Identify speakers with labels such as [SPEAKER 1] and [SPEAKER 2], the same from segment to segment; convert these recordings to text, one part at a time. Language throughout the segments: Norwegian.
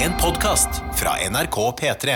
[SPEAKER 1] En podkast fra NRK P3.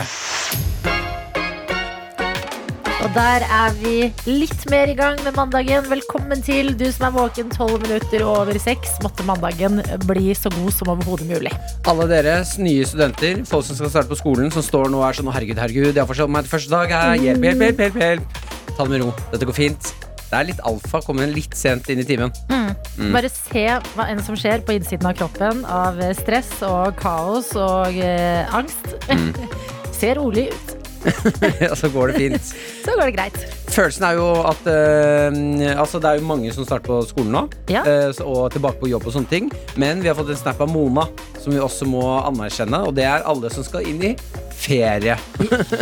[SPEAKER 2] Og der er vi litt mer i gang med mandagen. Velkommen til du som er våken tolv minutter over seks. Måtte mandagen bli så god som overhodet mulig.
[SPEAKER 3] Alle deres nye studenter, folk som skal starte på skolen, som står nå og er sånn «Å, herregud, herregud, jeg har forstått meg til første dag her. Hjelp, hjelp, hjelp, hjelp, hjelp. Ta det med ro. Dette går fint. Det er litt alfa, kommer inn litt sent inn i timen. Mm.
[SPEAKER 2] Bare se hva enn som skjer på innsiden av kroppen av eh, stress og kaos og eh, angst.
[SPEAKER 3] Mm.
[SPEAKER 2] Se rolig ut,
[SPEAKER 3] Og så går det fint.
[SPEAKER 2] så går det greit.
[SPEAKER 3] Følelsen er jo at eh, Altså, det er jo mange som starter på skolen nå,
[SPEAKER 2] Ja.
[SPEAKER 3] eh, så- og tilbake på jobb og sånne ting. Men vi har fått en snap av Mona, som vi også må anerkjenne, og det er alle som skal inn i ferie.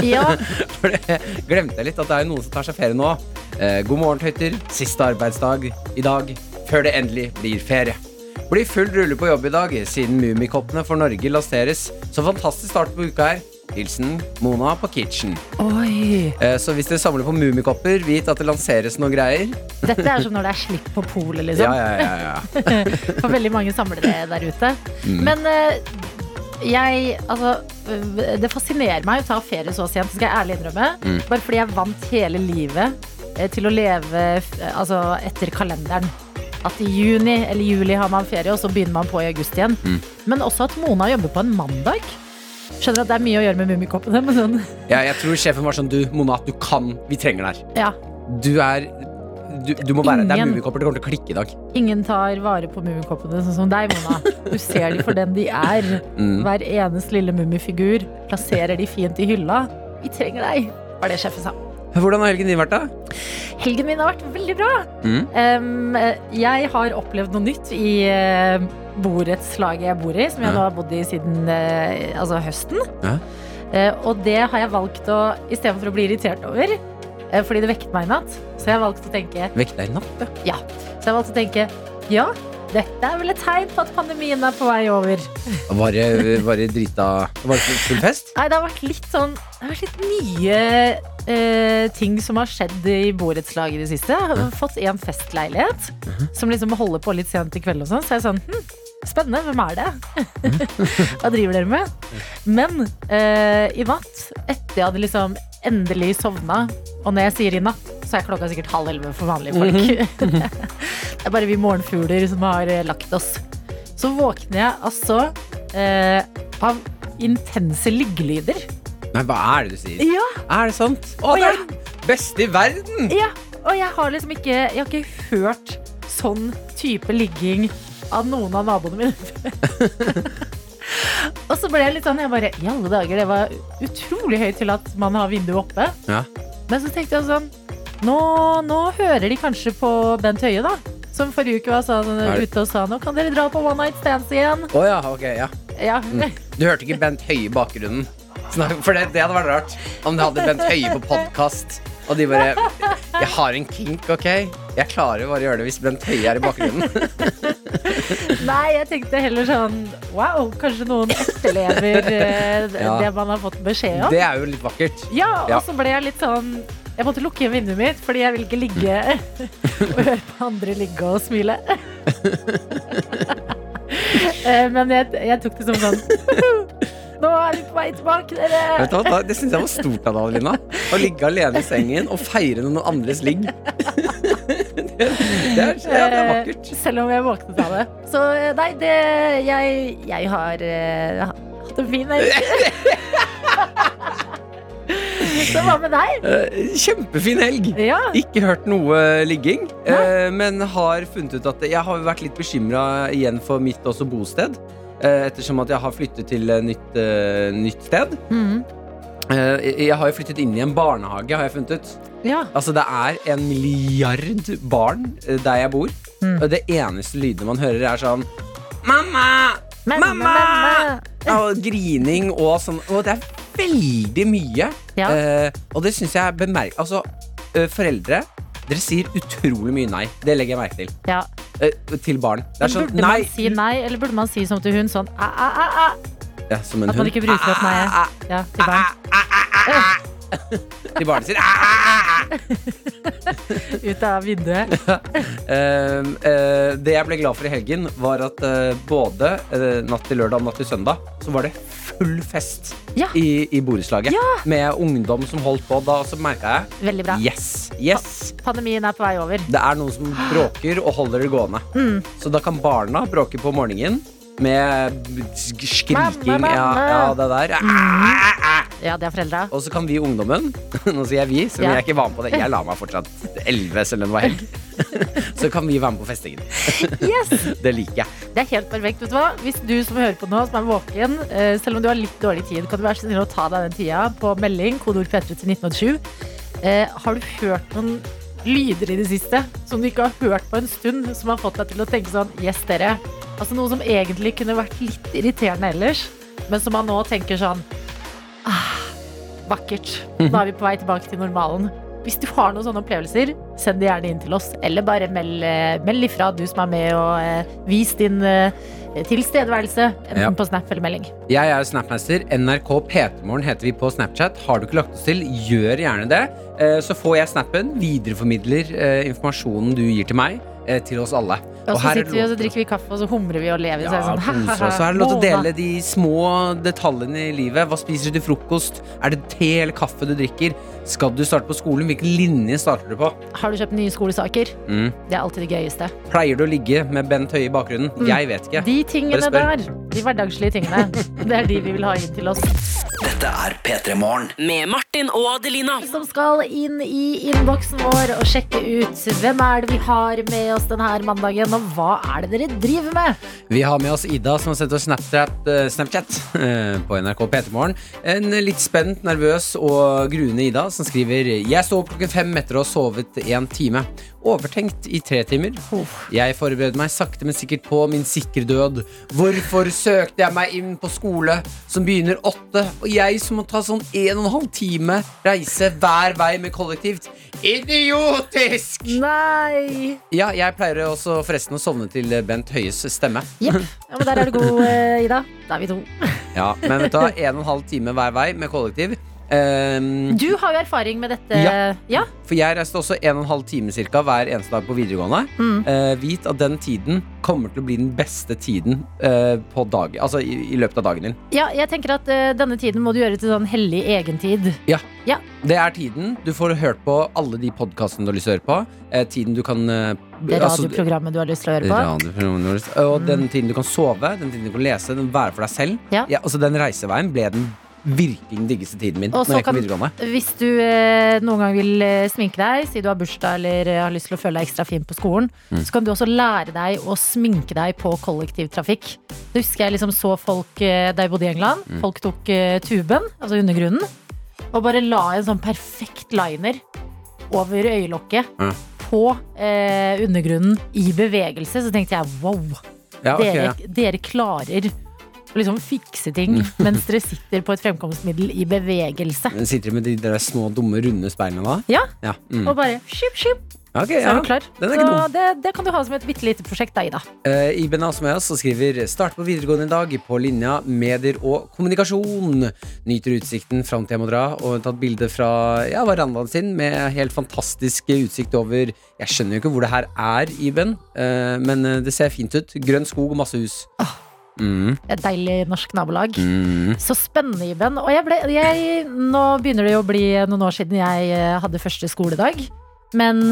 [SPEAKER 2] Ja,
[SPEAKER 3] For det glemte jeg litt at det er jo noen som tar seg ferie nå. Eh, god morgen, tøyter. Siste arbeidsdag i dag før det endelig blir ferie. Blir full rulle på jobb i dag siden Mummikoppene for Norge lanseres. Så fantastisk start på uka her. Hilsen Mona på Kitchen.
[SPEAKER 2] oi.
[SPEAKER 3] Eh, så hvis dere samler på Mummikopper, vit at det lanseres noen greier.
[SPEAKER 2] Dette er som når det er slipp på polet,
[SPEAKER 3] Ja,
[SPEAKER 2] liksom.
[SPEAKER 3] ja, ja, ja.
[SPEAKER 2] For veldig mange samler det der ute. Men eh, jeg Altså, eh, det fascinerer meg å ta ferie så sent, skal jeg ærlig innrømme. Bare fordi jeg vant hele livet eh, til å leve eh, altså, etter kalenderen. At i juni eller juli har man ferie, og så begynner man på i august igjen. Men også at Mona jobber på en mandag. Skjønner at det er mye å gjøre med Mummikoppene, men sånn
[SPEAKER 3] ja jeg tror sjefen var sånn Du, Mona, du kan. Vi trenger deg her.
[SPEAKER 2] Ja.
[SPEAKER 3] Du er du, du må være her. Det er
[SPEAKER 2] Ingen.
[SPEAKER 3] Mummikopper. Det kommer til å klikke i dag.
[SPEAKER 2] Ingen tar vare på Mummikoppene sånn som deg, Mona. Du ser de for den de er.
[SPEAKER 3] Mm.
[SPEAKER 2] Hver eneste lille mummifigur plasserer de fint i hylla. Vi trenger deg, var det sjefen sa.
[SPEAKER 3] Hvordan har helgen din vært, da?
[SPEAKER 2] Helgen min har vært veldig bra.
[SPEAKER 3] Mm.
[SPEAKER 2] Em, eh, jeg har opplevd noe nytt i eh, borettslaget jeg bor i, som jeg nå har bodd i siden eh, altså høsten.
[SPEAKER 3] Ja.
[SPEAKER 2] Eh, og det har jeg valgt å, istedenfor å bli irritert over, eh, fordi det vekket meg i natt, så jeg har valgt å tenke
[SPEAKER 3] Vekk deg i natt, ja.
[SPEAKER 2] ja. Så jeg valgte å tenke ja, dette er vel et tegn på at pandemien er på vei over.
[SPEAKER 3] Var det, var det drita Var det full- full fest?
[SPEAKER 2] Nei, det har vært litt sånn Det har vært litt nye eh, ting som har skjedd i borettslaget i det siste. Jeg har fått en festleilighet som liksom holder på litt sent i kveld og sånn. Så jeg er sånn hm, Spennende, hvem er det? Hva driver dere med? Men eh, i natt, etter jeg hadde liksom endelig sovna, og når jeg sier i natt, så er klokka sikkert halv elleve for vanlige folk. det er bare vi morgenfugler som har eh, lagt oss. Så våkner jeg altså eh, av intense liggelyder.
[SPEAKER 3] Nei, hva er det du sier?
[SPEAKER 2] Ja,
[SPEAKER 3] Er det sant?
[SPEAKER 2] Å,
[SPEAKER 3] Å, det
[SPEAKER 2] ja.
[SPEAKER 3] er den beste i verden!
[SPEAKER 2] ja. Og jeg har liksom ikke Jeg har ikke hørt sånn type ligging av noen av naboene mine. og så ble jeg litt sånn Jeg bare I alle dager, det var utrolig høyt til at man har vinduet oppe.
[SPEAKER 3] Ja.
[SPEAKER 2] Men så tenkte jeg sånn Nå, nå hører de kanskje på Bent Høie, da. Som forrige uke var sånn,
[SPEAKER 3] Er det-
[SPEAKER 2] ute og sa nå kan dere dra på one night stands igjen.
[SPEAKER 3] Å ja, ok, ja.
[SPEAKER 2] Ja.
[SPEAKER 3] Du hørte ikke Bent Høie i bakgrunnen? Snak- For det, det hadde vært rart om du hadde Bent Høie på podkast, og de bare Jeg har en kink, OK? Jeg klarer bare å gjøre det hvis Bent Høie er i bakgrunnen.
[SPEAKER 2] Nei, jeg tenkte heller sånn Wow, kanskje noen etterlever eh,
[SPEAKER 3] Ja.
[SPEAKER 2] det man har fått beskjed om.
[SPEAKER 3] Det er jo litt vakkert.
[SPEAKER 2] Ja, og
[SPEAKER 3] Ja.
[SPEAKER 2] så ble jeg litt sånn Jeg måtte lukke igjen vinduet mitt, fordi jeg vil ikke ligge
[SPEAKER 3] Mm.
[SPEAKER 2] og høre på andre ligge og smile. Eh, Men jeg, jeg tok det som sånn Nå er vi på vei tilbake, dere!
[SPEAKER 3] Vet du hva, da- Det syns jeg var stort av deg, Adelina. Å ligge alene i sengen og feire noen andres ligg. Det, det, er, ja, det er
[SPEAKER 2] Eh,
[SPEAKER 3] vakkert.
[SPEAKER 2] Selv om jeg våknet av det. Så eh, nei, det Jeg, jeg har eh, hatt en fin helg. Så hva med deg?
[SPEAKER 3] Eh, Kjempefin helg.
[SPEAKER 2] Ja.
[SPEAKER 3] Ikke hørt noe ligging, eh, men har funnet ut at jeg har vært litt bekymra igjen for mitt også bosted. Eh, ettersom at jeg har flyttet til eh, nytt, eh, nytt sted.
[SPEAKER 2] Mm.
[SPEAKER 3] Eh, jeg har jo flyttet inn i en barnehage, har jeg funnet ut.
[SPEAKER 2] ja.
[SPEAKER 3] Altså, det er en milliard barn eh, der jeg bor,
[SPEAKER 2] Mm.
[SPEAKER 3] og det eneste lydene man hører, er sånn Mamma!
[SPEAKER 2] Men-
[SPEAKER 3] Mamma!
[SPEAKER 2] men-
[SPEAKER 3] Og grining og sånn. Og det er veldig mye.
[SPEAKER 2] Ja.
[SPEAKER 3] Eh, og det syns jeg er bemerk... Altså, eh, foreldre, dere sier utrolig mye nei. Det legger jeg merke til.
[SPEAKER 2] ja.
[SPEAKER 3] Eh, til barn. Det er sånn
[SPEAKER 2] burde
[SPEAKER 3] nei.
[SPEAKER 2] man si nei, eller burde man si som til hun sånn æ, æ, æ, æ,
[SPEAKER 3] Ja, som en
[SPEAKER 2] At man
[SPEAKER 3] hund.
[SPEAKER 2] ikke bruker opp nei
[SPEAKER 3] Ah, ah,
[SPEAKER 2] ja, til barn?
[SPEAKER 3] Til barnet sier ah, ah, ah,
[SPEAKER 2] ut av vinduet.
[SPEAKER 3] Ehm, eh, det jeg ble glad for i helgen, var at eh, både eh, natt til lørdag og natt til søndag så var det full fest
[SPEAKER 2] Ja.
[SPEAKER 3] i, i borettslaget. Med ungdom som holdt på da, og så merka jeg
[SPEAKER 2] Veldig bra.
[SPEAKER 3] Yes! yes
[SPEAKER 2] Pandemien er på vei over.
[SPEAKER 3] Det er noen som bråker og holder det gående. Så da kan barna bråke på morgenen med sk- skriking.
[SPEAKER 2] Mamma, Mm.
[SPEAKER 3] Ja,
[SPEAKER 2] mamma.
[SPEAKER 3] ja, det der.
[SPEAKER 2] Ja, det er foreldra.
[SPEAKER 3] Og så kan vi ungdommen Nå sier jeg vi, selv om
[SPEAKER 2] Ja.
[SPEAKER 3] jeg ikke var med på det. Jeg la meg fortsatt 11, selv om det var helg. Så kan vi være med på festingen.
[SPEAKER 2] Yes!
[SPEAKER 3] Det liker jeg.
[SPEAKER 2] Det er helt perfekt. vet du hva? Hvis du som hører på nå, som er våken, eh, selv om du har litt dårlig tid, kan du være så snill å ta deg den tida på melding, kodeord P3 til 1987. Eh, har du hørt noen lyder i det siste som du ikke har hørt på en stund, som har fått deg til å tenke sånn Yes, dere. Altså noe som egentlig kunne vært litt irriterende ellers, men som man nå tenker sånn ah, Vakkert. Nå er vi på vei tilbake til normalen. Hvis du har noen sånne opplevelser, send det gjerne inn til oss. Eller bare meld, eh, meld ifra, du som er med, og eh, vis din eh, tilstedeværelse. Enten
[SPEAKER 3] Ja.
[SPEAKER 2] på Snap eller melding.
[SPEAKER 3] Jeg er Snapmester. NRK P3morgen heter vi på Snapchat. Har du ikke lagt oss til, gjør gjerne det. Eh, Så får jeg snappen, videreformidler eh, informasjonen du gir til meg, eh, til oss alle.
[SPEAKER 2] Og så
[SPEAKER 3] her er
[SPEAKER 2] sitter vi og så
[SPEAKER 3] lov-
[SPEAKER 2] drikker vi kaffe, og så humrer vi og lever.
[SPEAKER 3] Ja,
[SPEAKER 2] så er det sånn,
[SPEAKER 3] koser oss. Så er det lov til å dele de små detaljene i livet. Hva spiser du til frokost? Er det te eller kaffe du drikker? Skal du starte på skolen? Hvilken linje starter du på?
[SPEAKER 2] Har du kjøpt nye skolesaker?
[SPEAKER 3] Mm.
[SPEAKER 2] Det er alltid det gøyeste.
[SPEAKER 3] Pleier du å ligge med Bent Høie i bakgrunnen?
[SPEAKER 2] Mm.
[SPEAKER 3] Jeg vet ikke.
[SPEAKER 2] De
[SPEAKER 3] Bare
[SPEAKER 2] tingene
[SPEAKER 3] spør.
[SPEAKER 2] der, de hverdagslige tingene, det er de vi vil ha inn til oss.
[SPEAKER 4] Dette er P3 Morgen. Med Martin og Adelina.
[SPEAKER 2] Som skal inn i innboksen vår og sjekke ut hvem er det vi har med oss denne her mandagen, og hva er det dere driver med?
[SPEAKER 3] Vi har med oss Ida, som har sendt oss Snapchat, eh, Snapchat eh, på NRK P3morgen. En litt spent, nervøs og gruende Ida, som skriver Jeg sto opp klokken fem etter å ha sovet en time. Overtenkt i tre timer. Jeg forbereder meg sakte, men sikkert på min sikre død. Hvorfor søkte jeg meg inn på skole som begynner åtte, og jeg som må ta sånn en og en halv time reise hver vei med kollektivt? Idiotisk!
[SPEAKER 2] Nei!
[SPEAKER 3] Ja, jeg pleier også forresten å sovne til Bent Høies stemme.
[SPEAKER 2] Jepp. Ja, men der er du god, eh, Ida. Da er vi to.
[SPEAKER 3] Ja, men vet du hva, en og en halv time hver vei med kollektiv. Ehm,
[SPEAKER 2] Du har jo erfaring med dette.
[SPEAKER 3] Ja.
[SPEAKER 2] Ja?
[SPEAKER 3] for jeg reiste også en og en halv time cirka hver eneste dag på videregående.
[SPEAKER 2] Mm.
[SPEAKER 3] Eh, vit at den tiden kommer til å bli den beste tiden eh, på dag, altså i, i løpet av dagen din.
[SPEAKER 2] ja jeg tenker at eh, denne tiden må du gjøre til sånn hellig egentid.
[SPEAKER 3] Det er tiden du får hørt på alle de podkastene du har lyst til å høre på. eh, tiden du kan eh,
[SPEAKER 2] Det
[SPEAKER 3] altså,
[SPEAKER 2] radioprogrammet du har lyst til å høre på.
[SPEAKER 3] radioprogrammet du har lyst- Og den tiden du kan sove, den tiden du kan lese, den være for deg selv.
[SPEAKER 2] Ja.
[SPEAKER 3] altså Den reiseveien ble den virkelig den diggeste tiden min.
[SPEAKER 2] Og
[SPEAKER 3] Når
[SPEAKER 2] så
[SPEAKER 3] jeg gikk på
[SPEAKER 2] kan-
[SPEAKER 3] videregående
[SPEAKER 2] Hvis du eh, noen gang vil eh, sminke deg, si du har bursdag eller eh, har lyst til å føle deg ekstra fin på skolen,
[SPEAKER 3] Mm.
[SPEAKER 2] så kan du også lære deg å sminke deg på kollektivtrafikk. Det husker jeg liksom så folk eh, da jeg bodde i England.
[SPEAKER 3] Mm.
[SPEAKER 2] Folk tok eh, tuben, altså undergrunnen, og bare la en sånn perfekt liner over øyelokket.
[SPEAKER 3] Ja.
[SPEAKER 2] På eh, undergrunnen i bevegelse, så tenkte jeg wow,
[SPEAKER 3] ja, ok,
[SPEAKER 2] dere,
[SPEAKER 3] ja. Mm.
[SPEAKER 2] dere klarer å liksom fikse ting mens dere sitter på et fremkomstmiddel i bevegelse.
[SPEAKER 3] Men Sitter de med de der små, dumme, runde speilene da?
[SPEAKER 2] Ja,
[SPEAKER 3] Ja. Mm.
[SPEAKER 2] og bare skip, skip,
[SPEAKER 3] Ok,
[SPEAKER 2] så er
[SPEAKER 3] ja.
[SPEAKER 2] du klar.
[SPEAKER 3] Den er ikke
[SPEAKER 2] så
[SPEAKER 3] dum.
[SPEAKER 2] det, det kan du ha som et bitte lite prosjekt, da, Ida.
[SPEAKER 3] Eh, Iben er også med oss og skriver Start på videregående i dag på linja medier og kommunikasjon. Nyter utsikten fram til jeg må dra, og hun har tatt bilde fra ja, verandaen sin med helt fantastisk utsikt over Jeg skjønner jo ikke hvor det her er, Iben, eh, men eh, det ser fint ut. Grønn skog og masse hus.
[SPEAKER 2] Ah.
[SPEAKER 3] Mm,
[SPEAKER 2] Et deilig norsk nabolag.
[SPEAKER 3] mm.
[SPEAKER 2] Så spennende, Iben. Og jeg ble, jeg, nå begynner det jo å bli noen år siden jeg eh, hadde første skoledag. Men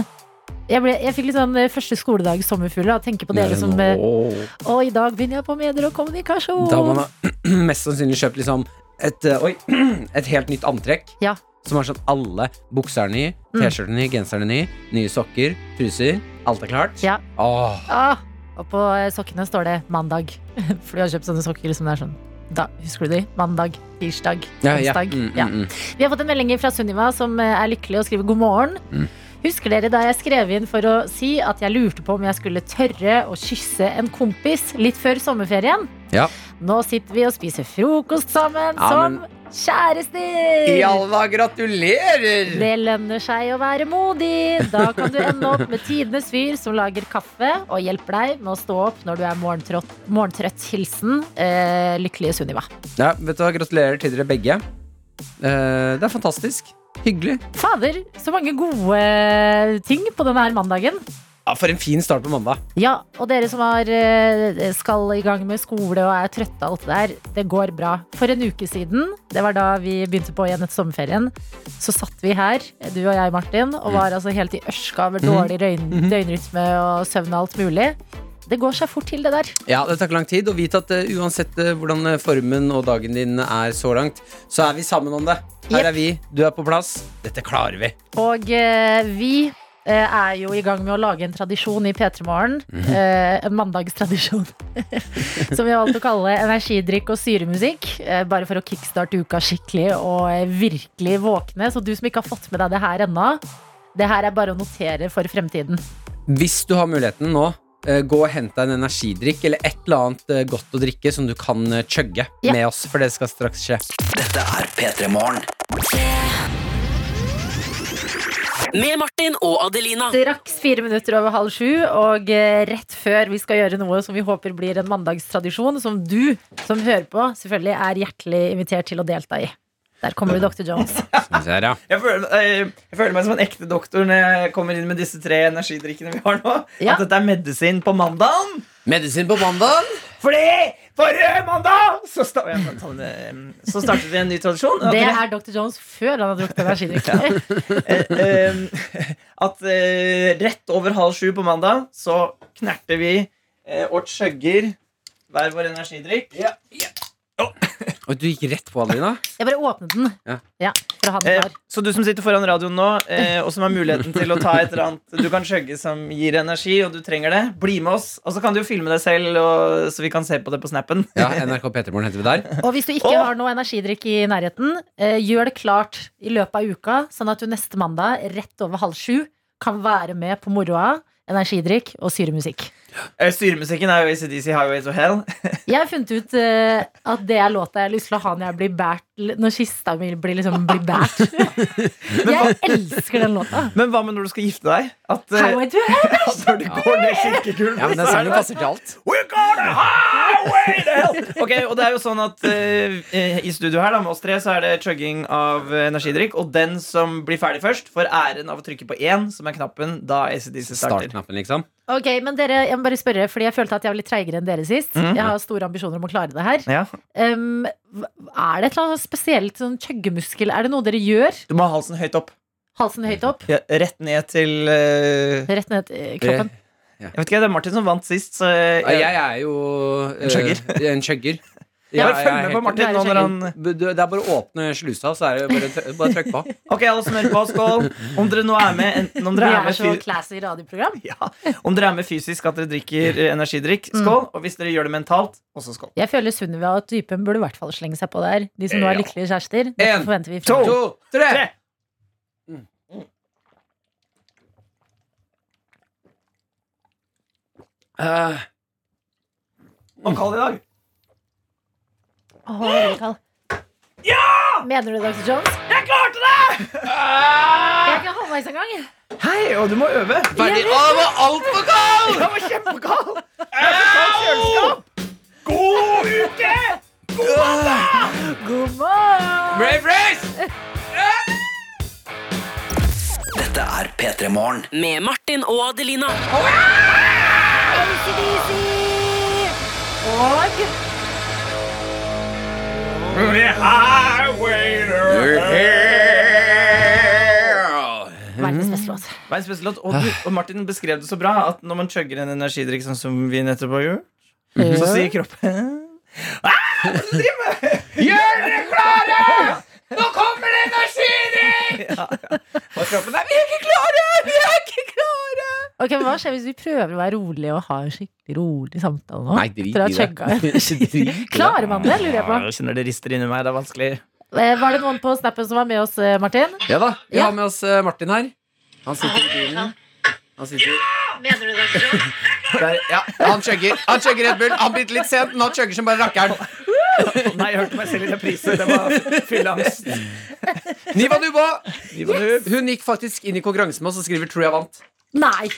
[SPEAKER 2] jeg, ble, jeg fikk litt sånn eh, første skoledag sommerfugler. Og tenker på dere som eh,
[SPEAKER 3] Åh.
[SPEAKER 2] Å, i dag begynner jeg på medier og kommunikasjon.
[SPEAKER 3] Da man har mest sannsynlig kjøpt liksom et, eh, oi, et helt nytt antrekk.
[SPEAKER 2] Ja.
[SPEAKER 3] Som har sånn alle bukser er ny,
[SPEAKER 2] Mm.
[SPEAKER 3] T-skjorten ny, genseren er ny, nye sokker, truser. Alt er klart.
[SPEAKER 2] Ja.
[SPEAKER 3] Åh,
[SPEAKER 2] Ah, og på eh, sokkene står det mandag. For du har kjøpt sånne sokker som det er sånn. Da, husker du de? Mandag, tirsdag,
[SPEAKER 3] ja, ja.
[SPEAKER 2] onsdag.
[SPEAKER 3] Mm, mm,
[SPEAKER 2] ja.
[SPEAKER 3] mm.
[SPEAKER 2] Vi har fått en melding fra Sunniva som eh, er lykkelig og skriver god morgen.
[SPEAKER 3] Mm.
[SPEAKER 2] Husker dere da jeg skrev inn for å si at jeg lurte på om jeg skulle tørre å kysse en kompis litt før sommerferien?
[SPEAKER 3] Ja.
[SPEAKER 2] Nå sitter vi og spiser frokost sammen
[SPEAKER 3] Ja,
[SPEAKER 2] som
[SPEAKER 3] men-
[SPEAKER 2] kjærester!
[SPEAKER 3] I alle dager, gratulerer!
[SPEAKER 2] Det lønner seg å være modig. Da kan du ende opp med tidenes fyr som lager kaffe og hjelper deg med å stå opp når du er morgentrøtt. morgentrøtt. Hilsen eh, lykkelige Sunniva.
[SPEAKER 3] Ja, vet du hva, Gratulerer til dere begge. Eh, det er fantastisk. Hyggelig.
[SPEAKER 2] Fader, så mange gode ting på denne her mandagen.
[SPEAKER 3] Ja, For en fin start på mandag.
[SPEAKER 2] Ja, og dere som har, eh, skal i gang med skole og er trøtte av alt det der, det går bra. For en uke siden, det var da vi begynte på igjen etter sommerferien, så satt vi her, du og jeg, Martin, og var altså helt i ørska over dårlig røgn- døgnrytme og søvn og alt mulig. Det går seg fort til, det der.
[SPEAKER 3] Ja, Det tar ikke lang tid. Og vit at eh, uansett eh, hvordan eh, formen og dagen din er så langt, så er vi sammen om det. Her
[SPEAKER 2] Yep.
[SPEAKER 3] er vi, du er på plass. Dette klarer vi.
[SPEAKER 2] Og eh, vi eh, er jo i gang med å lage en tradisjon i P3 Morgen. Eh, en mandagstradisjon. Som vi har valgt å kalle energidrikk og syremusikk. Eh, bare for å kickstarte uka skikkelig og eh, virkelig våkne. Så du som ikke har fått med deg det her ennå, det her er bare å notere for fremtiden.
[SPEAKER 3] Hvis du har muligheten nå, eh, gå og hent deg en energidrikk eller et eller annet eh, godt å drikke som du kan eh, chugge
[SPEAKER 2] Ja.
[SPEAKER 3] med oss, for det skal straks skje.
[SPEAKER 4] Dette er P3 Morgen. Med Martin og Adelina.
[SPEAKER 2] Straks fire minutter over halv sju, og eh, rett før vi skal gjøre noe som vi håper blir en mandagstradisjon, som du som hører på, selvfølgelig er hjertelig invitert til å delta i. Der kommer du, Dr. Jones.
[SPEAKER 5] Jeg føler, eh, jeg føler meg som en ekte doktor når jeg kommer inn med disse tre energidrikkene vi har nå.
[SPEAKER 2] Ja.
[SPEAKER 5] At dette er medisin på mandagen.
[SPEAKER 3] Medisin på mandag.
[SPEAKER 5] Fordi forrige mandag så, sta ja, men sånn, eh, så startet vi en ny tradisjon. At,
[SPEAKER 2] Det
[SPEAKER 5] dere-
[SPEAKER 2] er Dr. Jones før han har drukket energidrikk.
[SPEAKER 5] eh, eh, at eh, rett over halv sju på mandag så knerter vi eh, og chugger hver vår energidrikk.
[SPEAKER 3] Og du gikk rett på, Adelina.
[SPEAKER 2] Jeg bare åpnet den.
[SPEAKER 3] Ja.
[SPEAKER 2] Ja, for å ha den
[SPEAKER 5] Eh,
[SPEAKER 2] klar.
[SPEAKER 5] så du som sitter foran radioen nå, eh, og som har muligheten til å ta et eller annet du kan chugge som gir energi, og du trenger det, bli med oss. Og så kan du jo filme deg selv, og, så vi kan se på det på snappen.
[SPEAKER 3] Ja, NRK P3morgen henter vi der.
[SPEAKER 2] Og hvis du ikke
[SPEAKER 5] Åh!
[SPEAKER 2] har noe energidrikk i nærheten, eh, gjør det klart i løpet av uka, sånn at du neste mandag rett over halv sju kan være med på moroa. Energidrikk og syremusikk.
[SPEAKER 5] Eh, Styremusikken er jo ACDC Highway to Hell.
[SPEAKER 2] Jeg har funnet ut eh, at det er låta jeg har lyst til å ha når jeg blir bært Når kista mi blir liksom blir bært. Jeg elsker den låta.
[SPEAKER 5] Men hva med når du skal gifte deg? At, eh,
[SPEAKER 2] Highway to Hell.
[SPEAKER 5] at når du går ned kirkegulvet
[SPEAKER 3] Ja, men sånn Den
[SPEAKER 5] så er
[SPEAKER 3] sangen
[SPEAKER 5] det-
[SPEAKER 3] passer til alt.
[SPEAKER 5] We're gonna highway to hell! Ok, og det er jo sånn at eh, eh, I studio her da, med oss tre så er det chugging av eh, energidrikk. Og den som blir ferdig først, får æren av å trykke på én, som er knappen, da ACDC starter.
[SPEAKER 3] Startknappen, liksom.
[SPEAKER 2] Ok, men dere, Jeg må bare spørre, fordi jeg følte at jeg var litt treigere enn dere sist. Jeg har store ambisjoner om å klare det her.
[SPEAKER 5] Ja.
[SPEAKER 2] Um, hva- er det et eller annet spesielt sånn kjøggemuskel? Er det noe dere gjør?
[SPEAKER 5] Du må ha halsen høyt opp.
[SPEAKER 2] Halsen høyt opp,
[SPEAKER 5] Ja, rett ned til eh,
[SPEAKER 2] rett ned eh, kroppen.
[SPEAKER 5] Jeg vet ikke, det er Martin som vant sist, så jeg,
[SPEAKER 3] Ja, Jeg er jo eh,
[SPEAKER 5] En chugger.
[SPEAKER 3] En chugger.
[SPEAKER 5] bare
[SPEAKER 3] Ja, jeg
[SPEAKER 5] følg
[SPEAKER 3] er
[SPEAKER 5] med på
[SPEAKER 3] helt-
[SPEAKER 5] Martin nå når han
[SPEAKER 3] Du- Det er bare å åpne slusa, så er det bare, tr- bare trykk på.
[SPEAKER 5] Ok, alle som hører på, skål! Om dere nå er med, enten om
[SPEAKER 2] Vi
[SPEAKER 5] dere er
[SPEAKER 2] er
[SPEAKER 5] med
[SPEAKER 2] så
[SPEAKER 5] fyr-
[SPEAKER 2] classy radioprogram.
[SPEAKER 5] ja, om dere er med fysisk at dere drikker eh, energidrikk, skål. Og hvis dere gjør det mentalt, også skål.
[SPEAKER 2] Jeg føler Sunniva og typen burde i hvert fall slenge seg på der. De som nå er
[SPEAKER 3] Ja.
[SPEAKER 2] lykkelige kjærester. Det
[SPEAKER 3] En,
[SPEAKER 2] forventer vi
[SPEAKER 5] to.
[SPEAKER 2] fremover.
[SPEAKER 3] To, tre!
[SPEAKER 5] Tre.
[SPEAKER 3] Eh,
[SPEAKER 5] Og kall det i dag.
[SPEAKER 2] Åh, veldig kald. Mener du det, Dr. Jones?
[SPEAKER 5] Jeg klarte det!
[SPEAKER 2] Jeg er ikke halvveis engang.
[SPEAKER 5] Hei, og du må øve.
[SPEAKER 3] Ferdig. Å, det var altfor
[SPEAKER 5] Jeg
[SPEAKER 3] kald!
[SPEAKER 5] var kjempekald! Jeg er så kald kjøleskap. God uke!
[SPEAKER 2] God morgen!
[SPEAKER 3] Brave race!
[SPEAKER 4] Dette er P3 Morgen. Med Martin og Adelina.
[SPEAKER 2] ACDC! Og verdens beste låt.
[SPEAKER 5] Verdens beste låt. Og, du, og Martin beskrev det så bra at når man chugger en energidrikk sånn som vi nettopp har gjort, så sier kroppen «Ah, Hva driver du med?! Gjør dere klare! Nå kommer det energidrikk! Ja, ja. Og kroppen er ikke klare! Vi er ikke klare!
[SPEAKER 2] Ok, men Hva skjer hvis vi prøver å være rolig og ha en skikkelig rolig samtale nå?
[SPEAKER 3] Nei, drit
[SPEAKER 2] Etter å ha
[SPEAKER 3] i det.
[SPEAKER 2] chugga energi. Klarer man det, lurer jeg på.
[SPEAKER 5] Ja, jeg kjenner det rister inni meg. Det er vanskelig.
[SPEAKER 2] Eh, Var det noen på snappen som var med oss, eh, Martin?
[SPEAKER 3] Ja da, vi
[SPEAKER 2] Ja.
[SPEAKER 3] har med oss eh, Martin her. Han sitter i bilen. Han sitter Der, ja, han chugger. Han chugger Red Bull. Han blir litt sent, men han chugger som bare rakkeren.
[SPEAKER 5] Å Nei, jeg hørte meg selv i reprise. Det var fylleangst.
[SPEAKER 3] Niva Duba!
[SPEAKER 5] Vi var død.
[SPEAKER 3] Hun gikk faktisk inn i konkurransen med oss og skriver 'tror jeg vant'.
[SPEAKER 2] Nei!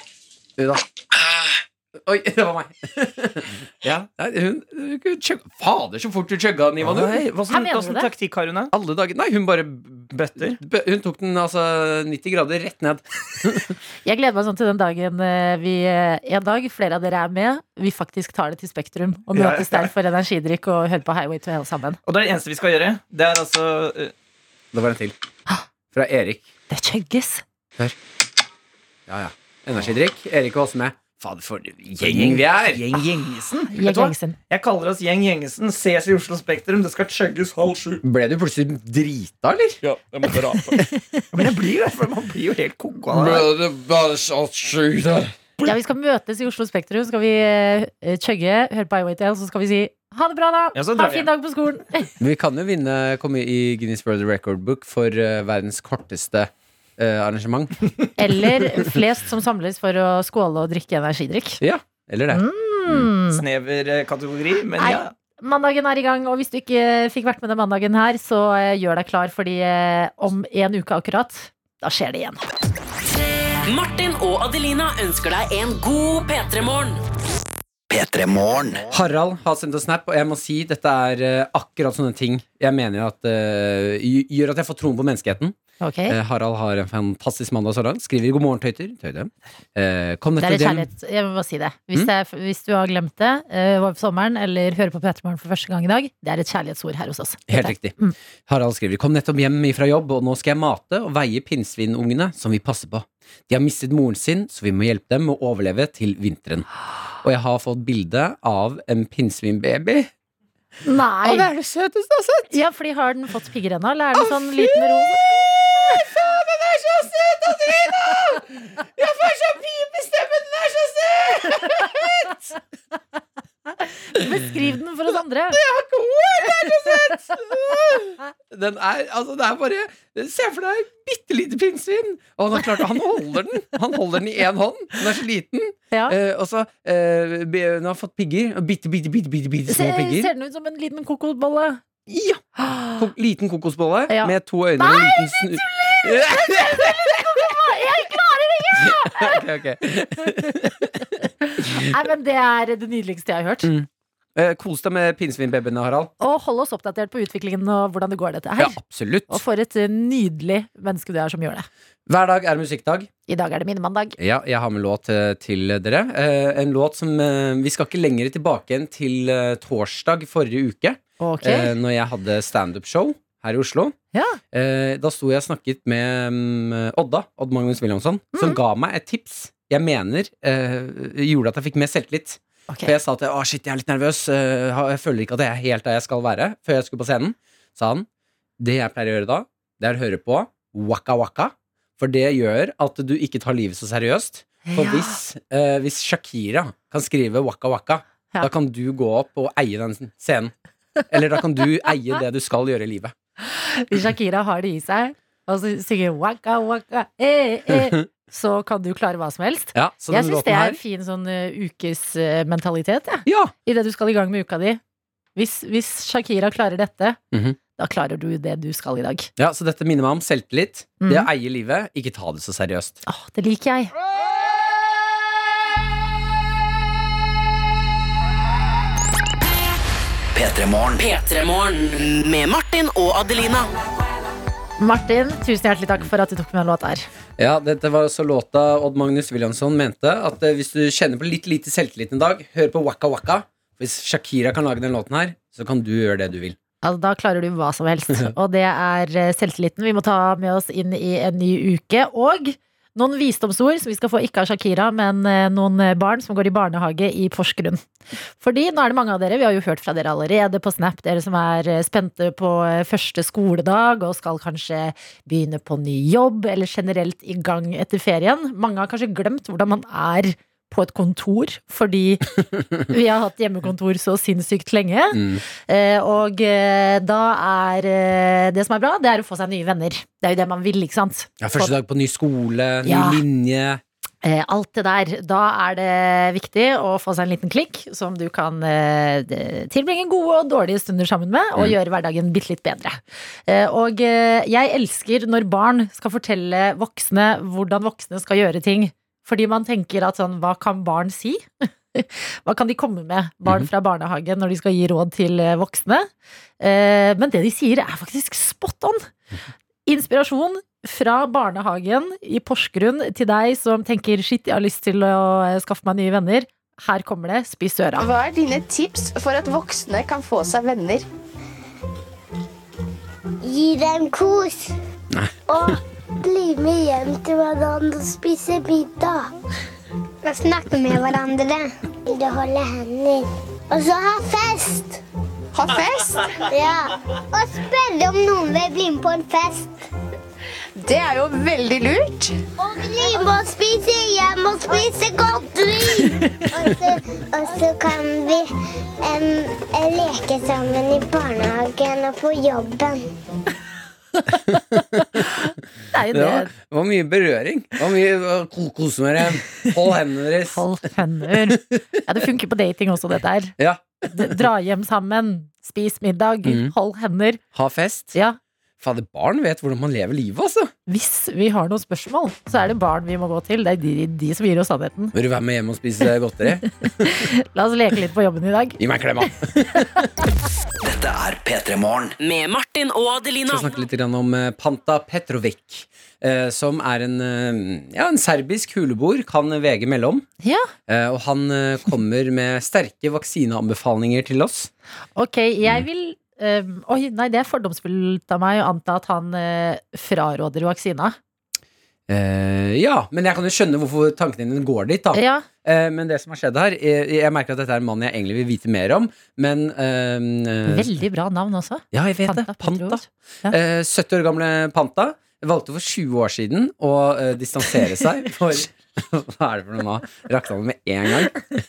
[SPEAKER 3] Jo da. Ah. Oi, det var meg. ja, nei, hun, hun chug- Fader, så fort du chugga den, Ivan.
[SPEAKER 5] Nei,
[SPEAKER 3] du.
[SPEAKER 2] Her
[SPEAKER 5] hva sånn,
[SPEAKER 2] mener
[SPEAKER 5] hva
[SPEAKER 2] du
[SPEAKER 5] sånn
[SPEAKER 2] det?
[SPEAKER 5] taktikk har hun, da?
[SPEAKER 3] Alle dager Nei, hun bare b-
[SPEAKER 5] Bøtter?
[SPEAKER 3] b- Hun tok den altså 90 grader rett ned.
[SPEAKER 2] Jeg gleder meg sånn til den dagen eh, vi eh, en dag, flere av dere er med, vi faktisk tar det til Spektrum og
[SPEAKER 5] Ja,
[SPEAKER 2] møtes der for energidrikk og hører på Highway to Hell sammen.
[SPEAKER 5] Og det er det eneste vi skal gjøre. Det er altså eh,
[SPEAKER 3] Det var en til. Fra Erik.
[SPEAKER 2] Det chugges.
[SPEAKER 3] Ja, ja. Energidrikk. Erik og oss med. Fader, for en gjeng vi er!
[SPEAKER 5] Gjeng Gjengesen.
[SPEAKER 2] Jeg,
[SPEAKER 5] Vet du hva?
[SPEAKER 2] Gjengsen.
[SPEAKER 5] Jeg kaller oss Gjeng Gjengesen. Ses i Oslo Spektrum. Det skal chugges halv sju.
[SPEAKER 3] Ble du plutselig drita, eller?
[SPEAKER 5] Ja, jeg måtte rape. Men jeg blir det, for man blir jo helt koko av det.
[SPEAKER 3] Ble det bare så sjukt her?
[SPEAKER 2] ja, vi skal møtes i Oslo Spektrum, så skal vi eh, chugge, høre på Highway to Hell, så skal vi si ha det bra, da!
[SPEAKER 5] Ja, så
[SPEAKER 2] ha
[SPEAKER 5] drar
[SPEAKER 2] en
[SPEAKER 5] vi
[SPEAKER 2] fin dag på skolen!
[SPEAKER 3] Men vi kan jo vinne, komme i Guinness World Record Book for eh, verdens korteste eh, arrangement.
[SPEAKER 2] Eller flest som samles for å skåle og drikke energidrikk.
[SPEAKER 3] Ja, eller det.
[SPEAKER 2] Mm.
[SPEAKER 5] Snever eh, kategori, men
[SPEAKER 2] Nei.
[SPEAKER 5] ja.
[SPEAKER 2] Mandagen er i gang, og hvis du ikke fikk vært med den mandagen her, så eh, gjør deg klar, fordi eh, om en uke akkurat, da skjer det igjen.
[SPEAKER 4] Martin og Adelina ønsker deg en god P3-morgen.
[SPEAKER 3] Harald har sendt en snap, og jeg må si dette er eh, akkurat sånne ting jeg mener at eh, gj- gjør at jeg får troen på menneskeheten.
[SPEAKER 2] Ok?
[SPEAKER 3] Eh, Harald har en fantastisk mandag så langt. Skriver 'God morgen, tøyter'. Tøyde. Eh, kom
[SPEAKER 2] Det er litt
[SPEAKER 3] dette den Mm.
[SPEAKER 2] kjærlighet. Jeg må bare si det. Hvis, det er, hvis du har glemt det, eh, var på sommeren eller hører på P3morgen for første gang i dag, det er et kjærlighetsord her hos oss.
[SPEAKER 3] Helt
[SPEAKER 2] Dette.
[SPEAKER 3] riktig.
[SPEAKER 2] Mm.
[SPEAKER 3] Harald skriver 'Kom nettopp hjem fra jobb, og nå skal jeg mate og veie pinnsvinungene som vi passer på'. De har mistet moren sin, så vi må hjelpe dem med å overleve til vinteren. Og jeg har fått bilde av en pinnsvinbaby. Å, det
[SPEAKER 2] Nei!
[SPEAKER 3] er det søteste altså. jeg
[SPEAKER 2] Ja,
[SPEAKER 3] har sett!
[SPEAKER 2] fordi har den fått pigger ennå, eller er den sånn liten ro?
[SPEAKER 3] Den er så søt, Adelina! Jeg får så pipestemme, den er så søt!
[SPEAKER 2] Beskriv den for oss andre.
[SPEAKER 3] Den er, altså det er bare Se for deg et bitte lite pinnsvin. Og han har klart, han holder den Han holder den i én hånd. Den er så liten.
[SPEAKER 2] Ja.
[SPEAKER 3] Eh, og så eh, be- Hun har fått pigger. og Bitte, bitte, bitte, bitte, bitte små
[SPEAKER 2] Ser,
[SPEAKER 3] pigger.
[SPEAKER 2] ser den ut som en liten kokosbolle?
[SPEAKER 3] Ja! Ko liten kokosbolle
[SPEAKER 2] Ja.
[SPEAKER 3] med to øyne og en liten snu...
[SPEAKER 2] Jeg klarer det ikke!
[SPEAKER 3] Ok, ok.
[SPEAKER 2] Nei, men det er det nydeligste jeg har hørt.
[SPEAKER 3] Eh, kos deg med pinnsvinbabyene, Harald.
[SPEAKER 2] Og hold oss oppdatert på utviklingen og hvordan det går dette
[SPEAKER 3] Ja,
[SPEAKER 2] her.
[SPEAKER 3] absolutt.
[SPEAKER 2] Og for et eh, nydelig menneske du er som gjør det.
[SPEAKER 3] Hver dag er musikkdag.
[SPEAKER 2] I dag er det minnemandag.
[SPEAKER 3] Ja, jeg har med låt eh, til dere. Eh, En låt som eh, Vi skal ikke lenger tilbake enn til eh, torsdag forrige uke,
[SPEAKER 2] Ok.
[SPEAKER 3] eh, når jeg hadde standup-show her i Oslo.
[SPEAKER 2] Ja.
[SPEAKER 3] Eh, Da sto jeg og snakket med mm, Odda, Odd Magnus Williamson, som ga meg et tips jeg mener eh, gjorde at jeg fikk mer selvtillit.
[SPEAKER 2] ok.
[SPEAKER 3] For jeg sa at jeg, shit, jeg er litt nervøs, eh, ha- jeg føler ikke at jeg er helt der jeg skal være, før jeg skulle på scenen. Sa han, det jeg pleier å gjøre da, det er å høre på Waka Waka, for det gjør at du ikke tar livet så seriøst. For
[SPEAKER 2] Ja.
[SPEAKER 3] hvis, eh, hvis Shakira kan skrive Waka Waka,
[SPEAKER 2] Ja.
[SPEAKER 3] da kan du gå opp og eie den scenen. Eller da kan du eie det du skal gjøre i livet.
[SPEAKER 2] Hvis Shakira har det i seg, og så synger waka waka eh, eh, så kan du klare hva som helst.
[SPEAKER 3] Ja, så
[SPEAKER 2] Jeg
[SPEAKER 3] den
[SPEAKER 2] syns
[SPEAKER 3] låten
[SPEAKER 2] det er
[SPEAKER 3] her
[SPEAKER 2] en fin sånn eh, ukesmentalitet, jeg.
[SPEAKER 3] Ja!
[SPEAKER 2] Idet du skal i gang med uka di. Hvis, hvis Shakira klarer dette,
[SPEAKER 3] Mhm.
[SPEAKER 2] da klarer du det du skal i dag.
[SPEAKER 3] ja, så dette minner meg om selvtillit.
[SPEAKER 2] Mhm.
[SPEAKER 3] Det å eie livet, ikke ta det så seriøst.
[SPEAKER 2] Åh, det liker jeg.
[SPEAKER 4] P3-morgen med Martin og Adelina.
[SPEAKER 2] Martin, tusen hjertelig takk for at du tok med en låt her.
[SPEAKER 3] Ja, dette var også låta Odd Magnus Williamson mente at eh, hvis du kjenner på litt lite selvtillit en dag, hør på Waka Waka. Hvis Shakira kan lage den låten her, så kan du gjøre det du vil.
[SPEAKER 2] Altså, da klarer du hva som helst. Og det er eh, selvtilliten vi må ta med oss inn i en ny uke. Og noen visdomsord som vi skal få ikke av Shakira, men eh, noen eh, barn som går i barnehage i Porsgrunn. Fordi nå er det mange av dere, vi har jo hørt fra dere allerede på Snap, dere som er eh, spente på eh, første skoledag og skal kanskje begynne på ny jobb, eller generelt i gang etter ferien. Mange har kanskje glemt hvordan man er på et kontor, fordi vi har hatt hjemmekontor så sinnssykt lenge. Eh, Og eh, da er eh, det som er bra, det er å få seg nye venner. Det er jo det man vil, ikke sant?
[SPEAKER 3] Ja, Første dag på ny skole, ny
[SPEAKER 2] Ja.
[SPEAKER 3] linje.
[SPEAKER 2] Eh, Alt det der. Da er det viktig å få seg en liten klikk som du kan eh, de- tilbringe gode og dårlige stunder sammen med, og gjøre hverdagen bitte litt bedre. Eh, Og eh, jeg elsker når barn skal fortelle voksne hvordan voksne skal gjøre ting. Fordi man tenker at sånn, hva kan barn si? Hva kan de komme med, barn fra barnehagen, når de skal gi råd til eh, voksne? Eh, Men det de sier, er faktisk spot on! Inspirasjon fra barnehagen i Porsgrunn til deg som tenker 'shit, jeg har lyst til å eh, skaffe meg nye venner'. Her kommer det. Spis øra.
[SPEAKER 6] Hva er dine tips for at voksne kan få seg venner?
[SPEAKER 7] Gi dem kos. Og bli med hjem til hverandre og spise middag. Og snakke med hverandre. Og holde hender. Og så ha fest.
[SPEAKER 6] Ha fest!
[SPEAKER 7] Ja. Og spørre om noen vil bli med på en fest.
[SPEAKER 6] Det er jo veldig lurt.
[SPEAKER 7] Og bli med og spise hjem og spise godteri. og, så, og så kan vi em, leke sammen i barnehagen og på jobben.
[SPEAKER 2] Det er jo
[SPEAKER 3] Det
[SPEAKER 2] det.
[SPEAKER 3] var, det var mye berøring. Det var mye ko- Kos med dem. Hold hendene deres.
[SPEAKER 2] Hold hender. Ja, det funker på dating også, dette her.
[SPEAKER 3] Ja.
[SPEAKER 2] D- Dra hjem sammen, spis middag,
[SPEAKER 3] Mhm.
[SPEAKER 2] hold hender.
[SPEAKER 3] Ha fest.
[SPEAKER 2] Ja,
[SPEAKER 3] Fader, barn vet hvordan man lever livet, altså.
[SPEAKER 2] hvis vi har noen spørsmål, så er det barn vi må gå til. Det er de, de som gir oss sannheten.
[SPEAKER 3] Vil du være med hjem og spise godteri?
[SPEAKER 2] La oss leke litt på jobben i dag.
[SPEAKER 3] Gi meg en klem, da.
[SPEAKER 8] Dette er P3 Morgen.
[SPEAKER 4] Med Martin og Adelina.
[SPEAKER 3] skal snakke litt grann om eh, Panta Petrovic, eh, som er en, eh, ja, en serbisk huleboer, kan VG melde om.
[SPEAKER 2] Ja,
[SPEAKER 3] Eh, Og han eh, kommer med sterke vaksineanbefalinger til oss.
[SPEAKER 2] ok, jeg vil øhm, Oi, nei, det er fordomsfullt av meg å anta at han øh, fraråder vaksina.
[SPEAKER 3] Eh, ja, men jeg kan jo skjønne hvorfor tankene dine går dit, da.
[SPEAKER 2] Ja,
[SPEAKER 3] Eh, men det som har skjedd her eh, Jeg merker at dette er en mann jeg egentlig vil vite mer om, men eh,
[SPEAKER 2] veldig bra navn også.
[SPEAKER 3] Ja, jeg vet det. Panta.
[SPEAKER 2] Petrovic. Ja.
[SPEAKER 3] Eh, 70 år gamle Panta valgte for 20 år siden å eh, distansere seg for Hva er det for noe nå? Rakte han det med en gang?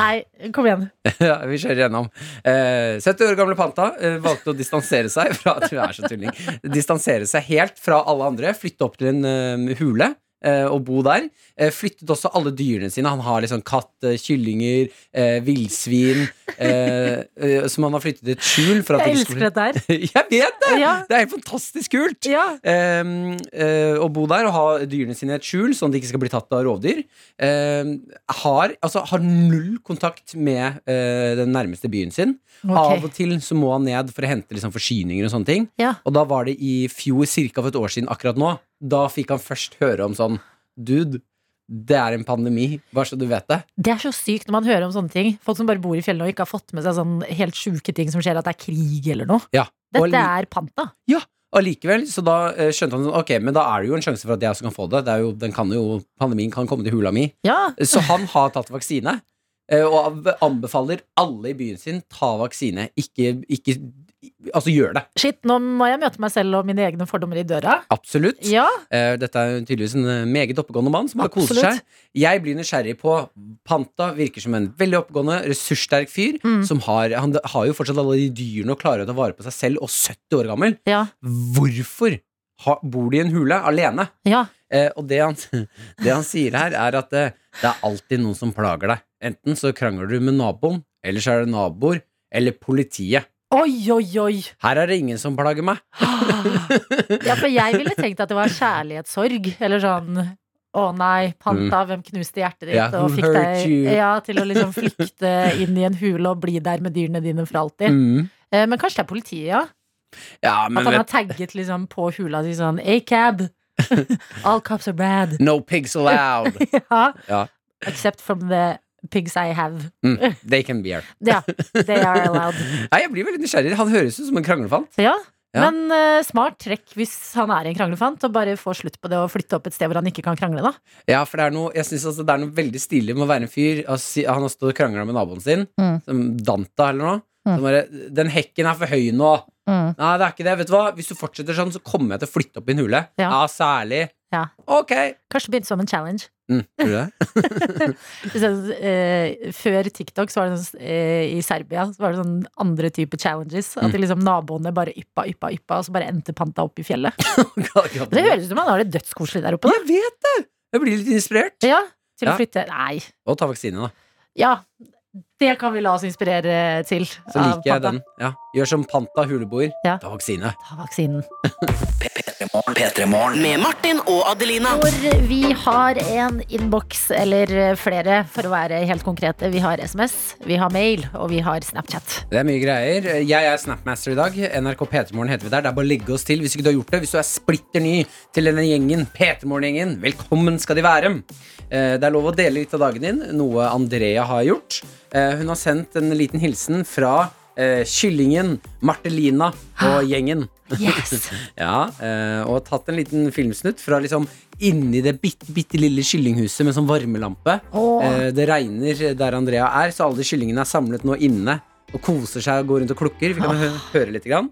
[SPEAKER 2] Nei, kom igjen.
[SPEAKER 3] Ja, vi kjører gjennom. Eh, 70 år gamle Panta eh, valgte å distansere seg fra Du er så tulling. Distansere seg helt fra alle andre, flytte opp til en eh, hule. eh, Og bo der. Eh, Flyttet også alle dyrene sine. Han har liksom katt, eh, kyllinger, eh, villsvin eh, eh, Som han har flyttet i et skjul. For at
[SPEAKER 2] Jeg
[SPEAKER 3] de
[SPEAKER 2] elsker
[SPEAKER 3] skulle-
[SPEAKER 2] dette her.
[SPEAKER 3] Jeg vet det!
[SPEAKER 2] Ja.
[SPEAKER 3] Det er helt fantastisk kult.
[SPEAKER 2] Ja.
[SPEAKER 3] Ehm, eh, å bo der og ha dyrene sine i et skjul, sånn at de ikke skal bli tatt av rovdyr. Ehm, har, altså, har null kontakt med eh, den nærmeste byen sin.
[SPEAKER 2] Ok.
[SPEAKER 3] Av og til så må han ned for å hente liksom, forsyninger og sånne ting.
[SPEAKER 2] Ja.
[SPEAKER 3] Og da var det i fjor, ca. for et år siden akkurat nå, da fikk han først høre om sånn Dude, det er en pandemi, bare så du vet det.
[SPEAKER 2] Det er så sykt når man hører om sånne ting. Folk som bare bor i fjellene og ikke har fått med seg sånn helt sjuke ting som skjer, at det er krig eller noe.
[SPEAKER 3] Ja. Og
[SPEAKER 2] Dette
[SPEAKER 3] li-
[SPEAKER 2] er panta.
[SPEAKER 3] Allikevel, så da eh, skjønte han sånn, Ok, men da er det jo en sjanse for at jeg også kan få det. det er jo, den kan jo, pandemien kan komme til hula mi.
[SPEAKER 2] Ja.
[SPEAKER 3] Så han har tatt vaksine, eh, og av- anbefaler alle i byen sin ta vaksine. Ikke, ikke Altså, gjør det.
[SPEAKER 2] Shit, nå må jeg møte meg selv og mine egne fordommer i døra.
[SPEAKER 3] Absolutt.
[SPEAKER 2] Ja,
[SPEAKER 3] Eh, Dette er tydeligvis en eh, meget oppegående mann som bare koser
[SPEAKER 2] Absolutt.
[SPEAKER 3] seg. Jeg blir nysgjerrig på Panta. Virker som en veldig oppegående, ressurssterk fyr.
[SPEAKER 2] Mm.
[SPEAKER 3] Som har, han har jo fortsatt alle de dyrene og klarer å ta vare på seg selv, og 70 år gammel.
[SPEAKER 2] ja,
[SPEAKER 3] Hvorfor har, bor de i en hule alene?
[SPEAKER 2] ja.
[SPEAKER 3] Eh, og det han, det han sier her, er at eh, det er alltid noen som plager deg. Enten så krangler du med naboen, eller så er det naboer, eller politiet.
[SPEAKER 2] Oi, oi, oi.
[SPEAKER 3] Her er det ingen som plager meg.
[SPEAKER 2] Ja, for jeg ville tenkt at det var kjærlighetssorg, eller sånn å nei, panta, hvem knuste hjertet ditt
[SPEAKER 3] Mm. Ja,
[SPEAKER 2] og
[SPEAKER 3] who
[SPEAKER 2] fikk
[SPEAKER 3] hurt
[SPEAKER 2] deg
[SPEAKER 3] you?
[SPEAKER 2] ja, til å liksom flykte inn i en hule og bli der med dyrene dine for alltid?
[SPEAKER 3] Mm.
[SPEAKER 2] Eh, Men kanskje det er politiet, ja?
[SPEAKER 3] Ja, men
[SPEAKER 2] At han har
[SPEAKER 3] vet
[SPEAKER 2] tagget liksom på hula si sånn A-cab, all cops are bad.
[SPEAKER 3] No pigs allowed.
[SPEAKER 2] Ja.
[SPEAKER 3] Ja.
[SPEAKER 2] Except from the pigs I have.
[SPEAKER 3] Mm. They can be here.
[SPEAKER 2] Ja, they are allowed.
[SPEAKER 3] Nei, jeg blir veldig nysgjerrig. Han høres ut som en kranglefant.
[SPEAKER 2] Så ja.
[SPEAKER 3] Ja.
[SPEAKER 2] Men eh, smart trekk hvis han er en kranglefant, og bare få slutt på det og flytte opp et sted hvor han ikke kan krangle, da.
[SPEAKER 3] Ja, for det er noe, jeg synes altså, det er noe veldig stilig med å være en fyr og si- Han har stått og krangla med naboen sin,
[SPEAKER 2] Mm.
[SPEAKER 3] som Danta eller noe. som Bare, 'Den hekken er for høy nå.'
[SPEAKER 2] Mm.
[SPEAKER 3] Nei, det er ikke det. Vet du hva? Hvis du fortsetter sånn, så kommer jeg til å flytte opp i en hule. Ja,
[SPEAKER 2] Ja.
[SPEAKER 3] særlig.
[SPEAKER 2] Ja.
[SPEAKER 3] Ok.
[SPEAKER 2] Kanskje begynte som en challenge.
[SPEAKER 3] Mm, tror du det?
[SPEAKER 2] Hvis jeg, eh, før TikTok så var det sånn, eh, i Serbia så var det sånn andre type challenges.
[SPEAKER 3] Mm.
[SPEAKER 2] At de liksom naboene bare yppa, yppa, yppa, og så bare endte panta opp i fjellet. Det høres ut som han har det dødskoselig der oppe.
[SPEAKER 3] Jeg vet det! Jeg blir litt inspirert.
[SPEAKER 2] Da. Ja, til
[SPEAKER 3] Ja.
[SPEAKER 2] å flytte Nei.
[SPEAKER 3] Og ta vaksine, da.
[SPEAKER 2] Ja, det kan vi la oss inspirere til.
[SPEAKER 3] Så
[SPEAKER 2] av
[SPEAKER 3] liker jeg
[SPEAKER 2] Panta.
[SPEAKER 3] den. Ja. Gjør som Panta huleboer.
[SPEAKER 2] Ja.
[SPEAKER 3] Ta vaksine.
[SPEAKER 2] Ta vaksinen.
[SPEAKER 8] P3-morgen.
[SPEAKER 4] Med Martin og Adelina.
[SPEAKER 2] Hvor vi har en innboks, eller eh, flere, for å være helt konkrete. Vi har SMS, vi har mail, og vi har Snapchat.
[SPEAKER 3] Det er mye greier. Jeg er Snapmaster i dag. NRK P3morgen heter vi der. Det er bare å legge oss til hvis ikke du har gjort det. Hvis du er splitter ny til denne gjengen, P3morgen-gjengen, velkommen skal de være. Eh, Det er lov å dele litt av dagen din, noe Andrea har gjort. Eh, Hun har sendt en liten hilsen fra eh, Kyllingen, Martelina og gjengen.
[SPEAKER 2] Yes!
[SPEAKER 3] Ja, eh, og tatt en liten filmsnutt fra liksom inni det bitte, bitte lille kyllinghuset med sånn varmelampe.
[SPEAKER 2] Åh.
[SPEAKER 3] Eh, det regner der Andrea er, så alle kyllingene er samlet nå inne og koser seg og går rundt og klukker. Vi kan hø høre litt. Grann.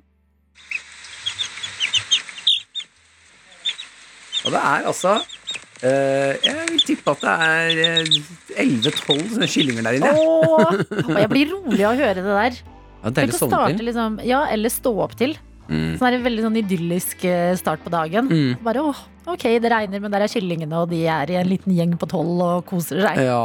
[SPEAKER 3] Og det er altså eh, Jeg vil tippe at det er eh, 11-12 sånne kyllinger der inne.
[SPEAKER 2] Åh, og jeg blir rolig av å høre det der.
[SPEAKER 3] Ja, det er
[SPEAKER 2] Tenk
[SPEAKER 3] litt
[SPEAKER 2] å
[SPEAKER 3] sovnet
[SPEAKER 2] starte
[SPEAKER 3] inn.
[SPEAKER 2] liksom Ja, eller stå opp til.
[SPEAKER 3] Mm.
[SPEAKER 2] Sånn er en veldig sånn idyllisk eh, start på dagen.
[SPEAKER 3] Mm.
[SPEAKER 2] Bare åh, ok, det regner, men der er kyllingene, og de er i en liten gjeng på tolv og koser seg.
[SPEAKER 3] Ja.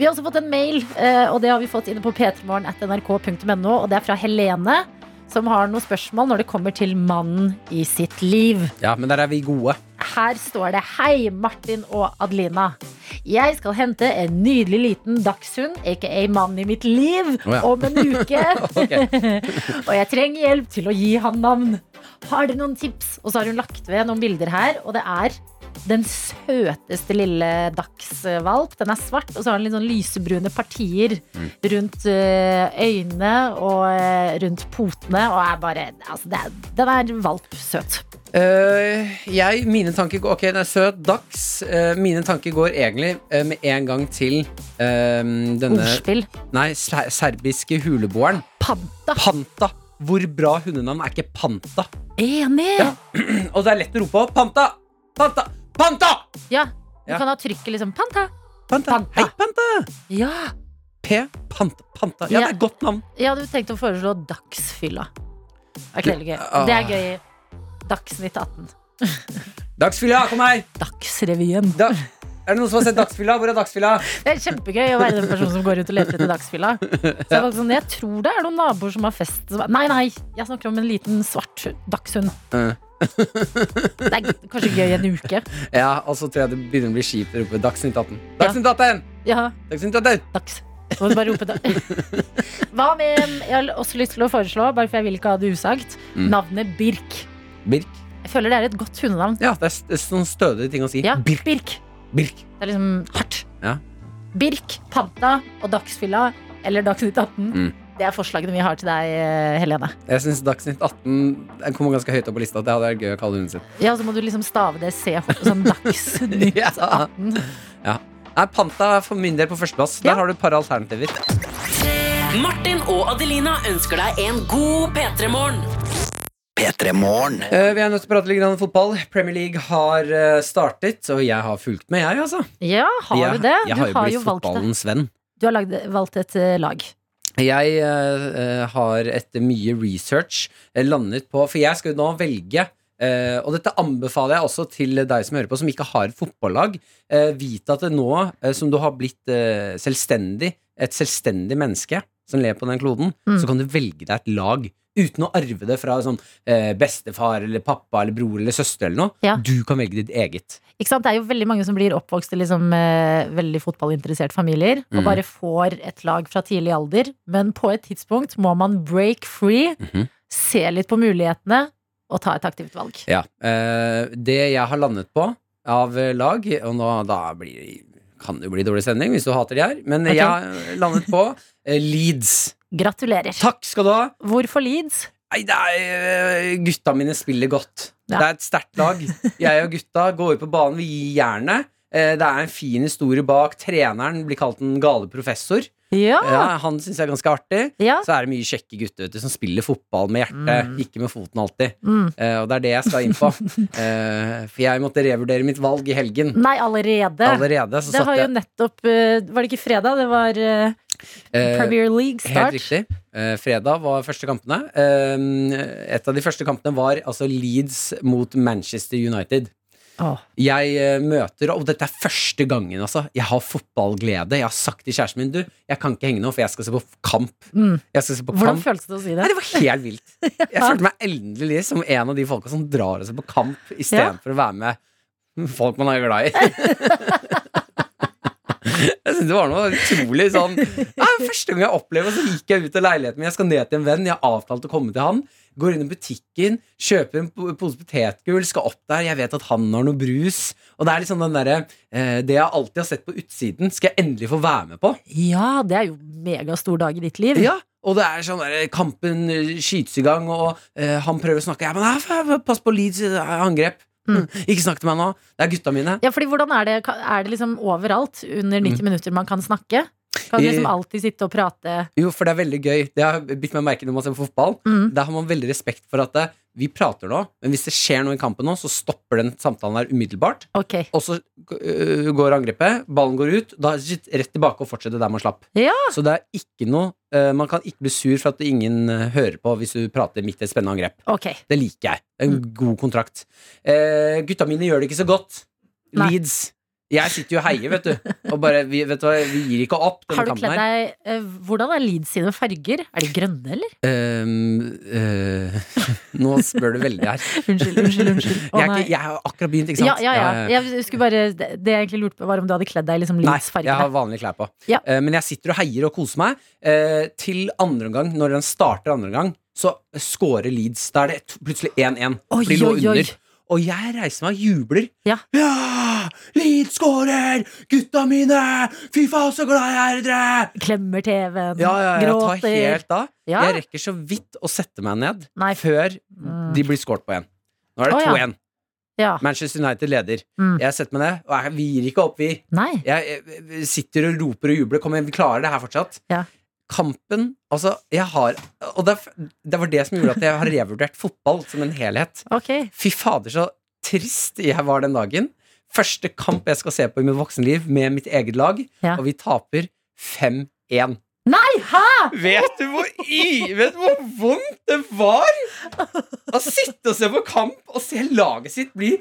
[SPEAKER 2] Vi har også fått en mail, eh, og det har vi fått inne på p3morgen.nrk.no, og det er fra Helene. Som har noen spørsmål når det kommer til mannen i sitt liv.
[SPEAKER 3] ja, men der er vi gode.
[SPEAKER 2] Her står det Hei, Martin og Adelina. Jeg skal hente en nydelig liten dagshund, aka mannen i mitt liv,
[SPEAKER 3] Å ja.
[SPEAKER 2] om en uke.
[SPEAKER 3] Ok.
[SPEAKER 2] Og jeg trenger hjelp til å gi han navn. Har dere noen tips? Og så har hun lagt ved noen bilder her, og det er den søteste lille dagsvalp. Den er svart, og så har den litt sånn lysebrune partier rundt eh, øynene og eh, rundt potene. Og er bare Altså, det er, den er valpsøt.
[SPEAKER 3] Eh, jeg, mine tanker går Ok, den er søt, dags Eh, Mine tanker går egentlig eh, med en gang til eh, Denne
[SPEAKER 2] Ordspill.
[SPEAKER 3] Nei, ser serbiske huleboeren
[SPEAKER 2] Panta.
[SPEAKER 3] Panta Hvor bra hundenavn er ikke Panta
[SPEAKER 2] Enig! Ja.
[SPEAKER 3] Ja. Og det er lett å rope på Panta Panta Panta
[SPEAKER 2] Du
[SPEAKER 3] Ja.
[SPEAKER 2] kan ha trykket liksom Panta.
[SPEAKER 3] Panta,
[SPEAKER 2] Panta.
[SPEAKER 3] Hei Panta
[SPEAKER 2] Ja.
[SPEAKER 3] P Panta Panta Ja,
[SPEAKER 2] Ja.
[SPEAKER 3] det er et godt navn
[SPEAKER 2] Jeg hadde tenkt å foreslå Dagsfylla. Er ikke det gøy?
[SPEAKER 3] Ah.
[SPEAKER 2] Det er gøy. Dagsnytt 18.
[SPEAKER 3] Dagsfylla, kom her
[SPEAKER 2] Dagsrevyen.
[SPEAKER 3] da er det noen som har sett Dagsfylla? Hvor er Dagsfylla?
[SPEAKER 2] Det er kjempegøy å være den personen som går rundt og leter etter dagsfylla. Så jeg, er faktisk sånn, jeg tror det er noen naboer som har fest. Som er, nei, nei, jeg snakker om en liten svart dagshund.
[SPEAKER 3] Eh.
[SPEAKER 2] Det er kanskje gøy i en uke.
[SPEAKER 3] Ja, og så tror jeg det begynner å bli kjipt å rope Dagsnytt 18 Dagsnytt 18
[SPEAKER 2] Ja,
[SPEAKER 3] Dagsnytt 18
[SPEAKER 2] dags. Så må du bare rope da. Hva med Jeg har også lyst til å foreslå, bare for jeg vil ikke ha det usagt,
[SPEAKER 3] Mm.
[SPEAKER 2] navnet Birk.
[SPEAKER 3] Birk
[SPEAKER 2] Jeg føler det er et godt hundenavn.
[SPEAKER 3] Ja, det er s- det er sånn stødig ting å si.
[SPEAKER 2] Ja,
[SPEAKER 3] Birk,
[SPEAKER 2] Birk.
[SPEAKER 3] Birk.
[SPEAKER 2] Det er liksom hardt.
[SPEAKER 3] Ja.
[SPEAKER 2] Birk, Panta og Dagsfylla eller Dagsnytt 18.
[SPEAKER 3] Mm.
[SPEAKER 2] Det er forslagene vi har til deg, eh, Helene.
[SPEAKER 3] Jeg syns Dagsnytt 18 den kommer ganske høyt opp på lista. Det hadde vært gøy å kalle hunden sin.
[SPEAKER 2] Ja, så må du liksom stave det CH Sånn Dagsnytt
[SPEAKER 3] Ja.
[SPEAKER 2] 18
[SPEAKER 3] Nei, Panta er for min del på førsteplass.
[SPEAKER 2] Ja.
[SPEAKER 3] Der har du et par alternativer.
[SPEAKER 4] Martin og Adelina ønsker deg en god P3-morgen.
[SPEAKER 8] P3-morgen.
[SPEAKER 3] Eh, vi er nødt til å prate litt grann om fotball. Premier League har eh, startet, og jeg har fulgt med, jeg, altså.
[SPEAKER 2] Ja, har
[SPEAKER 3] jeg,
[SPEAKER 2] du det?
[SPEAKER 3] Jeg
[SPEAKER 2] Du
[SPEAKER 3] har jo blitt
[SPEAKER 2] valgt det.
[SPEAKER 3] fotballens venn.
[SPEAKER 2] Du har lagd, valgt et eh, lag
[SPEAKER 3] Jeg eh, eh, har etter mye research eh, landet på For jeg skal jo nå velge eh, og dette anbefaler jeg også til deg som hører på, som ikke har et fotballag. Eh, vit at det nå eh, som du har blitt eh, selvstendig, et selvstendig menneske som lever på den kloden,
[SPEAKER 2] Mm.
[SPEAKER 3] så kan du velge deg et lag uten å arve det fra sånn, eh, bestefar eller pappa eller bror eller søster eller noe.
[SPEAKER 2] Ja.
[SPEAKER 3] Du kan velge ditt eget.
[SPEAKER 2] Ikke sant? Det er jo veldig mange som blir oppvokst i liksom, eh, veldig fotballinteresserte familier
[SPEAKER 3] Mm.
[SPEAKER 2] Og bare får et lag fra tidlig alder Men på et tidspunkt må man break free
[SPEAKER 3] Mhm.
[SPEAKER 2] Se litt på mulighetene Og ta et aktivt valg
[SPEAKER 3] Ja, eh, Det jeg har landet på av eh, lag Og nå da blir, kan det jo bli dårlig sending hvis du hater de her Men
[SPEAKER 2] Ok.
[SPEAKER 3] jeg har landet på eh, Leeds
[SPEAKER 2] Gratulerer
[SPEAKER 3] Takk skal du ha
[SPEAKER 2] Hvorfor Leeds?
[SPEAKER 3] Nei, det er, eh, gutta mine spiller godt
[SPEAKER 2] Ja.
[SPEAKER 3] Det er et sterkt lag Jeg og gutta går ut på banen, vi gir gjerne Eh, det er en fin historie bak Treneren blir kalt en gale professor
[SPEAKER 2] Ja,
[SPEAKER 3] ja, Han synes jeg er ganske artig
[SPEAKER 2] ja.
[SPEAKER 3] Så er det mye kjekke gutter vet du, som spiller fotball med hjertet
[SPEAKER 2] Mm.
[SPEAKER 3] Ikke med foten alltid
[SPEAKER 2] Mm.
[SPEAKER 3] Eh, og det er det jeg skal inn på. Eh, for jeg måtte revurdere mitt valg i helgen.
[SPEAKER 2] Nei, allerede
[SPEAKER 3] Allerede
[SPEAKER 2] Mm.
[SPEAKER 3] så
[SPEAKER 2] Det
[SPEAKER 3] satt
[SPEAKER 2] har jo
[SPEAKER 3] jeg
[SPEAKER 2] nettopp, eh, var det ikke fredag? Det var eh,
[SPEAKER 3] eh,
[SPEAKER 2] Premier League
[SPEAKER 3] Helt
[SPEAKER 2] start
[SPEAKER 3] riktig. Eh, fredag var første kampene. Ehm, Eh, et av de første kampene var altså Leeds mot Manchester United.
[SPEAKER 2] Åh.
[SPEAKER 3] Jeg eh, møter Og dette er første gangen, altså. Jeg har fotballglede. Jeg har sagt til kjæresten min Du, jeg kan ikke henge nå, for jeg skal se på kamp.
[SPEAKER 2] Mm.
[SPEAKER 3] Jeg skal se på
[SPEAKER 2] Hvordan
[SPEAKER 3] kamp.
[SPEAKER 2] føles det å si
[SPEAKER 3] Nei,
[SPEAKER 2] det?
[SPEAKER 3] det var helt vilt. Jeg følte meg endelig som en av de folka som drar seg på kamp istedenfor for å være med folk man er glad i. Jeg synes Det var noe utrolig sånn ja, Første gang jeg opplever Så gikk jeg ut av leiligheten min. Jeg skal ned til en venn. Jeg har avtalt å komme til han. Går inn i butikken, kjøper en po- pose potetgull, skal opp der. Jeg vet at han har noe brus. Og det er liksom den derre eh, Det jeg alltid har sett på utsiden, skal jeg endelig få være med på.
[SPEAKER 2] Ja, det er jo megastor dag i ditt liv.
[SPEAKER 3] Ja, og det er sånn der, kampen eh, skytes i gang, og eh, han prøver å snakke. Ja, men nei, f- pass på Leeds eh, angrep.
[SPEAKER 2] Mm.
[SPEAKER 3] Ikke snakk til meg nå. Det er gutta mine.
[SPEAKER 2] Ja, fordi hvordan er det, er det liksom overalt under 90 minutter man kan snakke? Kan du
[SPEAKER 3] Mm. I-
[SPEAKER 2] liksom alltid sitte og prate?
[SPEAKER 3] Jo, for det er veldig gøy. Det har bitt meg merke når man ser på fotball.
[SPEAKER 2] Mm.
[SPEAKER 3] Da har man veldig respekt for at eh, vi prater nå, men hvis det skjer noe i kampen nå, så stopper den samtalen der umiddelbart.
[SPEAKER 2] Ok.
[SPEAKER 3] Og så øh, går angrepet, ballen går ut, da er det rett tilbake og fortsetter der man slapp.
[SPEAKER 2] Ja.
[SPEAKER 3] Så det er ikke noe øh, Man kan ikke bli sur for at ingen øh, hører på hvis du prater midt i et spennende angrep.
[SPEAKER 2] Ok.
[SPEAKER 3] Det liker jeg. En
[SPEAKER 2] Mm.
[SPEAKER 3] god kontrakt. Eh, gutta mine gjør det ikke så godt.
[SPEAKER 2] Nei.
[SPEAKER 3] Leeds. Jeg sitter jo og heier, vet du. Og bare, vi, vet du hva, vi gir ikke opp denne
[SPEAKER 2] Har du
[SPEAKER 3] kampen
[SPEAKER 2] kledd
[SPEAKER 3] her.
[SPEAKER 2] deg eh, Hvordan er Leeds sine farger? Er de grønne, eller?
[SPEAKER 3] Eh, eh, nå spør du veldig her.
[SPEAKER 2] Unnskyld, unnskyld, unnskyld. Å,
[SPEAKER 3] jeg, er
[SPEAKER 2] nei.
[SPEAKER 3] ikke, jeg har akkurat begynt, ikke
[SPEAKER 2] ja,
[SPEAKER 3] sant? Eh,
[SPEAKER 2] ja, ja. Jeg skulle bare, det det jeg egentlig lurte på, var om du hadde kledd deg i liksom
[SPEAKER 3] Nei,
[SPEAKER 2] Leeds
[SPEAKER 3] jeg har
[SPEAKER 2] fargene.
[SPEAKER 3] vanlige klær på.
[SPEAKER 2] Ja.
[SPEAKER 3] Eh, men jeg sitter og heier og koser meg. Eh, til andre omgang, når den starter andre omgang, så scorer Leeds. Da er det t- plutselig 1-1.
[SPEAKER 2] Oi,
[SPEAKER 3] for de lå
[SPEAKER 2] oi, oi.
[SPEAKER 3] under. Og jeg reiser meg og jubler.
[SPEAKER 2] Ja.
[SPEAKER 3] Ja! Leeds scorer! Gutta mine! Fy faen, så glad jeg er i dere!
[SPEAKER 2] Klemmer TV-en,
[SPEAKER 3] Ja, ja, jeg tar
[SPEAKER 2] gråter.
[SPEAKER 3] helt av.
[SPEAKER 2] Ja.
[SPEAKER 3] Jeg rekker så vidt å sette meg ned
[SPEAKER 2] Nei.
[SPEAKER 3] før
[SPEAKER 2] Mm.
[SPEAKER 3] de blir scoret på igjen. Nå er det
[SPEAKER 2] Å, ja.
[SPEAKER 3] 2-1.
[SPEAKER 2] Ja.
[SPEAKER 3] Manchester United leder.
[SPEAKER 2] Mm.
[SPEAKER 3] Jeg setter meg ned, og jeg, vi gir ikke opp, vi
[SPEAKER 2] Nei.
[SPEAKER 3] jeg, jeg sitter og roper og jubler. Kom igjen, vi klarer det her fortsatt.
[SPEAKER 2] Ja.
[SPEAKER 3] Kampen Altså, jeg har Og det, er- det var det som gjorde at jeg har revurdert fotball som en helhet.
[SPEAKER 2] Ok.
[SPEAKER 3] Fy fader, så trist jeg var den dagen. Første kamp jeg skal se på i mitt voksenliv med mitt eget lag,
[SPEAKER 2] Ja.
[SPEAKER 3] og vi taper 5-1.
[SPEAKER 2] Nei, hæ?!
[SPEAKER 3] Vet du hvor i, Vet du hvor vondt det var å sitte og se på kamp og se laget sitt bli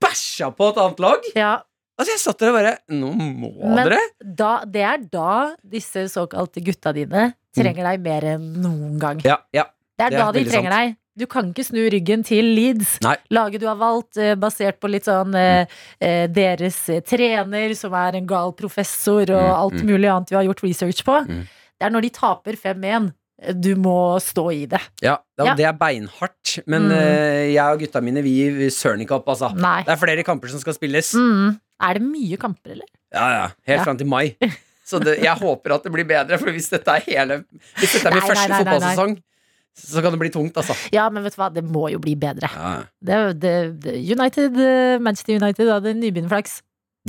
[SPEAKER 3] bæsja på et annet lag?
[SPEAKER 2] Ja,
[SPEAKER 3] Altså, jeg satt der og bare Nå må
[SPEAKER 2] Men
[SPEAKER 3] dere!
[SPEAKER 2] da, det er da disse såkalte gutta dine trenger deg mer enn noen gang.
[SPEAKER 3] Ja, ja.
[SPEAKER 2] Det er
[SPEAKER 3] det er
[SPEAKER 2] da de
[SPEAKER 3] veldig
[SPEAKER 2] trenger deg. Du kan ikke snu ryggen til Leeds.
[SPEAKER 3] Nei. Mm.
[SPEAKER 2] Laget du har valgt, eh, basert på litt sånn eh, eh, deres eh, trener, som er en gal professor, og
[SPEAKER 3] Mm,
[SPEAKER 2] alt
[SPEAKER 3] mm.
[SPEAKER 2] mulig annet vi har gjort research på.
[SPEAKER 3] Mm.
[SPEAKER 2] Det er når de taper 5-1. eh, Du må stå i det.
[SPEAKER 3] Ja, det,
[SPEAKER 2] Ja.
[SPEAKER 3] det er beinhardt, men
[SPEAKER 2] Mm.
[SPEAKER 3] eh, jeg og gutta mine, vi, vi søren ikke opp, altså.
[SPEAKER 2] Nei.
[SPEAKER 3] Det er flere kamper som skal spilles.
[SPEAKER 2] Mm. Er det mye kamper, eller?
[SPEAKER 3] Ja, ja. Helt
[SPEAKER 2] Ja.
[SPEAKER 3] fram til mai. Så det, jeg håper at det blir bedre, for hvis dette er hele Hvis dette er min
[SPEAKER 2] Nei, nei,
[SPEAKER 3] første
[SPEAKER 2] nei, nei, nei.
[SPEAKER 3] fotballsesong, så kan det bli tungt, altså.
[SPEAKER 2] Ja, men vet du hva, det må jo bli bedre.
[SPEAKER 3] Ja.
[SPEAKER 2] Det, er jo- det, det, United, eh, Manchester United hadde nybegynnerflaks.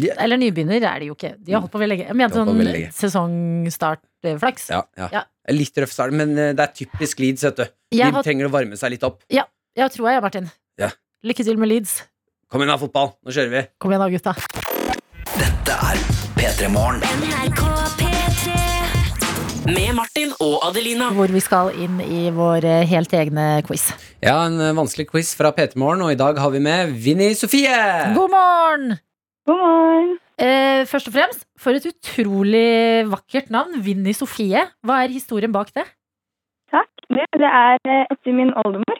[SPEAKER 3] Ja. Mm.
[SPEAKER 2] Eller nybegynner er det jo ikke. De har holdt på veldig lenge. Jeg
[SPEAKER 3] De har
[SPEAKER 2] mente
[SPEAKER 3] holdt på
[SPEAKER 2] sånn eh,
[SPEAKER 3] veldig lenge.
[SPEAKER 2] sesongstartflaks.
[SPEAKER 3] Ja, ja.
[SPEAKER 2] Ja.
[SPEAKER 3] Litt røff start, men eh, det er typisk Leeds, vet du. De
[SPEAKER 2] Jeg har
[SPEAKER 3] trenger å varme seg litt opp.
[SPEAKER 2] Jeg tror jeg, Martin.
[SPEAKER 3] Ja.
[SPEAKER 2] Lykke til med Leeds.
[SPEAKER 3] Kom igjen, da, fotball! Nå kjører vi!
[SPEAKER 2] Kom igjen da, gutta.
[SPEAKER 8] Dette er P3 Morgen.
[SPEAKER 4] Med Martin og Adelina.
[SPEAKER 2] Hvor vi skal inn i vår eh, helt egne quiz.
[SPEAKER 3] Ja, en eh, vanskelig quiz fra PT Morgen, og i dag har vi med Vinni Sofie!
[SPEAKER 2] God morgen!
[SPEAKER 9] God morgen.
[SPEAKER 2] Eh, først og fremst, for et utrolig vakkert navn. Vinni Sofie. Hva er historien bak det?
[SPEAKER 9] Det, det er eh, etter min oldemor.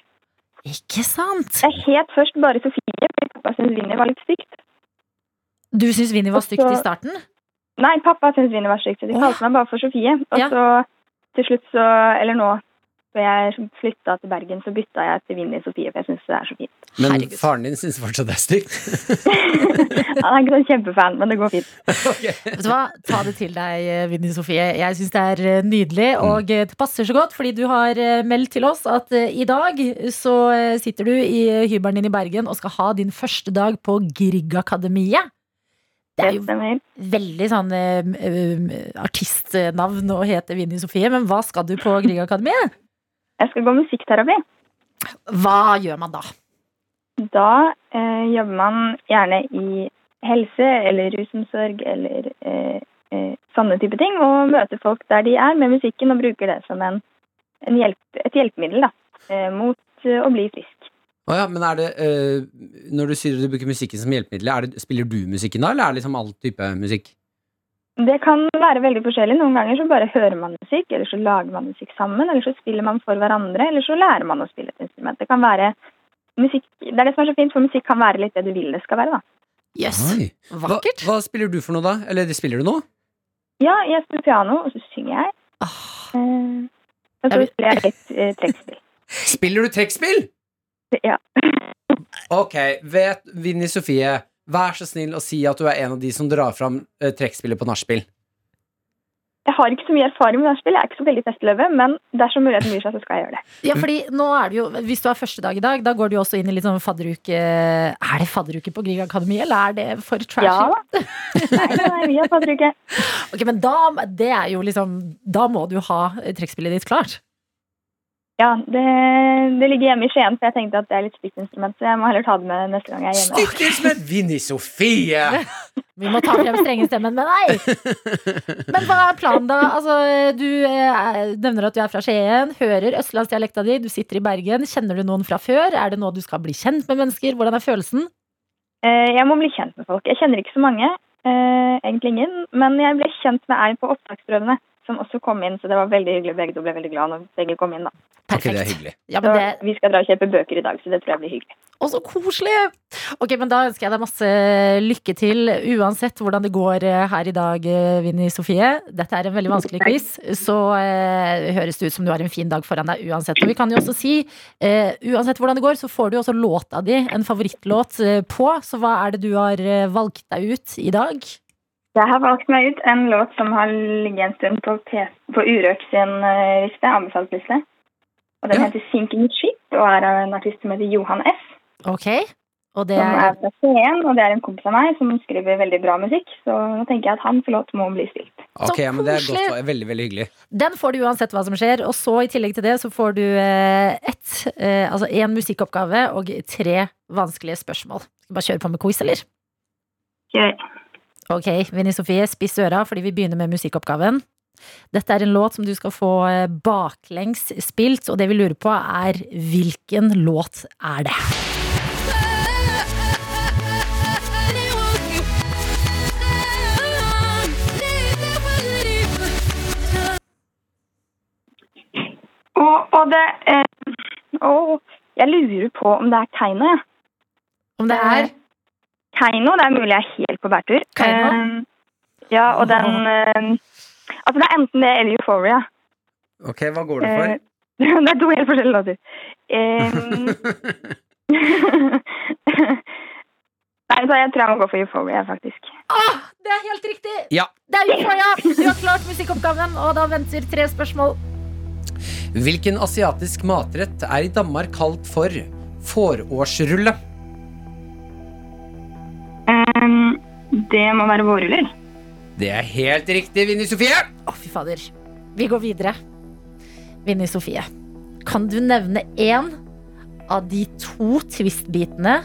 [SPEAKER 2] Ikke sant?
[SPEAKER 9] Jeg het først bare Sofie, fordi pappa syntes Vinni var litt stygt.
[SPEAKER 2] Du syns Vinni var stygt i starten?
[SPEAKER 9] Nei, pappa syntes Vinni var stygt, så de
[SPEAKER 2] Å,
[SPEAKER 9] kalte meg bare for Sofie. Og
[SPEAKER 2] Ja.
[SPEAKER 9] så til slutt så, eller nå, da jeg flytta til Bergen, så bytta jeg til Vinni Sofie, for jeg syns det er så fint.
[SPEAKER 3] Men
[SPEAKER 2] Herregud.
[SPEAKER 3] faren din syns fortsatt det er stygt.
[SPEAKER 9] Han er ikke sånn kjempefan, men det går fint.
[SPEAKER 3] Ok.
[SPEAKER 2] Vet du hva? Ta det til deg, eh, Vinni Sofie. Jeg syns det er eh, nydelig, og eh, det passer så godt, fordi du har eh, meldt til oss at eh, i dag så eh, sitter du i eh, hybelen din i Bergen og skal ha din første dag på Griegakademiet. Det
[SPEAKER 9] Det
[SPEAKER 2] er jo
[SPEAKER 9] stemmer.
[SPEAKER 2] veldig sånn eh, m- eh, artistnavn å hete Vinni Sofie, men hva skal du på Griegakademiet?
[SPEAKER 9] Jeg skal gå musikkterapi.
[SPEAKER 2] Hva gjør man da?
[SPEAKER 9] Da eh, jobber man gjerne i helse eller rusomsorg eller eh, eh, sånne type ting, og møter folk der de er med musikken og bruker det som en, en hjelp, et hjelpemiddel da, eh, mot eh, å bli frisk.
[SPEAKER 3] Å ja, men er det eh, Når du sier du bruker musikken som hjelpemiddel, er det, spiller du musikken da, eller er det liksom all type musikk?
[SPEAKER 9] Det kan være veldig forskjellig. Noen ganger så bare hører man musikk, eller så lager man musikk sammen, eller så spiller man for hverandre, eller så lærer man å spille et instrument. Det kan være musikk Det er det som er så fint, for musikk kan være litt det du vil det skal være, da.
[SPEAKER 2] Yes.
[SPEAKER 3] Oi. Hva,
[SPEAKER 2] Vakkert.
[SPEAKER 3] hva spiller du for noe, da? Eller spiller du noe?
[SPEAKER 9] Ja, jeg spiller piano, og så synger jeg.
[SPEAKER 2] Ah,
[SPEAKER 9] Eh, og
[SPEAKER 2] Jeg
[SPEAKER 9] så
[SPEAKER 2] vil-
[SPEAKER 9] spiller jeg litt eh, trekkspill.
[SPEAKER 3] Spiller du trekkspill?
[SPEAKER 9] Ja.
[SPEAKER 3] Ok, vet Vinni Sofie, vær så snill å si at du er en av de som drar fram eh, trekkspillet på nachspiel.
[SPEAKER 9] Jeg har ikke så mye erfaring med nachspiel, jeg er ikke så veldig testløve, men dersom muligheten byr seg, så skal jeg gjøre det.
[SPEAKER 2] Ja, fordi nå er det jo, Hvis du er første dag i dag, da går du jo også inn i litt sånn fadderuke Er det fadderuke på Grieg Akademi, eller er det for trashy?
[SPEAKER 9] Ja da. Nei, nei, vi har fått bruke.
[SPEAKER 2] Ok, men da, det er jo liksom, da må du ha trekkspillet ditt klart.
[SPEAKER 9] Ja, det, det ligger hjemme i Skien, for jeg tenkte at det er litt stygt instrument, så jeg må heller ta det med neste gang jeg er hjemme.
[SPEAKER 3] Stykkes med Vinni Sofie!
[SPEAKER 2] Vi må ta frem strengestemmen, men nei! Men hva er planen, da? Altså, du eh, nevner at du er fra Skien, hører østlandsdialekta di, du sitter i Bergen. Kjenner du noen fra før? Er det nå du skal bli kjent med mennesker? Hvordan er følelsen?
[SPEAKER 9] Eh, Jeg må bli kjent med folk. Jeg kjenner ikke så mange, eh, egentlig ingen, men jeg ble kjent med ei på opptaksprøvene som også kom inn, så det var veldig hyggelig. Begge to ble veldig glad når begge kom inn, da.
[SPEAKER 3] Ok, det er hyggelig.
[SPEAKER 2] Ja,
[SPEAKER 9] Så
[SPEAKER 2] men det,
[SPEAKER 9] vi skal dra og kjøpe bøker i dag, så det tror jeg blir hyggelig.
[SPEAKER 2] Og så koselig! Ok, men Da ønsker jeg deg masse lykke til, uansett hvordan det går eh, her i dag, eh, Vinni Sofie. Dette er en veldig vanskelig quiz, så eh, høres det ut som du har en fin dag foran deg uansett. Og vi kan jo også si, eh, uansett hvordan det går, så får du jo også låta di, en favorittlåt, eh, på. Så hva er det du har eh, valgt deg ut i dag?
[SPEAKER 9] Jeg har valgt meg ut en låt som har ligget en stund på, P på Urørt sin eh, liste, anbefalt liste. Og den
[SPEAKER 3] Ja.
[SPEAKER 9] heter 'Sinking Ship' og er av en artist som heter Johan S.
[SPEAKER 2] Ok? Og det
[SPEAKER 9] Som er
[SPEAKER 2] er
[SPEAKER 9] fra Skien, og det er en kompis av meg som skriver veldig bra musikk. Så nå tenker jeg at hans låt må bli spilt.
[SPEAKER 3] Ok, ja, men det er
[SPEAKER 2] koselig.
[SPEAKER 3] godt, og veldig, veldig hyggelig.
[SPEAKER 2] Den får du uansett hva som skjer. Og så i tillegg til det så får du eh, ett, eh, altså én musikkoppgave og tre vanskelige spørsmål. Skal vi bare kjøre på med quiz, eller?
[SPEAKER 9] Kjør.
[SPEAKER 2] Ok, Vinni Sofie, spiss øra fordi vi begynner med musikkoppgaven. Dette er en låt som du skal få eh, baklengs spilt, og det vi lurer på er hvilken låt er det?
[SPEAKER 9] Og, og det eh, og Jeg lurer på om det er Keiino, jeg.
[SPEAKER 2] Om det er
[SPEAKER 9] Keiino, det er mulig jeg er helt på bærtur.
[SPEAKER 2] Keiino?
[SPEAKER 9] Eh, ja, og den eh, Altså, det er enten det eller Euphoria.
[SPEAKER 3] Ok, hva går det
[SPEAKER 9] Eh,
[SPEAKER 3] for?
[SPEAKER 9] det er to helt forskjellige låter. Eh, Nei, så jeg tror jeg må gå for Euphoria, faktisk.
[SPEAKER 2] Ah, det er helt riktig!
[SPEAKER 3] Ja.
[SPEAKER 2] Det er Euphoria! Du har klart musikkoppgaven, og da venter tre spørsmål.
[SPEAKER 3] Hvilken asiatisk matrett er i Danmark kalt for fårårsrulle?
[SPEAKER 9] Ehm, det må være vårruller.
[SPEAKER 3] Det er helt riktig, Vinni Sofie!
[SPEAKER 2] Å, fy fader. Vi går videre. Vinni Sofie, kan du nevne én av de to Twist-bitene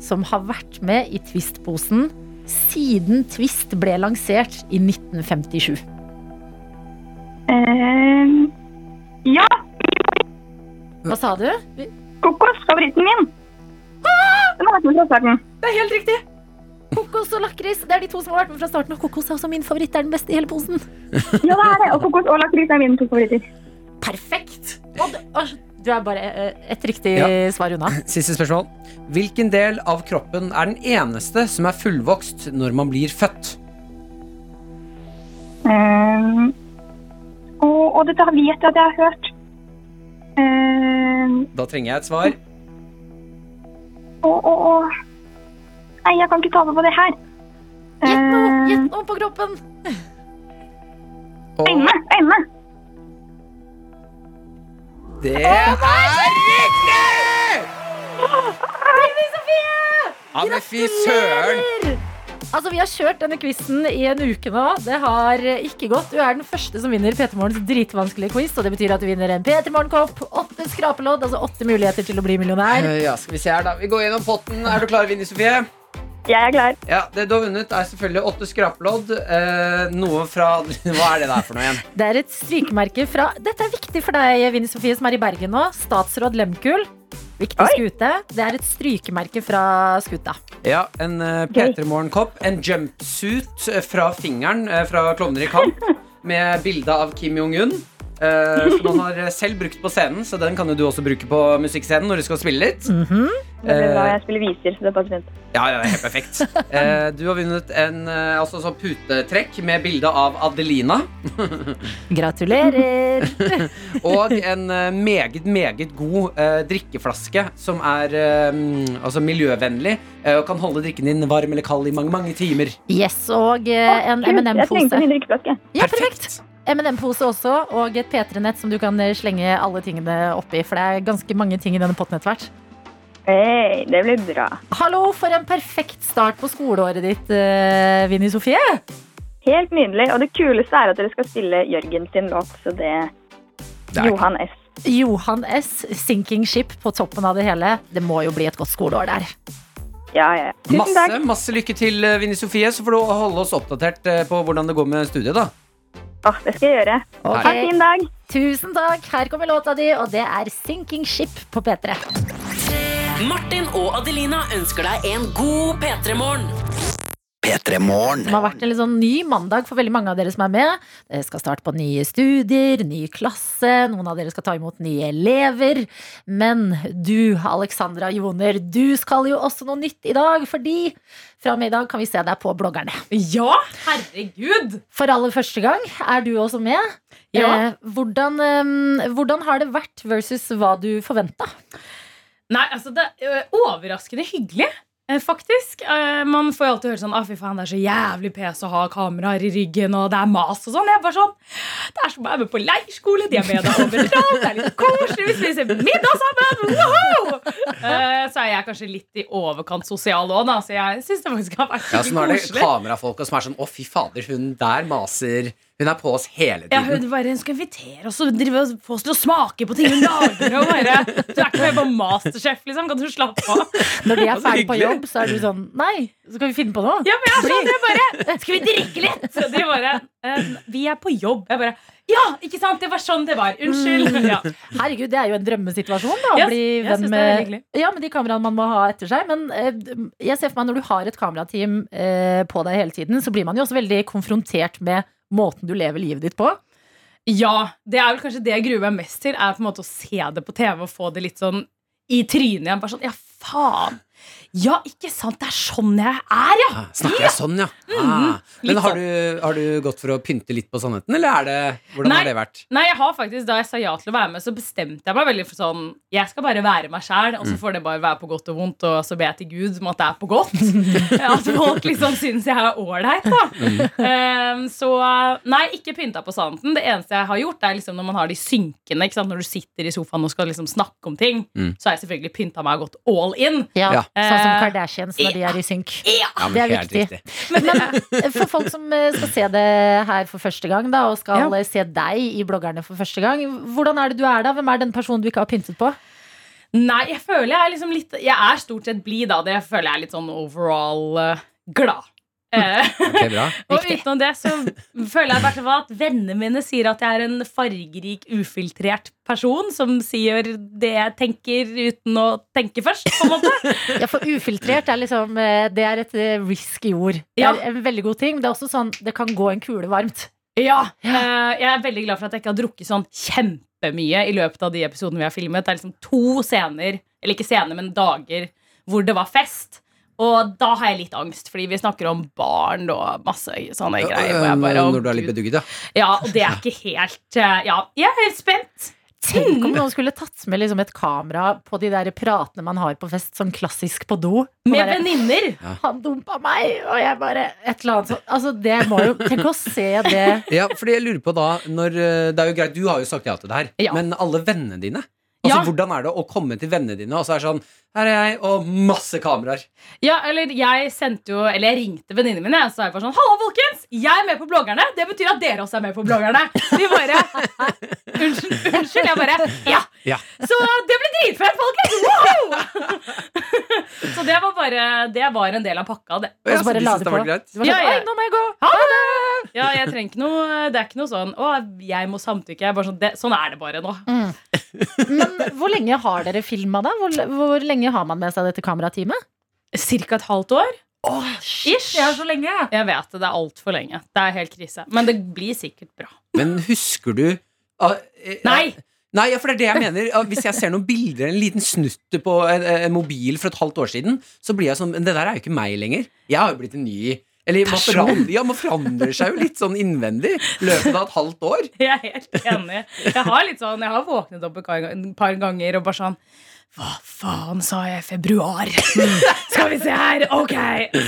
[SPEAKER 2] som har vært med i Twist-posen siden Twist ble lansert i 1957?
[SPEAKER 9] Ehm, ja,
[SPEAKER 2] Hva sa du?
[SPEAKER 9] kokos, favoritten min. Den har vært med fra starten.
[SPEAKER 2] Kokos og lakris. Det er de to som har vært med fra starten. Og kokos er også min favoritt. Det er den beste i hele posen.
[SPEAKER 9] Ja, det er det. Og kokos og lakris er mine to favoritter.
[SPEAKER 2] Perfekt! Og du, å, du er bare eh, et riktig
[SPEAKER 3] Ja.
[SPEAKER 2] svar unna.
[SPEAKER 3] Siste spørsmål. Hvilken del av kroppen er den eneste som er fullvokst når man blir født?
[SPEAKER 9] Ehm, og, og dette vet jeg at jeg har hørt. Ehm,
[SPEAKER 3] Da trenger jeg et svar.
[SPEAKER 9] Å, å, å. Nei, jeg kan ikke ta det på det her.
[SPEAKER 2] Gjett noe,
[SPEAKER 9] Eh,
[SPEAKER 2] gjett noe på kroppen.
[SPEAKER 3] Og
[SPEAKER 9] Øynene! Øynene!
[SPEAKER 3] det er riktig! Ja, men fy søren!
[SPEAKER 2] Altså, Vi har kjørt denne quizen i en uke nå. Det har eh, ikke gått. Du er den første som vinner P3 Morgens dritvanskelige quiz. Og det betyr at du vinner en P3 Morgen-kopp, åtte skrapelodd, altså åtte muligheter til å bli millionær.
[SPEAKER 3] Eh, Ja, skal vi se her, da. Vi går gjennom potten. Er du klar, Vinni Sofie?
[SPEAKER 9] Jeg er klar.
[SPEAKER 3] Ja, Det du har vunnet, er selvfølgelig åtte skrapelodd. Eh, noe fra Hva er det der for noe igjen?
[SPEAKER 2] Det er et strykemerke fra Dette er viktig for deg, Vinni Sofie, som er i Bergen nå. Statsråd Lehmkuhl. Viktig skute. Det er et strykemerke fra skuta.
[SPEAKER 3] Ja, en uh,
[SPEAKER 9] Gøy.
[SPEAKER 3] P3 Morgen-kopp. En jumpsuit eh, fra fingeren eh, fra Klovner i kamp, med bilde av Kim Jong-un. eh, som han har eh, selv brukt på scenen, så den kan jo du også bruke på musikkscenen når du skal spille litt.
[SPEAKER 2] Mm.
[SPEAKER 9] Det blir bra.
[SPEAKER 3] Eh.
[SPEAKER 9] Jeg spiller viser, så det passer fint.
[SPEAKER 3] Ja, ja, det er helt perfekt. Eh, du har vunnet en eh, altså, sånn putetrekk med bilde av Adelina.
[SPEAKER 2] Gratulerer.
[SPEAKER 3] Og en eh, meget, meget god eh, drikkeflaske som er eh, mm, altså miljøvennlig eh, og kan holde drikken din varm eller kald i mange, mange timer.
[SPEAKER 2] Yes, og eh, en
[SPEAKER 9] Kult. Jeg trengte en
[SPEAKER 2] M&M-pose.
[SPEAKER 9] ny drikkeflaske.
[SPEAKER 2] Ja, perfekt. M&M-pose også, og et P3-nett som du kan eh, slenge alle tingene oppi. For det er ganske mange ting i denne potten etter hvert.
[SPEAKER 9] Hei, det blir bra.
[SPEAKER 2] Hallo, for en perfekt start på skoleåret ditt, eh, Vinni Sofie.
[SPEAKER 9] Helt nydelig. Og det kuleste er at dere skal spille Jørgen sin låt, så det
[SPEAKER 3] Det er
[SPEAKER 9] Johan S.
[SPEAKER 2] Johan S. Sinking Ship på toppen av det hele. Det må jo bli et godt skoleår der.
[SPEAKER 9] Ja, ja. ja. Tusen
[SPEAKER 3] Masse,
[SPEAKER 9] takk.
[SPEAKER 3] masse lykke til, eh, Vinnie Sofie, så får du holde oss oppdatert eh, på hvordan det går med studiet, da.
[SPEAKER 9] Åh, det skal jeg gjøre.
[SPEAKER 2] Ok.
[SPEAKER 9] Ha en fin dag.
[SPEAKER 2] Tusen takk. Her kommer låta di, og det er Sinking Ship på P3.
[SPEAKER 4] Martin og Adelina ønsker deg en god P3-morgen.
[SPEAKER 8] P3 Morgen.
[SPEAKER 2] Det har vært en litt sånn ny mandag for veldig mange av dere som er med. Dere skal starte på nye studier, ny klasse, noen av dere skal ta imot nye elever. Men du, Alexandra Joner, du skal jo også noe nytt i dag, fordi fra og med i dag kan vi se deg på bloggerne.
[SPEAKER 10] Ja, herregud!
[SPEAKER 2] For aller første gang er du også med.
[SPEAKER 10] Ja.
[SPEAKER 2] Eh, hvordan, eh, hvordan har det vært versus hva du forventa?
[SPEAKER 10] Nei, altså, det er ø, overraskende hyggelig. eh, Faktisk. Eh, Man får jo alltid høre sånn ah, fy faen, det er så jævlig pes å ha kameraer i ryggen, og det er mas og sånn. Jeg er bare sånn Det er som å være med på leirskole, de er med deg overalt, det er litt koselig, vi spiser middag sammen, woho! Eh, Så er jeg kanskje litt i overkant sosial òg, da, så jeg syns det faktisk har vært
[SPEAKER 3] Ja, så nå er
[SPEAKER 10] skikkelig
[SPEAKER 3] det
[SPEAKER 10] koselig.
[SPEAKER 3] kamerafolk som er sånn Å, fy fader, hun der maser. Hun er på oss hele
[SPEAKER 10] Ja,
[SPEAKER 3] tiden.
[SPEAKER 10] hun bare hun skal invitere oss og drive og få oss til å smake på ting hun lager. Og bare, du er ikke med på Masterchef, liksom. Kan du slappe av?
[SPEAKER 2] Når de er
[SPEAKER 3] så
[SPEAKER 2] ferdig på
[SPEAKER 3] hyggelig.
[SPEAKER 2] jobb, så er du sånn Nei, så kan vi finne på noe.
[SPEAKER 10] Ja, men jeg er sånn, jeg bare Skal vi drikke litt? Så de bare «Eh, Vi er på jobb. Jeg bare Ja, ikke sant? Det var sånn det var. Unnskyld. Ja.
[SPEAKER 2] Herregud, det er jo en drømmesituasjon. Da, å
[SPEAKER 10] Yes,
[SPEAKER 2] bli
[SPEAKER 10] jeg
[SPEAKER 2] venn
[SPEAKER 10] synes det er
[SPEAKER 2] med,
[SPEAKER 10] hyggelig.
[SPEAKER 2] ja, med de kameraene man må ha etter seg. Men eh, jeg ser for meg når du har et kamerateam eh, på deg hele tiden, så blir man jo også veldig konfrontert med måten du lever livet ditt på.
[SPEAKER 10] ja, det er vel kanskje det jeg gruer meg mest til, er på en måte å se det på TV og få det litt sånn i trynet igjen. Bare sånn Ja, faen. Ja, ikke sant? Det er sånn jeg er, ja. Mhm.
[SPEAKER 3] Ah, Snakker jeg sånn, ja? Ah. Men
[SPEAKER 10] litt sånn.
[SPEAKER 3] har du, har du gått for å pynte litt på sannheten, eller er det Hvordan
[SPEAKER 10] Nei.
[SPEAKER 3] har det vært?
[SPEAKER 10] Nei, jeg har faktisk, Da jeg sa ja til å være med, så bestemte jeg meg veldig for sånn Jeg skal bare være meg sjæl, og så får det bare være på godt og vondt, og så ber jeg til Gud om at det er på godt. at folk liksom syns jeg er ålreit, da. Ehm, så nei, ikke pynta på sannheten. Det eneste jeg har gjort, er liksom når man har de synkene. ikke sant? Når du sitter i sofaen og skal liksom snakke om ting,
[SPEAKER 3] Mm.
[SPEAKER 10] så har jeg selvfølgelig pynta meg og gått all in.
[SPEAKER 3] Ja.
[SPEAKER 2] Sånn som
[SPEAKER 10] Eh,
[SPEAKER 2] Kardashians når de er i synk.
[SPEAKER 3] Ja, men
[SPEAKER 2] Det er
[SPEAKER 3] helt
[SPEAKER 2] viktig.
[SPEAKER 3] riktig.
[SPEAKER 2] For folk som eh, skal se det her for første gang, da, og skal eh, se deg i bloggerne for første gang, hvordan er det du er da? Hvem er den personen du ikke har pyntet på?
[SPEAKER 10] Nei, jeg føler jeg er liksom litt Jeg er stort sett blid, da. Det føler jeg er litt sånn overall eh, glad. Eh,
[SPEAKER 3] Ok, bra.
[SPEAKER 10] Og
[SPEAKER 2] Riktig.
[SPEAKER 10] utenom det så føler jeg i hvert fall at vennene mine sier at jeg er en fargerik, ufiltrert person som sier det jeg tenker uten å tenke først, på en måte.
[SPEAKER 2] Ja, for ufiltrert er liksom eh, Det er et eh, risky ord. Det
[SPEAKER 10] Ja.
[SPEAKER 2] er en veldig god ting, men det er også sånn det kan gå en kule varmt.
[SPEAKER 10] Ja, eh, Jeg er veldig glad for at jeg ikke har drukket sånn kjempemye i løpet av de episodene vi har filmet. Det er liksom to scener, eller ikke scener, men dager hvor det var fest. Og da har jeg litt angst, fordi vi snakker om barn og masse sånne greier. Hvor jeg bare,
[SPEAKER 3] Eh,
[SPEAKER 10] «Å,
[SPEAKER 3] Når du er litt
[SPEAKER 10] Gud».
[SPEAKER 3] bedugget, ja.
[SPEAKER 10] ja, og det er ikke helt eh, Ja, jeg er helt spent.
[SPEAKER 2] Tenk om noen skulle tatt med liksom et kamera på de der pratene man har på fest, sånn klassisk på do. Og
[SPEAKER 10] Med
[SPEAKER 2] bare,
[SPEAKER 10] venninner.
[SPEAKER 2] han dumpa meg, og jeg bare Et eller annet sånt. Altså, det må jo Tenk å se det.
[SPEAKER 3] Ja, fordi jeg lurer på da når, eh, Det er jo greit, du har jo sagt ja til det her
[SPEAKER 10] Ja.
[SPEAKER 3] Men alle vennene dine Altså
[SPEAKER 10] Ja.
[SPEAKER 3] hvordan er det å komme til vennene dine Og så er det sånn, her er jeg og masse kameraer
[SPEAKER 10] Ja, eller jeg sendte jo Eller jeg ringte venninnene mine og så var jeg bare sånn Hallo, folkens! Jeg er med på bloggerne. Det betyr at dere også er med på bloggerne. De bare Unnskyld. unnskyld, Jeg bare Ja!
[SPEAKER 3] Ja.
[SPEAKER 10] Så det ble dritfett, folkens! Wow! så det var bare Det var en del av pakka, det.
[SPEAKER 2] Og så bare la
[SPEAKER 3] synes
[SPEAKER 2] det
[SPEAKER 3] det
[SPEAKER 2] på.
[SPEAKER 3] var greit
[SPEAKER 2] Du var sånn,
[SPEAKER 10] Ja, ja.
[SPEAKER 2] Oi, nå må jeg gå.
[SPEAKER 10] Ha det! Ja, jeg trenger ikke noe Det er ikke noe sånn 'Å, jeg må samtykke'. Jeg er bare sånn, det, sånn er det bare nå.
[SPEAKER 2] Men hvor lenge har dere filma, da? Hvor, hvor lenge har man med seg dette kamerateamet?
[SPEAKER 10] Cirka et halvt år.
[SPEAKER 2] Ish.
[SPEAKER 10] Det er så lenge. Jeg vet det. Det er altfor lenge. Det er helt krise. Men det blir sikkert bra.
[SPEAKER 3] Men husker du ah, eh,
[SPEAKER 10] Nei!
[SPEAKER 3] Nei, ja, for det er det jeg mener. Ah, Hvis jeg ser noen bilder, en liten snutte på en, en mobil for et halvt år siden, så blir jeg sånn Men det der er jo ikke meg lenger. Jeg har jo blitt en ny Eller man forandrer, ja, man forandrer seg jo litt sånn innvendig i løpet av et halvt år.
[SPEAKER 10] Jeg er helt enig. Jeg har litt sånn, jeg har våknet opp et par- et par ganger og bare sånn Hva faen sa jeg i februar? Skal vi se her! Ok!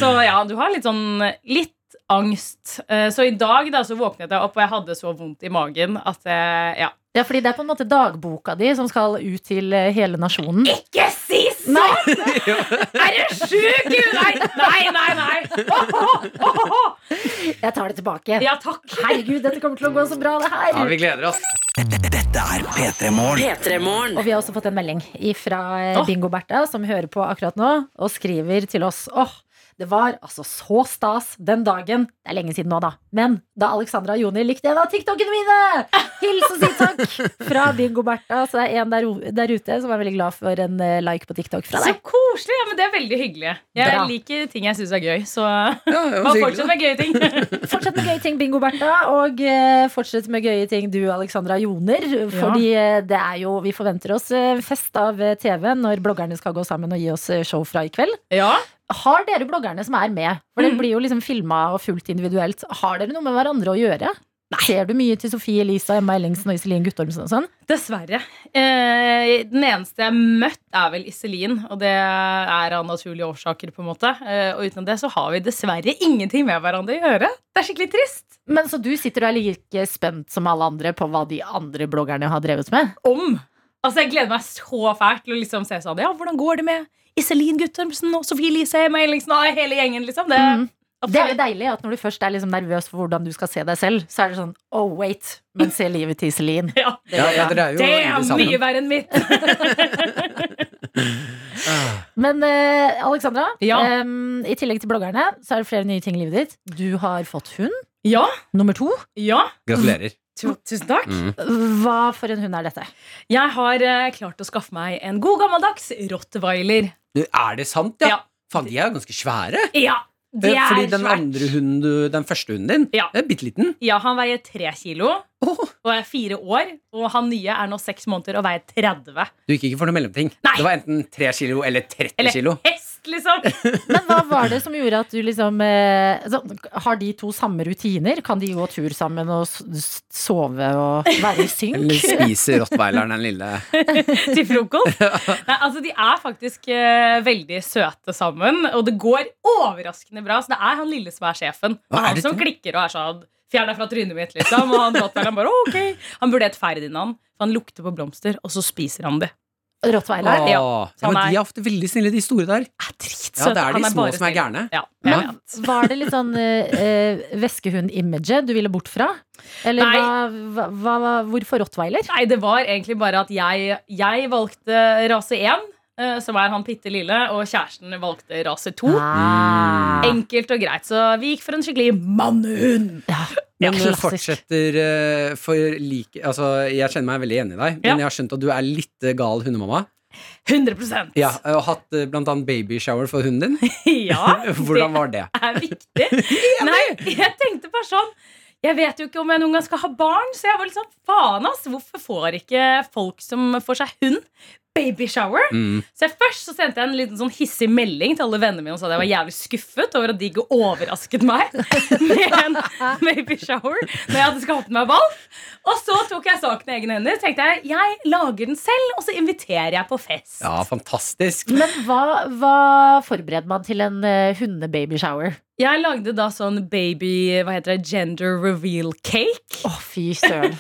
[SPEAKER 10] Så ja, du har litt sånn litt angst. Eh, Så i dag da, så våknet jeg opp, og jeg hadde så vondt i magen at eh, ja.
[SPEAKER 2] Ja, fordi det er på en måte dagboka di som skal ut til eh, hele nasjonen.
[SPEAKER 10] Ikke si sånn! Er du sjuk? Nei, nei, nei! nei. Åhå, åhå.
[SPEAKER 2] Jeg tar det tilbake.
[SPEAKER 10] Ja, takk.
[SPEAKER 2] Herregud, dette kommer til å gå så bra, det her.
[SPEAKER 3] Ja, vi gleder oss.
[SPEAKER 8] Dette er P3 Morgen.
[SPEAKER 4] P3-morgen.
[SPEAKER 2] Og vi har også fått en melding fra
[SPEAKER 10] Åh.
[SPEAKER 2] Bingo-Bertha, som hører på akkurat nå, og skriver til oss Åh, det var altså så stas den dagen Det er lenge siden nå, da. Men da Alexandra og Joni likte en av TikTokene mine! Hils og si takk fra Bingo-Bertha. Så det er en der, o- der ute som er veldig glad for en eh, like på TikTok fra
[SPEAKER 10] Så
[SPEAKER 2] deg.
[SPEAKER 10] koselig! Ja, men Det er veldig hyggelig. Jeg
[SPEAKER 2] Bra.
[SPEAKER 10] liker ting jeg syns er gøy, så
[SPEAKER 3] Ja, det var
[SPEAKER 10] bare
[SPEAKER 3] så
[SPEAKER 10] fortsett
[SPEAKER 3] hyggelig.
[SPEAKER 10] med gøye ting.
[SPEAKER 2] Fortsett med gøye ting, Bingo-Bertha, og eh, fortsett med gøye ting, du, Alexandra Joner. Fordi eh, det er jo Vi forventer oss eh, fest av eh, TV når bloggerne skal gå sammen og gi oss eh, show fra i kveld.
[SPEAKER 10] Ja,
[SPEAKER 2] Har dere bloggerne som er med? For
[SPEAKER 10] Mm.
[SPEAKER 2] dere blir jo liksom filma og fulgt individuelt. Har dere noe med hverandre å gjøre? Ser du mye til Sofie Elise, Emma Ellingsen og Iselin Guttormsen og sånn?
[SPEAKER 10] Dessverre. Eh, den eneste jeg har møtt, er vel Iselin. Og det er av naturlige årsaker. på en måte eh, Og utenom det så har vi dessverre ingenting med hverandre å gjøre. Det er skikkelig trist.
[SPEAKER 2] Men så du sitter og er like spent som alle andre på hva de andre bloggerne har drevet med?
[SPEAKER 10] Om! Altså Jeg gleder meg så fælt til å liksom se sånn Ja, hvordan går det med Iselin Guttormsen og Sofie Elise Emma Ellingsen og hele gjengen? liksom Det,
[SPEAKER 2] Mhm. Det er jo
[SPEAKER 10] absolutt.
[SPEAKER 2] deilig at når du først er liksom nervøs for hvordan du skal se deg selv, så er det sånn oh wait, men se livet til Iselin.
[SPEAKER 10] Ja.
[SPEAKER 3] Ja, ja, dere er jo
[SPEAKER 10] Det er
[SPEAKER 3] veldig
[SPEAKER 10] mye
[SPEAKER 3] sammen.
[SPEAKER 10] verre enn mitt!
[SPEAKER 2] Men eh, Alexandra,
[SPEAKER 10] Ja.
[SPEAKER 2] em, i tillegg til bloggerne, så er det flere nye ting i livet ditt. Du har fått hund,
[SPEAKER 10] Ja,
[SPEAKER 2] nummer to.
[SPEAKER 10] ja.
[SPEAKER 3] Gratulerer.
[SPEAKER 10] Tu- Tusen takk.
[SPEAKER 3] Mm.
[SPEAKER 2] Hva for en hund er dette?
[SPEAKER 10] Jeg har eh, klart å skaffe meg en god gammeldags rottweiler.
[SPEAKER 3] Du, er det sant, ja?
[SPEAKER 10] Ja.
[SPEAKER 3] Faen, de er jo ganske svære.
[SPEAKER 10] Ja, det
[SPEAKER 3] Eh,
[SPEAKER 10] er
[SPEAKER 3] Fordi den
[SPEAKER 10] svært.
[SPEAKER 3] andre hunden du, den første hunden din,
[SPEAKER 10] Ja.
[SPEAKER 3] er bitte liten.
[SPEAKER 10] Ja, han veier tre kilo og er fire år. Og han nye er nå seks måneder og veier 30.
[SPEAKER 3] Du gikk ikke for noe mellomting.
[SPEAKER 10] Nei.
[SPEAKER 3] Det var enten 3 kilo eller 30
[SPEAKER 10] Eller
[SPEAKER 3] kilo.
[SPEAKER 10] hest, liksom!
[SPEAKER 2] Men hva var det som gjorde at du liksom eh, så, Har de to samme rutiner? Kan de gå tur sammen og s- s- sove og være i
[SPEAKER 3] Eller
[SPEAKER 2] synk?
[SPEAKER 3] spiser rottweileren den lille
[SPEAKER 10] Til frokost. Nei, altså, de er faktisk eh, veldig søte sammen, og det går overraskende bra. Så det er han lille som er sjefen. Det
[SPEAKER 3] Hva er
[SPEAKER 10] er han
[SPEAKER 3] det
[SPEAKER 10] som
[SPEAKER 3] du-
[SPEAKER 10] klikker og er sånn Fjern deg fra trynet mitt, liksom. Og han rottweileren bare OK. Han burde hett Ferdinand, for han lukter på blomster, og så spiser han de.
[SPEAKER 2] Rottweiler?
[SPEAKER 10] Ja,
[SPEAKER 3] Åh.
[SPEAKER 10] så han
[SPEAKER 3] men De
[SPEAKER 10] er-
[SPEAKER 3] er ofte veldig snille, de store der.
[SPEAKER 10] Er
[SPEAKER 3] Ja,
[SPEAKER 10] dritsøt.
[SPEAKER 3] Det er
[SPEAKER 10] Han
[SPEAKER 3] de små
[SPEAKER 10] bare
[SPEAKER 3] som er
[SPEAKER 10] snill.
[SPEAKER 3] gærne.
[SPEAKER 10] Ja, jeg
[SPEAKER 2] Men
[SPEAKER 10] vet.
[SPEAKER 2] var det litt sånn eh, eh, veskehund-imaget du ville bort fra? Eller
[SPEAKER 10] Nei.
[SPEAKER 2] hva, hva, hva, hvorfor rottweiler?
[SPEAKER 10] Nei, det var egentlig bare at jeg, jeg valgte rase 1, eh, som er han bitte lille, og kjæresten valgte rase 2.
[SPEAKER 2] Ah.
[SPEAKER 10] Enkelt og greit, så vi gikk for en skikkelig mannehund.
[SPEAKER 2] Ja.
[SPEAKER 3] Men
[SPEAKER 2] klassisk.
[SPEAKER 3] fortsetter eh, for like Altså, jeg kjenner meg veldig enig i deg,
[SPEAKER 10] Ja.
[SPEAKER 3] men jeg har skjønt at du er litt eh, gal hundemamma.
[SPEAKER 10] 100
[SPEAKER 3] Ja, og hatt eh, blant annet babyshower for hunden din.
[SPEAKER 10] Ja,
[SPEAKER 3] Hvordan var det?
[SPEAKER 10] det er viktig. Nei, jeg tenkte bare sånn Jeg vet jo ikke om jeg noen gang skal ha barn, så jeg var litt sånn faen, ass. Hvorfor får ikke folk som får seg hund, babyshower?
[SPEAKER 3] Mm.
[SPEAKER 10] Så jeg først så sendte jeg en liten sånn hissig melding til alle vennene mine og sa at jeg var jævlig skuffet over at de ikke overrasket meg med en baby shower når jeg hadde skapt meg valp. Og så tok jeg saken i egne hender. Så tenkte jeg jeg lager den selv, og så inviterer jeg på fest.
[SPEAKER 3] Ja, fantastisk.
[SPEAKER 2] Men hva, hva forbereder man til en eh, hundebabyshower?
[SPEAKER 10] Jeg lagde da sånn baby hva heter det, gender reveal cake.
[SPEAKER 2] Å, fy søren.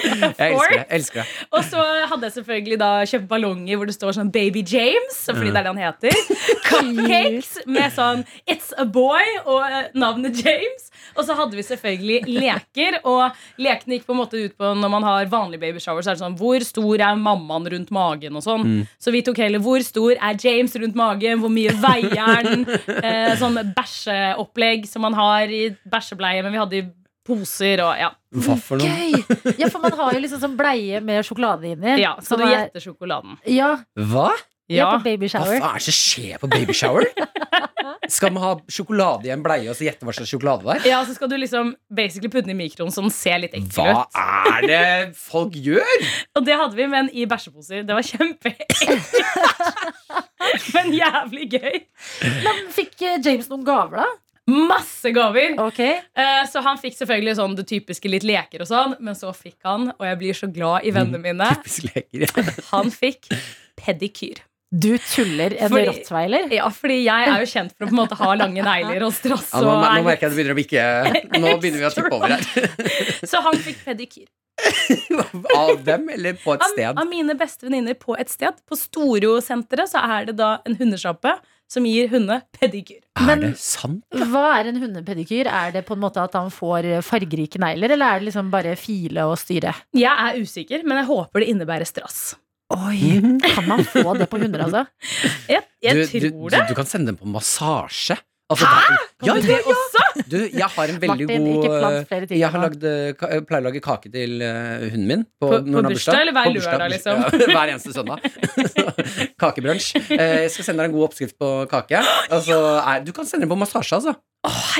[SPEAKER 3] Jeg elsker det. jeg elsker det
[SPEAKER 10] Og så hadde jeg selvfølgelig da kjøpt ballonger hvor det står sånn Baby James,
[SPEAKER 3] Mm.
[SPEAKER 10] fordi det er det han heter. Cupcakes med sånn It's a boy og eh, navnet James. Og så hadde vi selvfølgelig leker, og lekene gikk på en måte ut på når man har vanlig babyshower, så er det sånn Hvor stor er mammaen rundt magen og sånn.
[SPEAKER 11] Mm.
[SPEAKER 10] Så vi tok heller Hvor stor er James rundt magen? Hvor mye veier han? Eh, sånn bæsjeopplegg som man har i bæsjebleie, men vi hadde i poser og ja.
[SPEAKER 3] Hva for noe?
[SPEAKER 2] Gøy! Ja, for man har jo liksom sånn bleie med sjokolade inni.
[SPEAKER 10] Ja,
[SPEAKER 2] som
[SPEAKER 10] skal du
[SPEAKER 2] er-
[SPEAKER 10] gjette sjokoladen?
[SPEAKER 2] Ja.
[SPEAKER 3] Hva?
[SPEAKER 2] Ja, på baby shower.
[SPEAKER 3] Hva faen er det som skjer på babyshower? Skal man ha sjokolade i en bleie og så gjette hva slags sjokolade det er?
[SPEAKER 10] Ja, så skal du liksom basically putte den i mikroen så den ser litt ekkel
[SPEAKER 3] Hva
[SPEAKER 10] ut.
[SPEAKER 3] er det folk gjør?
[SPEAKER 10] Og det hadde vi, men i bæsjeposer. Det var kjempeekkelt. men jævlig gøy.
[SPEAKER 2] Men fikk eh, James noen gaver, da?
[SPEAKER 10] Masse gaver.
[SPEAKER 2] Ok.
[SPEAKER 10] Eh, Så han fikk selvfølgelig sånn det typiske litt leker og sånn, men så fikk han, og jeg blir så glad i
[SPEAKER 3] Mm.
[SPEAKER 10] vennene mine, han fikk pedikyr.
[SPEAKER 2] Du tuller en
[SPEAKER 10] Fordi-
[SPEAKER 2] rottweiler?
[SPEAKER 10] Ja, fordi jeg er jo kjent for å på en måte ha lange negler og strass.
[SPEAKER 3] Ja, nå,
[SPEAKER 10] og
[SPEAKER 3] nå
[SPEAKER 10] er-
[SPEAKER 3] merker jeg det begynner å bikke Nå begynner vi å tippe over her.
[SPEAKER 10] Så han fikk pedikyr.
[SPEAKER 3] Av dem eller på et
[SPEAKER 10] Av-
[SPEAKER 3] sted?
[SPEAKER 10] Av mine beste venninner på et sted. På Storosenteret så er det da en hundesjappe som gir hunde pedikyr.
[SPEAKER 3] Er det sant?
[SPEAKER 2] Hva er en hundepedikyr? Er det på en måte at han får eh, fargerike negler, eller er det liksom bare file og styre?
[SPEAKER 10] Jeg er usikker, men jeg håper det innebærer strass.
[SPEAKER 2] Oi, kan man få det på hunder, altså?
[SPEAKER 10] Jeg, jeg
[SPEAKER 3] du,
[SPEAKER 10] tror
[SPEAKER 3] du, du,
[SPEAKER 10] det.
[SPEAKER 3] du kan sende dem på massasje. Altså, Hæ? Ja,
[SPEAKER 10] Kan
[SPEAKER 3] ja,
[SPEAKER 10] du det også?
[SPEAKER 3] Du, jeg har en veldig
[SPEAKER 10] Martin,
[SPEAKER 3] god
[SPEAKER 10] ikke plant flere ting
[SPEAKER 3] Jeg har
[SPEAKER 10] nå.
[SPEAKER 3] lagd, eh, ka- jeg pleier å lage kake til eh, hunden min.
[SPEAKER 10] På-
[SPEAKER 3] når den
[SPEAKER 10] på
[SPEAKER 3] har
[SPEAKER 10] bursdag, eller hver
[SPEAKER 3] På bursdag,
[SPEAKER 10] lørdag,
[SPEAKER 3] bursdag.
[SPEAKER 10] liksom?
[SPEAKER 3] Ja, hver eneste søndag. Kakebrunsj. Eh, jeg skal sende deg en god oppskrift på kake. Altså, er, du kan sende den på massasje, altså.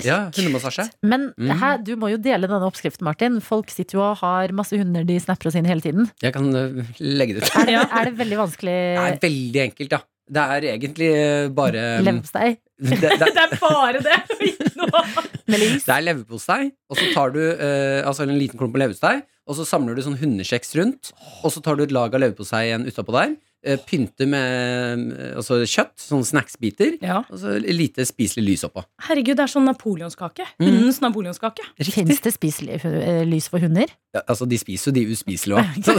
[SPEAKER 3] ja, hundemassasje.
[SPEAKER 2] Men
[SPEAKER 3] Mm.
[SPEAKER 2] hæ, du må jo dele denne oppskriften, Martin. Folk sitter jo og har masse hunder de snapper oss inn hele tiden.
[SPEAKER 3] Jeg kan eh, legge det ut.
[SPEAKER 2] Er det, er det veldig vanskelig
[SPEAKER 3] Det er veldig enkelt, ja. Det er egentlig eh, bare
[SPEAKER 2] leverpostei?
[SPEAKER 3] Det, det,
[SPEAKER 10] Det er bare det.
[SPEAKER 3] Det er leverpostei, og så tar du eh, altså en liten klump med leverpostei, og så samler du sånn hundekjeks rundt, og så tar du et lag av leverpostei igjen utapå der. eh, Pynter med eh, altså kjøtt, sånne snacksbiter, og så lite spiselig lys oppå.
[SPEAKER 10] Herregud, det er sånn napoleonskake. Hundens napoleonskake.
[SPEAKER 2] Fins det spiselig eh, lys for hunder?
[SPEAKER 3] Ja, altså, de spiser jo de uspiselige òg, så,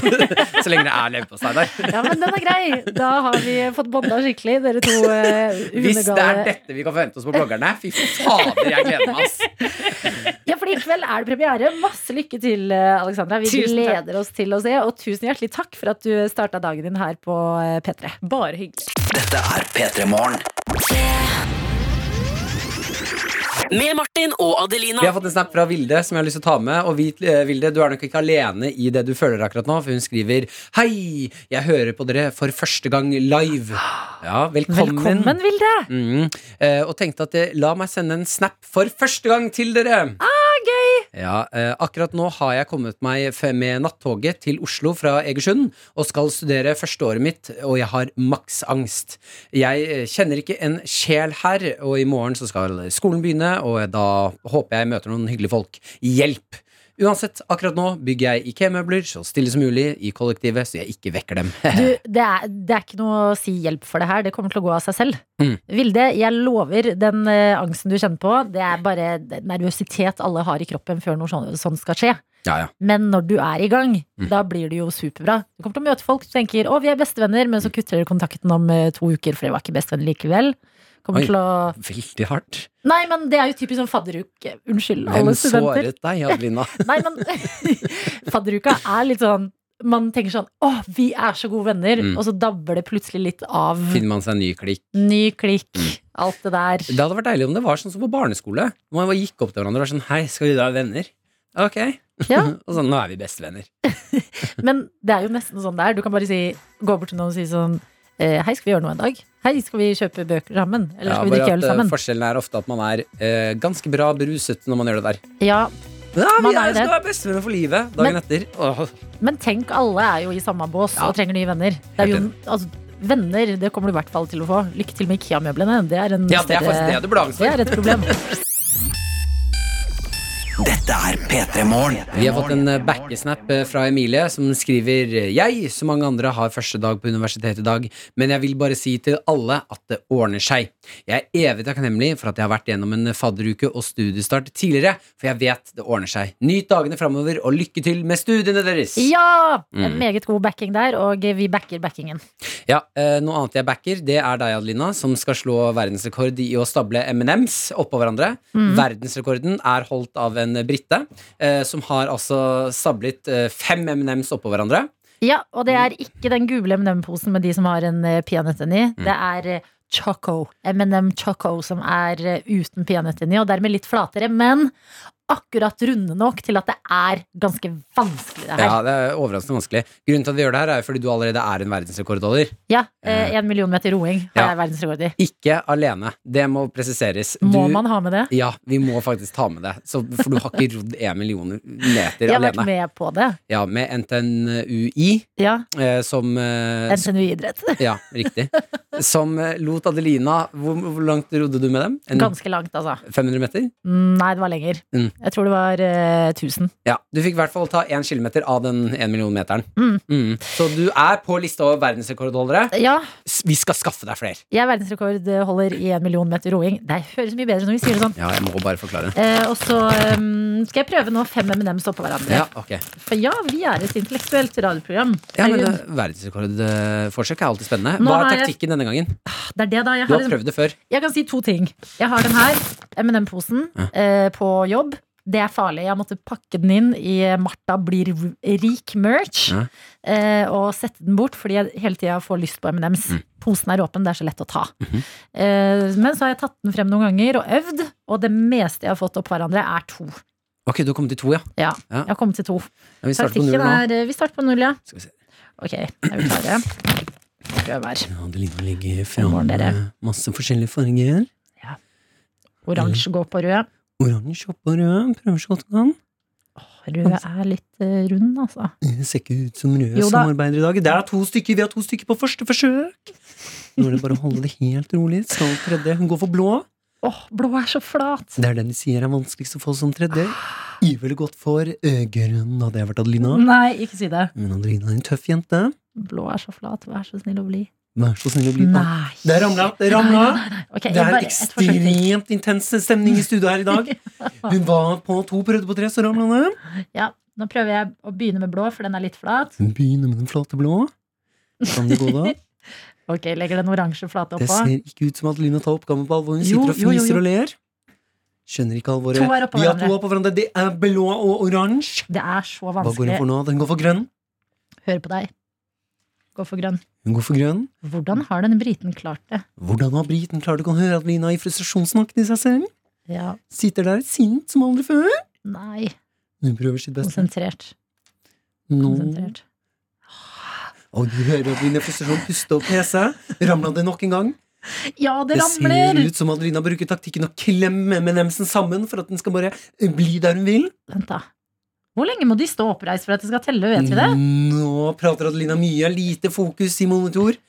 [SPEAKER 3] så lenge det er leverpostei der.
[SPEAKER 2] Ja, men den er grei! Da har vi fått bånda skikkelig, dere to eh,
[SPEAKER 3] Hvis det er
[SPEAKER 2] hundegale.
[SPEAKER 3] dette vi kan forvente oss på bloggerne, fy fader, jeg gleder meg, ass!
[SPEAKER 2] Ja, for i kveld er det premiere. Masse lykke til, eh, Alexandra. Vi
[SPEAKER 10] Tusen takk.
[SPEAKER 2] gleder oss til å se. Og tusen hjertelig takk for at du starta dagen din her på eh, P3.
[SPEAKER 10] Bare hyggelig.
[SPEAKER 8] Dette er P3 Morgen.
[SPEAKER 4] Med Martin og Adelina.
[SPEAKER 3] Vi har fått en snap fra Vilde som jeg har lyst til å ta med. Og vi- eh, Vilde, du er nok ikke alene i det du føler akkurat nå, for hun skriver Hei, jeg hører på dere for første gang live. Ja, velkommen.
[SPEAKER 2] Velkommen, Vilde!
[SPEAKER 3] Mhm. Eh, og tenkte at eh, la meg sende en snap for første gang til dere.
[SPEAKER 2] Ah, gøy!
[SPEAKER 3] Ja, eh, akkurat nå har jeg kommet meg f- med nattoget til Oslo fra Egersund og skal studere første året mitt, og jeg har maksangst. Jeg eh, kjenner ikke en sjel her, og i morgen så skal skolen begynne, og da håper jeg møter noen hyggelige folk. Hjelp! Uansett, akkurat nå bygger jeg IKEA-møbler så stille som mulig i kollektivet, så jeg ikke vekker dem.
[SPEAKER 2] Du, det er, det er ikke noe å si hjelp for det her. Det kommer til å gå av seg selv.
[SPEAKER 3] Mm.
[SPEAKER 2] Vilde, jeg lover den eh, angsten du kjenner på, det er bare nervøsitet alle har i kroppen før noe sånt sånn skal skje.
[SPEAKER 3] Ja, ja.
[SPEAKER 2] Men når du er i gang,
[SPEAKER 3] Mm.
[SPEAKER 2] da blir det jo superbra. Du kommer til å møte folk du tenker 'Å, vi er bestevenner', men så
[SPEAKER 3] Mm.
[SPEAKER 2] kutter dere kontakten om eh, to uker, for dere var ikke bestevenner likevel. Kommer
[SPEAKER 3] Oi.
[SPEAKER 2] til å
[SPEAKER 3] Veldig hardt.
[SPEAKER 2] Nei, men det er jo typisk sånn fadderuke. Unnskyld,
[SPEAKER 3] Hvem
[SPEAKER 2] alle studenter.
[SPEAKER 3] såret deg, Adelina?
[SPEAKER 2] Nei, men fadderuka er litt sånn Man tenker sånn Å, vi er så gode venner.
[SPEAKER 3] Mm.
[SPEAKER 2] Og så dabber det plutselig litt av.
[SPEAKER 3] Finner man seg en ny klikk?
[SPEAKER 2] Ny klikk,
[SPEAKER 3] Mm.
[SPEAKER 2] alt det der.
[SPEAKER 3] Det hadde vært deilig om det var sånn som på barneskole. Hvor man bare gikk opp til hverandre og var sånn Hei, skal vi da være venner? Ok.
[SPEAKER 2] Ja.
[SPEAKER 3] og sånn, nå er vi bestevenner.
[SPEAKER 2] Men det er jo nesten sånn det er. Du kan bare si, gå bort til noen og si sånn eh, Hei, skal vi gjøre noe en dag? Hei, skal vi kjøpe bøker sammen? Eller skal vi
[SPEAKER 3] bare
[SPEAKER 2] drikke øl
[SPEAKER 3] at, eh,
[SPEAKER 2] sammen?
[SPEAKER 3] Forskjellen er ofte at man er eh, ganske bra beruset når man gjør det der.
[SPEAKER 2] Ja,
[SPEAKER 3] Ja, vi
[SPEAKER 2] Man er
[SPEAKER 3] er,
[SPEAKER 2] jo
[SPEAKER 3] skal
[SPEAKER 2] det.
[SPEAKER 3] være bestevenner for livet dagen
[SPEAKER 2] Men-
[SPEAKER 3] etter. Åh,
[SPEAKER 2] Men tenk, alle er jo i samme bås
[SPEAKER 3] Ja.
[SPEAKER 2] og trenger nye venner. Det er jo,
[SPEAKER 3] Helt
[SPEAKER 2] altså, venner det kommer du i hvert fall til å få. Lykke til med IKEA-møblene. Det er en
[SPEAKER 3] Ja, det er
[SPEAKER 2] større-
[SPEAKER 3] faktisk det du burde ha angst for.
[SPEAKER 2] Det er et problem.
[SPEAKER 8] Dette Dette er P3 Morgen.
[SPEAKER 3] Vi har fått en eh, backesnap eh, fra Emilie, som skriver eh, Jeg, som mange andre, har første dag på universitetet i dag, men jeg vil bare si til alle at det ordner seg. Jeg er evig takknemlig for at jeg har vært gjennom en fadderuke og studiestart tidligere, for jeg vet det ordner seg. Nyt dagene framover, og lykke til med studiene deres!
[SPEAKER 2] Ja! En
[SPEAKER 3] Mm.
[SPEAKER 2] meget god backing der, og vi backer backingen.
[SPEAKER 3] Ja, eh, Noe annet jeg backer, det er deg, Adelina, som skal slå verdensrekord i å stable M&M's oppå hverandre.
[SPEAKER 2] Mm.
[SPEAKER 3] Verdensrekorden er holdt av en brite, eh, som har altså stablet eh, fem M&M's oppå hverandre.
[SPEAKER 2] Ja, og det
[SPEAKER 3] Mm.
[SPEAKER 2] er ikke den gule M&M-posen med de som har en eh, peanøtt inni. Det er eh, Choco. M&M Choco som er eh, uten peanøtt inni, og dermed litt flatere, men akkurat runde nok til at det er ganske vanskelig, det
[SPEAKER 3] Ja,
[SPEAKER 2] her.
[SPEAKER 3] det er overraskende vanskelig. Grunnen til at vi gjør det her, er jo fordi du allerede er en verdensrekordholder.
[SPEAKER 2] Ja, eh, en million meter roing har
[SPEAKER 3] Mm. Ja.
[SPEAKER 2] jeg verdensrekord i.
[SPEAKER 3] Ikke alene. Det må presiseres.
[SPEAKER 2] Må
[SPEAKER 3] Du-
[SPEAKER 2] man ha med det?
[SPEAKER 3] Ja, vi må faktisk ta med det. Så, for du har ikke rodd én million meter
[SPEAKER 2] Jeg har vært
[SPEAKER 3] alene.
[SPEAKER 2] med på det.
[SPEAKER 3] Ja, med NTNUI
[SPEAKER 2] Ja,
[SPEAKER 3] eh, som eh, s-
[SPEAKER 2] NTNU idrett.
[SPEAKER 3] Ja, riktig. Som eh, lot Adelina Hvor, hvor langt rodde du med dem? En-
[SPEAKER 2] Ganske langt, altså.
[SPEAKER 3] 500 meter?
[SPEAKER 2] Mm, Nei, det var lenger.
[SPEAKER 3] Mm.
[SPEAKER 2] Jeg tror det var eh, 1000.
[SPEAKER 3] Ja. Du fikk i hvert fall ta én kilometer av den én million meteren.
[SPEAKER 2] Mm.
[SPEAKER 3] Mm. Så du er på lista over verdensrekordholdere.
[SPEAKER 2] Ja,
[SPEAKER 3] S- Vi skal skaffe deg flere.
[SPEAKER 2] jeg er verdensrekordholder i en million meter roing. Det høres mye bedre ut når vi sier det sånn.
[SPEAKER 3] Ja, jeg må bare forklare.
[SPEAKER 2] Eh, og så eh, skal jeg prøve nå fem M&M's oppå hverandre.
[SPEAKER 3] Ja, ok
[SPEAKER 2] For ja, vi er et intellektuelt radioprogram.
[SPEAKER 3] Ja, men
[SPEAKER 2] Herregud.
[SPEAKER 3] eh, Verdensrekordforsøk er alltid spennende.
[SPEAKER 2] Nå
[SPEAKER 3] Hva
[SPEAKER 2] har
[SPEAKER 3] er
[SPEAKER 2] jeg-
[SPEAKER 3] taktikken denne gangen?
[SPEAKER 2] det er det, da. Jeg
[SPEAKER 3] Du
[SPEAKER 2] har,
[SPEAKER 3] har
[SPEAKER 2] liksom,
[SPEAKER 3] prøvd det før.
[SPEAKER 2] jeg kan si to ting. Jeg har den her, M&M-posen, eh, på jobb. Det er farlig. Jeg måtte pakke den inn i Martha blir rik-merch.
[SPEAKER 3] Ja.
[SPEAKER 2] Eh, og sette den bort fordi jeg hele tida får lyst på M&M's.
[SPEAKER 3] Mm.
[SPEAKER 2] Posen er åpen, det er så lett å ta.
[SPEAKER 3] Mhm.
[SPEAKER 2] eh, men så har jeg tatt den frem noen ganger og øvd, og det meste jeg har fått opp hverandre, er to.
[SPEAKER 3] Ok, du har kommet til to, ja.
[SPEAKER 2] Ja,
[SPEAKER 3] Ja.
[SPEAKER 2] jeg har kommet til to.
[SPEAKER 3] ja vi starter på
[SPEAKER 2] Taktikken
[SPEAKER 3] null nå.
[SPEAKER 2] er eh, Vi starter på null, ja.
[SPEAKER 3] Skal vi se.
[SPEAKER 2] Ok, er vi klare? Prøv her.
[SPEAKER 3] Adelina legger
[SPEAKER 2] God
[SPEAKER 3] fram
[SPEAKER 2] morgen, dere.
[SPEAKER 3] eh, masse forskjellige farger.
[SPEAKER 2] Oransje går på rød.
[SPEAKER 3] Oransje oppå rød. Prøver så godt hun kan.
[SPEAKER 2] Rød er litt eh, rund, altså.
[SPEAKER 3] Det ser ikke ut som røde
[SPEAKER 2] Jo da.
[SPEAKER 3] samarbeider i dag. Det er to stykker. Vi har to stykker på første forsøk. Nå er det bare å holde det helt rolig. Skal tredje. Hun går for blå.
[SPEAKER 2] Åh, blå er så flat!
[SPEAKER 3] Det er den de sier er vanskeligst å få som tredje. Ivelig godt for eh, grønn, hadde jeg vært Adelina.
[SPEAKER 2] Nei, ikke si det.
[SPEAKER 3] Men Adelina er en tøff jente.
[SPEAKER 2] Blå er så flat, vær så snill å bli.
[SPEAKER 3] Vær så snill å bli
[SPEAKER 2] Nei.
[SPEAKER 3] Det ramla! Det ramla!
[SPEAKER 2] Nei, nei, nei. Ok,
[SPEAKER 3] Det er
[SPEAKER 2] bare- et forsøk til.
[SPEAKER 3] ekstremt intens stemning i studio her i dag. Hun var på to, prøvde på tre, så ramla det.
[SPEAKER 2] Ja, nå prøver jeg å begynne med blå, for den er litt flat.
[SPEAKER 3] Hun begynner med den flate blå. Kan det gå, da?
[SPEAKER 2] Ok, legger den oransje flate
[SPEAKER 3] Det
[SPEAKER 2] oppå.
[SPEAKER 3] ser ikke ut som at Lina tar oppgaven på alvor. Hun
[SPEAKER 2] Jo,
[SPEAKER 3] sitter og
[SPEAKER 2] jo, jo, jo.
[SPEAKER 3] fniser og ler. Skjønner ikke alvoret.
[SPEAKER 2] To er oppå
[SPEAKER 3] Vi har to
[SPEAKER 2] hverandre.
[SPEAKER 3] oppå hverandre. Det er blå og oransje.
[SPEAKER 2] Det er så
[SPEAKER 3] Hva går hun
[SPEAKER 2] vanskelig.
[SPEAKER 3] for nå? Den går for grønn.
[SPEAKER 2] Hør på deg. Gå for grønn.
[SPEAKER 3] Hun går for grønn.
[SPEAKER 2] Hvordan har den briten klart det?
[SPEAKER 3] Hvordan har briten klart å høre at Lina i frustrasjon snakket i seg selv?
[SPEAKER 2] Ja,
[SPEAKER 3] Sitter der sint som aldri før.
[SPEAKER 2] nei.
[SPEAKER 3] Hun prøver sitt beste.
[SPEAKER 2] Konsentrert. sånn-
[SPEAKER 3] Nå
[SPEAKER 2] Konsentrert.
[SPEAKER 3] Og du hører Adelina frustrasjon puste og pese. Ramla det nok en gang?
[SPEAKER 2] Ja, det
[SPEAKER 3] Det ser
[SPEAKER 2] ramler!
[SPEAKER 3] ut som Adelina bruker taktikken å klemme M&M-en sammen for at den skal bare eh, bli der hun vil.
[SPEAKER 2] Vent, da. Hvor lenge må de stå oppreist for at det skal telle? Vet vi det?
[SPEAKER 3] Mm. Nå prater Adelina mye, lite fokus i monitor.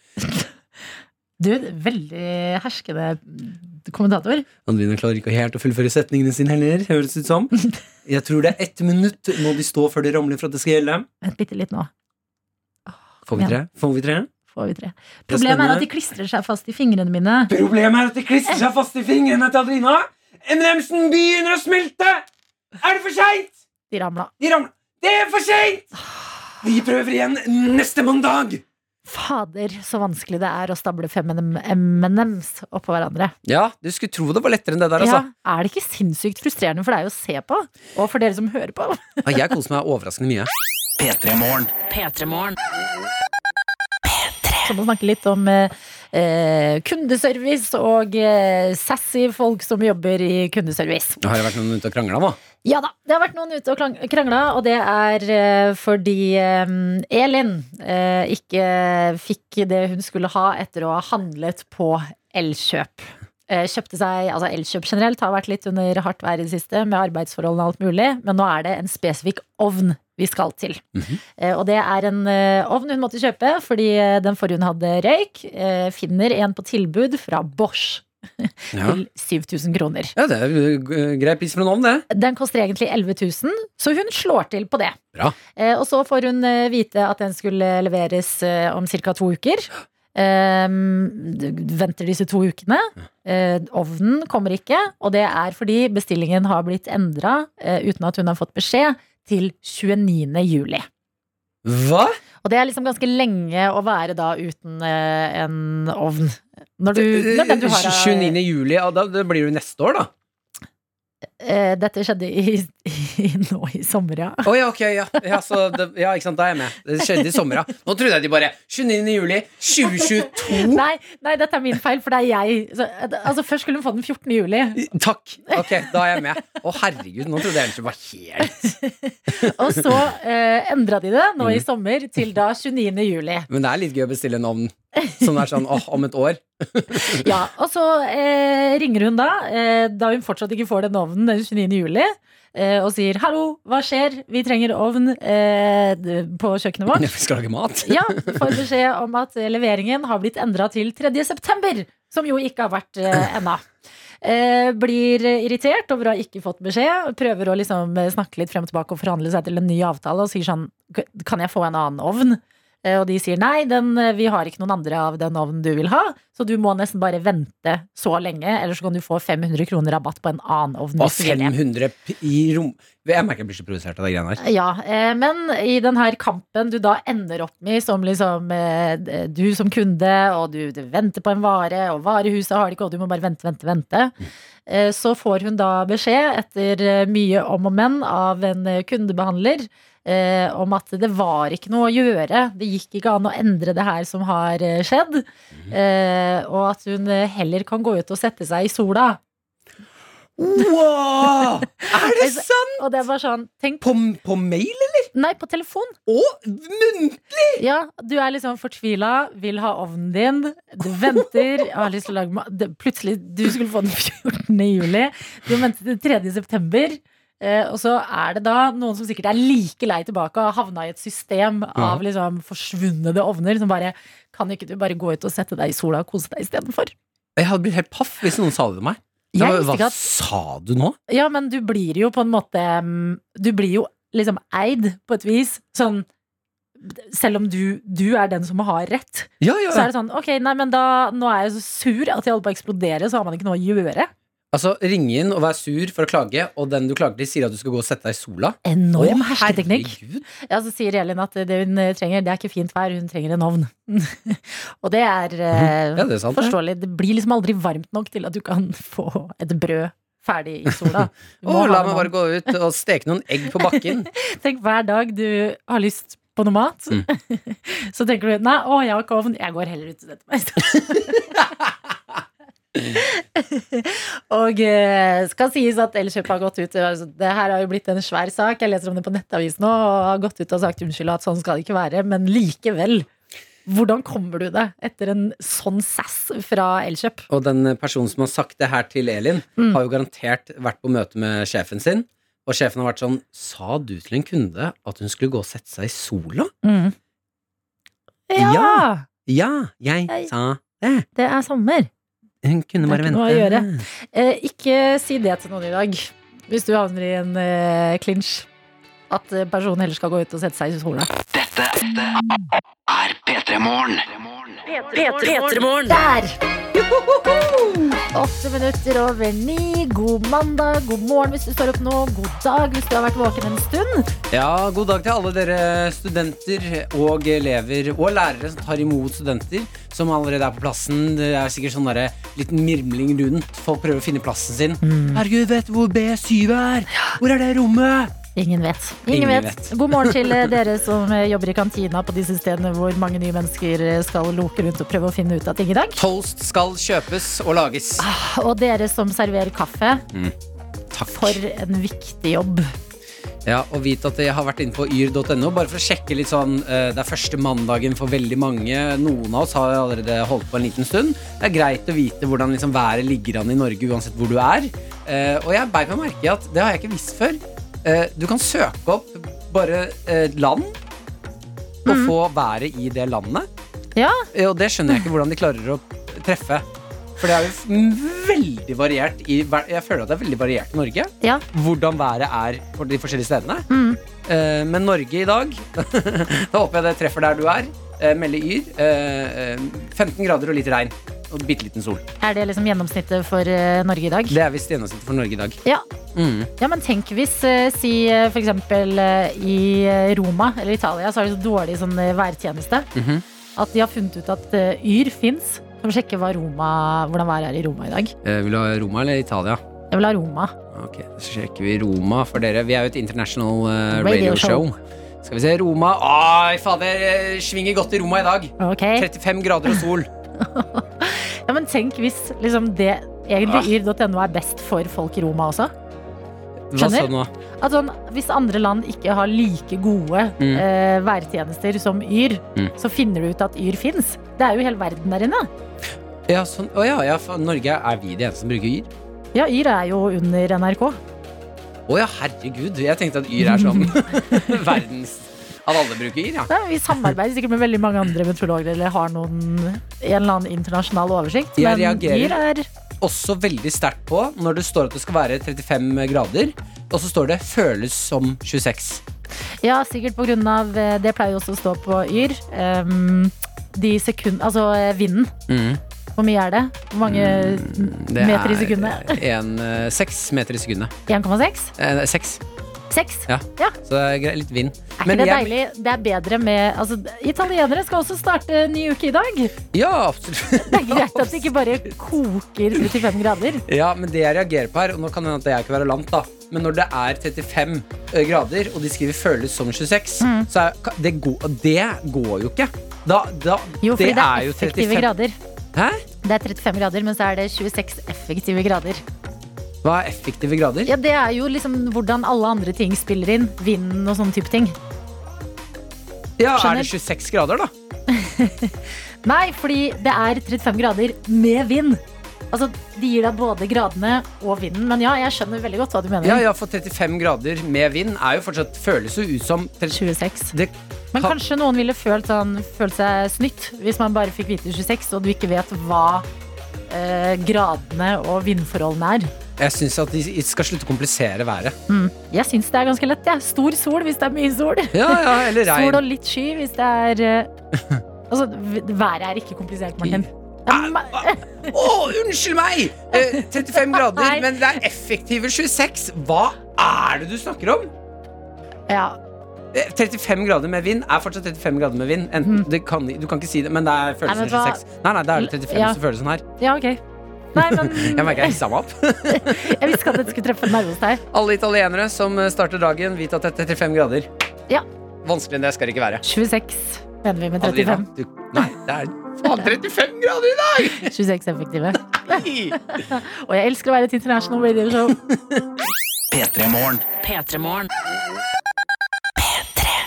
[SPEAKER 2] Du, veldig herskende kommentator.
[SPEAKER 3] Adelina klarer ikke helt å fullføre setningene sine heller, høres ut som. Jeg tror det er ett minutt må de stå før det ramler for at det skal gjelde.
[SPEAKER 2] Vent bitte litt nå.
[SPEAKER 3] Får vi tre? Får vi tre?
[SPEAKER 2] Får vi tre.
[SPEAKER 3] er
[SPEAKER 2] Problemet er
[SPEAKER 3] spennende.
[SPEAKER 2] at de klistrer seg fast i fingrene mine.
[SPEAKER 3] Problemet er at det klistrer seg fast i fingrene til Adelina. M&M-en begynner å smelte! Er det for seint?
[SPEAKER 2] De ramla.
[SPEAKER 3] De ramler. Det er for seint! Vi prøver igjen neste mandag.
[SPEAKER 2] Fader, så vanskelig det er å stable fem M&Ms oppå hverandre.
[SPEAKER 3] Ja, du skulle tro det var lettere enn det der,
[SPEAKER 2] Ja,
[SPEAKER 3] altså.
[SPEAKER 2] er det ikke sinnssykt frustrerende for deg å se på? Og for dere som hører på?
[SPEAKER 3] Ja. Jeg koser meg overraskende mye.
[SPEAKER 8] P3 Morgen.
[SPEAKER 4] P3-morgen.
[SPEAKER 2] Så må vi snakke litt om eh, eh, kundeservice og eh, sassy folk som jobber i kundeservice.
[SPEAKER 3] Har det vært noen ute og krangla, da?
[SPEAKER 2] Ja da, det har vært noen ute og klang- krangla, og det er eh, fordi eh, Elin eh, ikke fikk det hun skulle ha etter å ha handlet på Elkjøp. Eh, kjøpte seg, altså Elkjøp generelt har vært litt under hardt vær i det siste med arbeidsforholdene og alt mulig, men nå er det en spesifikk ovn vi skal til. Eh, Og det er en eh, ovn hun måtte kjøpe fordi eh, den forrige hun hadde røyk. eh, Finner en på tilbud fra Bosch.
[SPEAKER 3] Ja.
[SPEAKER 2] til 7000 kroner.
[SPEAKER 3] ja, det er eh, grei pris for en ovn, det.
[SPEAKER 2] Den koster egentlig 11 000, så hun slår til på det.
[SPEAKER 3] Bra.
[SPEAKER 2] Eh, og så får hun eh, vite at den skulle leveres eh, om ca. to uker. Ehm, d- venter disse to ukene. Eh, ovnen kommer ikke, og det er fordi bestillingen har blitt endra eh, uten at hun har fått beskjed, til 29. juli.
[SPEAKER 3] Hva?
[SPEAKER 2] Og det er liksom ganske lenge å være da uten eh, en ovn. Når du, når den du
[SPEAKER 3] eh,
[SPEAKER 2] har, er-
[SPEAKER 3] 29. juli, ja, da det blir det jo neste år, da.
[SPEAKER 2] Eh, dette skjedde i, i, nå i sommer, ja.
[SPEAKER 3] Å ja, ok, ja. Ja, så det, ja, ikke sant, da er jeg med. Det skjedde i sommer, ja. Nå trodde jeg de bare 29. juli 2022.
[SPEAKER 2] Nei, nei, dette er min feil, for det er jeg. Så, altså, først skulle hun få den 14. juli,
[SPEAKER 3] Takk. Ok, da er jeg med. Å herregud, nå trodde jeg egentlig det var helt
[SPEAKER 2] og så eh, endra de det nå i
[SPEAKER 3] Mm.
[SPEAKER 2] sommer til da 29. juli.
[SPEAKER 3] Men det er litt gøy å bestille en ovn som er sånn åh, om et år.
[SPEAKER 2] Ja, og så eh, ringer hun da, eh, da hun fortsatt ikke får den ovnen den 29. juli, eh, og sier 'hallo, hva skjer, vi trenger ovn eh, d- på kjøkkenet vårt'.
[SPEAKER 3] Jeg skal lage mat.
[SPEAKER 2] Ja, får beskjed om at leveringen har blitt endra til 3. september, som jo ikke har vært eh, ennå. Eh, blir irritert over å ha ikke fått beskjed, prøver å liksom eh, snakke litt frem og tilbake og forhandle seg til en ny avtale, og sier sånn Kan jeg få en annen ovn? Eh, og de sier nei, den, eh, vi har ikke noen andre av den ovnen du vil ha, så du må nesten bare vente så lenge, ellers så kan du få 500 kroner rabatt på en annen ovn.
[SPEAKER 3] Og
[SPEAKER 2] hvis du vil det.
[SPEAKER 3] 500 p- i rom... Jeg merker jeg blir så provosert av de greiene her.
[SPEAKER 2] Ja, eh, men i den her kampen du da ender opp med som liksom eh, Du som kunde, og du, du venter på en vare, og varehuset har det ikke, og du må bare vente, vente, vente. Eh, Så får hun da beskjed, etter eh, mye om og men, av en eh, kundebehandler eh, om at det var ikke noe å gjøre. Det gikk ikke an å endre det her som har eh, skjedd. Eh, Og at hun eh, heller kan gå ut og sette seg i sola.
[SPEAKER 3] Wow! Er det sant?
[SPEAKER 2] Og det var sånn Tenk
[SPEAKER 3] På, på mail, eller?
[SPEAKER 2] Nei, på telefon.
[SPEAKER 3] Og munn!
[SPEAKER 2] Ja, du er liksom fortvila, vil ha ovnen din, du venter og har lyst til å lage mat. Det- Plutselig, du skulle få den 14. juli, du venter til 3. september. eh, Og så er det da noen som sikkert er like lei tilbake og har havna i et system av liksom forsvunne ovner som bare Kan ikke du bare gå ut og sette deg i sola og kose deg istedenfor?
[SPEAKER 3] Jeg hadde blitt helt paff hvis noen sa det til meg.
[SPEAKER 2] Jeg
[SPEAKER 3] Da-
[SPEAKER 2] visste
[SPEAKER 3] Hva
[SPEAKER 2] ikke at
[SPEAKER 3] sa du nå?
[SPEAKER 2] Ja, men du blir jo på en måte mm, Du blir jo liksom eid på et vis. Sånn Selv om du, du er den som har rett.
[SPEAKER 3] Ja, ja.
[SPEAKER 2] Så er det sånn, ok, nei, men da, nå er jeg så sur at jeg holder på å eksplodere, så har man ikke noe å gjøre.
[SPEAKER 3] Altså, ringe inn og være sur for å klage, og den du klager til, sier at du skal gå og sette deg i sola.
[SPEAKER 2] Enorm
[SPEAKER 3] Å,
[SPEAKER 2] hersketeknikk.
[SPEAKER 3] herregud.
[SPEAKER 2] Ja, så sier Elin at det hun eh, trenger, det er ikke fint vær, hun trenger en ovn. og det er, eh,
[SPEAKER 3] Mhm. Ja, det er sant. det.
[SPEAKER 2] forståelig. Det blir liksom aldri varmt nok til at du kan få et brød ferdig i sola. Du
[SPEAKER 3] Å,
[SPEAKER 2] må
[SPEAKER 3] la
[SPEAKER 2] ha
[SPEAKER 3] meg
[SPEAKER 2] noe
[SPEAKER 3] bare gå ut og steke noen egg på bakken.
[SPEAKER 2] mat. Tenk hver dag du har lyst på noe mat,
[SPEAKER 3] Mm.
[SPEAKER 2] så tenker du nei, å, jeg har ikke ovn, jeg går heller ut og setter meg i stedet. Og eh, skal sies at Elkjøp har gått ut altså, Det her har jo blitt en svær sak. Jeg leser om det på nettavisen nå, og har gått ut og sagt unnskyld og at sånn skal det ikke være. Men likevel. Hvordan kommer du deg etter en sånn sass fra Elkjøp?
[SPEAKER 3] Og den personen som har sagt det her til Elin,
[SPEAKER 2] Mm.
[SPEAKER 3] har jo garantert vært på møte med sjefen sin, og sjefen har vært sånn Sa du til en kunde at hun skulle gå og sette seg i sola?
[SPEAKER 2] Ja,
[SPEAKER 3] Ja. Ja, jeg
[SPEAKER 2] Hei.
[SPEAKER 3] sa det.
[SPEAKER 2] Det er sommer.
[SPEAKER 3] Hun kunne
[SPEAKER 2] Det er
[SPEAKER 3] bare
[SPEAKER 2] ikke
[SPEAKER 3] vente.
[SPEAKER 2] noe å Eh, ikke si det til noen i dag, hvis du havner i en eh, clinch. At eh, personen heller skal gå ut og sette seg i sola.
[SPEAKER 8] Dette er P3 Morgen.
[SPEAKER 4] P3morgen.
[SPEAKER 2] Der! Åtte minutter over ni. God mandag, god morgen hvis du står opp nå. God dag hvis du har vært våken en stund.
[SPEAKER 3] Ja, god dag til alle dere studenter og elever og lærere som tar imot studenter som allerede er på plassen. Det er sikkert sånn derre liten mirmling rundt. Folk prøver å finne plassen sin.
[SPEAKER 2] Mm.
[SPEAKER 3] Herregud, vet du hvor B7 er? Hvor er det rommet?
[SPEAKER 2] Ingen vet.
[SPEAKER 3] Ingen
[SPEAKER 2] Ingen vet.
[SPEAKER 3] vet.
[SPEAKER 2] God morgen til eh, dere som eh, jobber i kantina på disse stedene hvor mange nye mennesker eh, skal loke rundt og prøve å finne ut av ting i dag.
[SPEAKER 3] Toast skal kjøpes og lages.
[SPEAKER 2] Og dere som serverer kaffe,
[SPEAKER 3] Takk.
[SPEAKER 2] for en viktig jobb.
[SPEAKER 3] Ja, og vit at jeg har vært inne på yr.no bare for å sjekke litt sånn eh, Det er første mandagen for veldig mange. Noen av oss har allerede holdt på en liten stund. Det er greit å vite hvordan liksom, været ligger an i Norge uansett hvor du er. Eh, og jeg beit meg merke i at det har jeg ikke visst før. Eh, du kan søke opp bare eh, land og få været i det landet.
[SPEAKER 2] Ja.
[SPEAKER 3] Eh, og det skjønner jeg ikke hvordan de klarer å treffe. For det er jo f- veldig variert i, hver- Jeg føler at det er veldig variert i Norge
[SPEAKER 2] Ja.
[SPEAKER 3] Hvordan været er for de forskjellige stedene Eh, Men Norge i dag Da håper jeg det treffer der du er uh, Melde yr eh, eh, 15 grader og litt regn Og bitteliten sol
[SPEAKER 2] Er det liksom gjennomsnittet for eh, Norge i dag?
[SPEAKER 3] Det er visst gjennomsnittet for Norge i dag
[SPEAKER 2] Ja.
[SPEAKER 3] mm.
[SPEAKER 2] ja, men tenk hvis eh, si eh, for eksempel eh, i eh, Roma eller Italia så er det så dårlig sånn eh, værtjeneste
[SPEAKER 3] Mhm.
[SPEAKER 2] at de har funnet ut at eh, Yr fins, som sjekker hva Roma, hvordan været er i Roma i dag.
[SPEAKER 3] Eh, Vil du ha Roma eller Italia?
[SPEAKER 2] Jeg vil ha Roma.
[SPEAKER 3] Ok, så sjekker vi Roma for dere. Vi er jo et international eh,
[SPEAKER 2] Radio
[SPEAKER 3] radio show.
[SPEAKER 2] show.
[SPEAKER 3] Skal vi se, Roma Oi, fader, eh, svinger godt i Roma i dag.
[SPEAKER 2] Ok.
[SPEAKER 3] 35 grader og sol.
[SPEAKER 2] Ja, men tenk hvis liksom det
[SPEAKER 3] Ah.
[SPEAKER 2] egentlig yr.no er best for folk i Roma også.
[SPEAKER 3] Hva sa
[SPEAKER 2] Skjønner.
[SPEAKER 3] du nå?
[SPEAKER 2] At sånn, hvis andre land ikke har like gode
[SPEAKER 3] Mm.
[SPEAKER 2] eh, værtjenester som Yr,
[SPEAKER 3] Mm.
[SPEAKER 2] så finner du ut at Yr fins. Det er jo hele verden der inne.
[SPEAKER 3] Ja, sånn, å ja, ja, faen, Norge er vi de eneste som bruker Yr?
[SPEAKER 2] Ja, Yr er jo under NRK.
[SPEAKER 3] Å ja, herregud. Jeg tenkte at Yr er sånn verdens At alle bruker Yr, ja.
[SPEAKER 2] Ja, vi samarbeider sikkert med veldig mange andre meteorologer eller har noen, en eller annen internasjonal oversikt.
[SPEAKER 3] Jeg
[SPEAKER 2] Men
[SPEAKER 3] reagerer.
[SPEAKER 2] Yr er
[SPEAKER 3] Også veldig sterkt på når det står at det skal være 35 grader, og så står det 'føles som 26'.
[SPEAKER 2] Ja, sikkert på grunn av eh, Det pleier jo også å stå på Yr. ehm, de sekund... Altså eh, vinden.
[SPEAKER 3] Mm.
[SPEAKER 2] Hvor mye er det? Hvor mange
[SPEAKER 3] Det
[SPEAKER 2] meter i
[SPEAKER 3] er,
[SPEAKER 2] sekundet?
[SPEAKER 3] eh, en, eh, Seks meter i sekundet.
[SPEAKER 2] 1,6?
[SPEAKER 3] Eh, Seks.
[SPEAKER 2] 6?
[SPEAKER 3] Ja.
[SPEAKER 2] Ja.
[SPEAKER 3] Så det er greit, litt vind.
[SPEAKER 2] Er ikke det deilig? Det er bedre med altså, Italienere skal også starte en ny uke i dag.
[SPEAKER 3] Ja, absolutt.
[SPEAKER 2] Det er greit at det ikke bare koker 35 grader.
[SPEAKER 3] Ja, men det jeg reagerer på her, og nå kan det hende at jeg ikke være lant, da, men når det er 35 grader, og de skriver 'føles som 26',
[SPEAKER 2] Mm.
[SPEAKER 3] så er, ka- det, går, det går jo ikke. Da, da,
[SPEAKER 2] Jo, fordi det er
[SPEAKER 3] jo
[SPEAKER 2] effektive
[SPEAKER 3] 35
[SPEAKER 2] grader.
[SPEAKER 3] Hæ?
[SPEAKER 2] Det er 35 grader, men så er det 26 effektive grader.
[SPEAKER 3] Hva er effektive grader?
[SPEAKER 2] Ja, Det er jo liksom hvordan alle andre ting spiller inn. Vinden og sånne type ting.
[SPEAKER 3] Ja, er
[SPEAKER 2] skjønner.
[SPEAKER 3] det 26 grader, da?
[SPEAKER 2] Nei, fordi det er 35 grader med vind. Altså, De gir deg både gradene og vinden. Men ja, jeg skjønner veldig godt hva du mener.
[SPEAKER 3] Ja, ja, for 35 grader med vind er jo fortsatt føles jo ut som
[SPEAKER 2] 26.
[SPEAKER 3] Det,
[SPEAKER 2] Men
[SPEAKER 3] kan-
[SPEAKER 2] kanskje noen ville følt, sånn, følt seg snytt hvis man bare fikk vite 26, og du ikke vet hva eh, gradene og vindforholdene er.
[SPEAKER 3] Jeg syns at de skal slutte å komplisere været.
[SPEAKER 2] Mm. Jeg syns det er ganske lett. Ja. Stor sol hvis det er mye sol.
[SPEAKER 3] Ja, ja, eller regn.
[SPEAKER 2] Sol og litt sky hvis det er eh, Altså, v- været er ikke komplisert, Martin. Ja, ma-
[SPEAKER 3] Å, unnskyld meg! Eh, 35 grader,
[SPEAKER 2] Nei.
[SPEAKER 3] men det er effektive 26. Hva er det du snakker om?
[SPEAKER 2] Ja.
[SPEAKER 3] Eh, 35 grader med vind er fortsatt 35 grader med vind. Enten, det kan, du kan ikke si det, men det
[SPEAKER 2] Mm. Nei,
[SPEAKER 3] er
[SPEAKER 2] men
[SPEAKER 3] følelsen
[SPEAKER 2] hva-
[SPEAKER 3] 26. Nei, nei, det er det 35
[SPEAKER 2] Ja.
[SPEAKER 3] som føles sånn her.
[SPEAKER 2] ja, ok. Nei, men
[SPEAKER 3] Jeg merker jeg hissa meg opp.
[SPEAKER 2] jeg visste ikke at dette skulle treffe en nerve hos deg.
[SPEAKER 3] Alle italienere som eh, starter dagen, vet at det er 35 grader.
[SPEAKER 2] Ja.
[SPEAKER 3] Vanskeligere enn det skal det ikke være.
[SPEAKER 2] 26 mener vi med 35.
[SPEAKER 3] Adelina, du, nei, det er faen 35 grader i dag!
[SPEAKER 2] 26 effektive. Og jeg elsker å være et international radio show.
[SPEAKER 8] P3-morgen.
[SPEAKER 4] P3-morgen.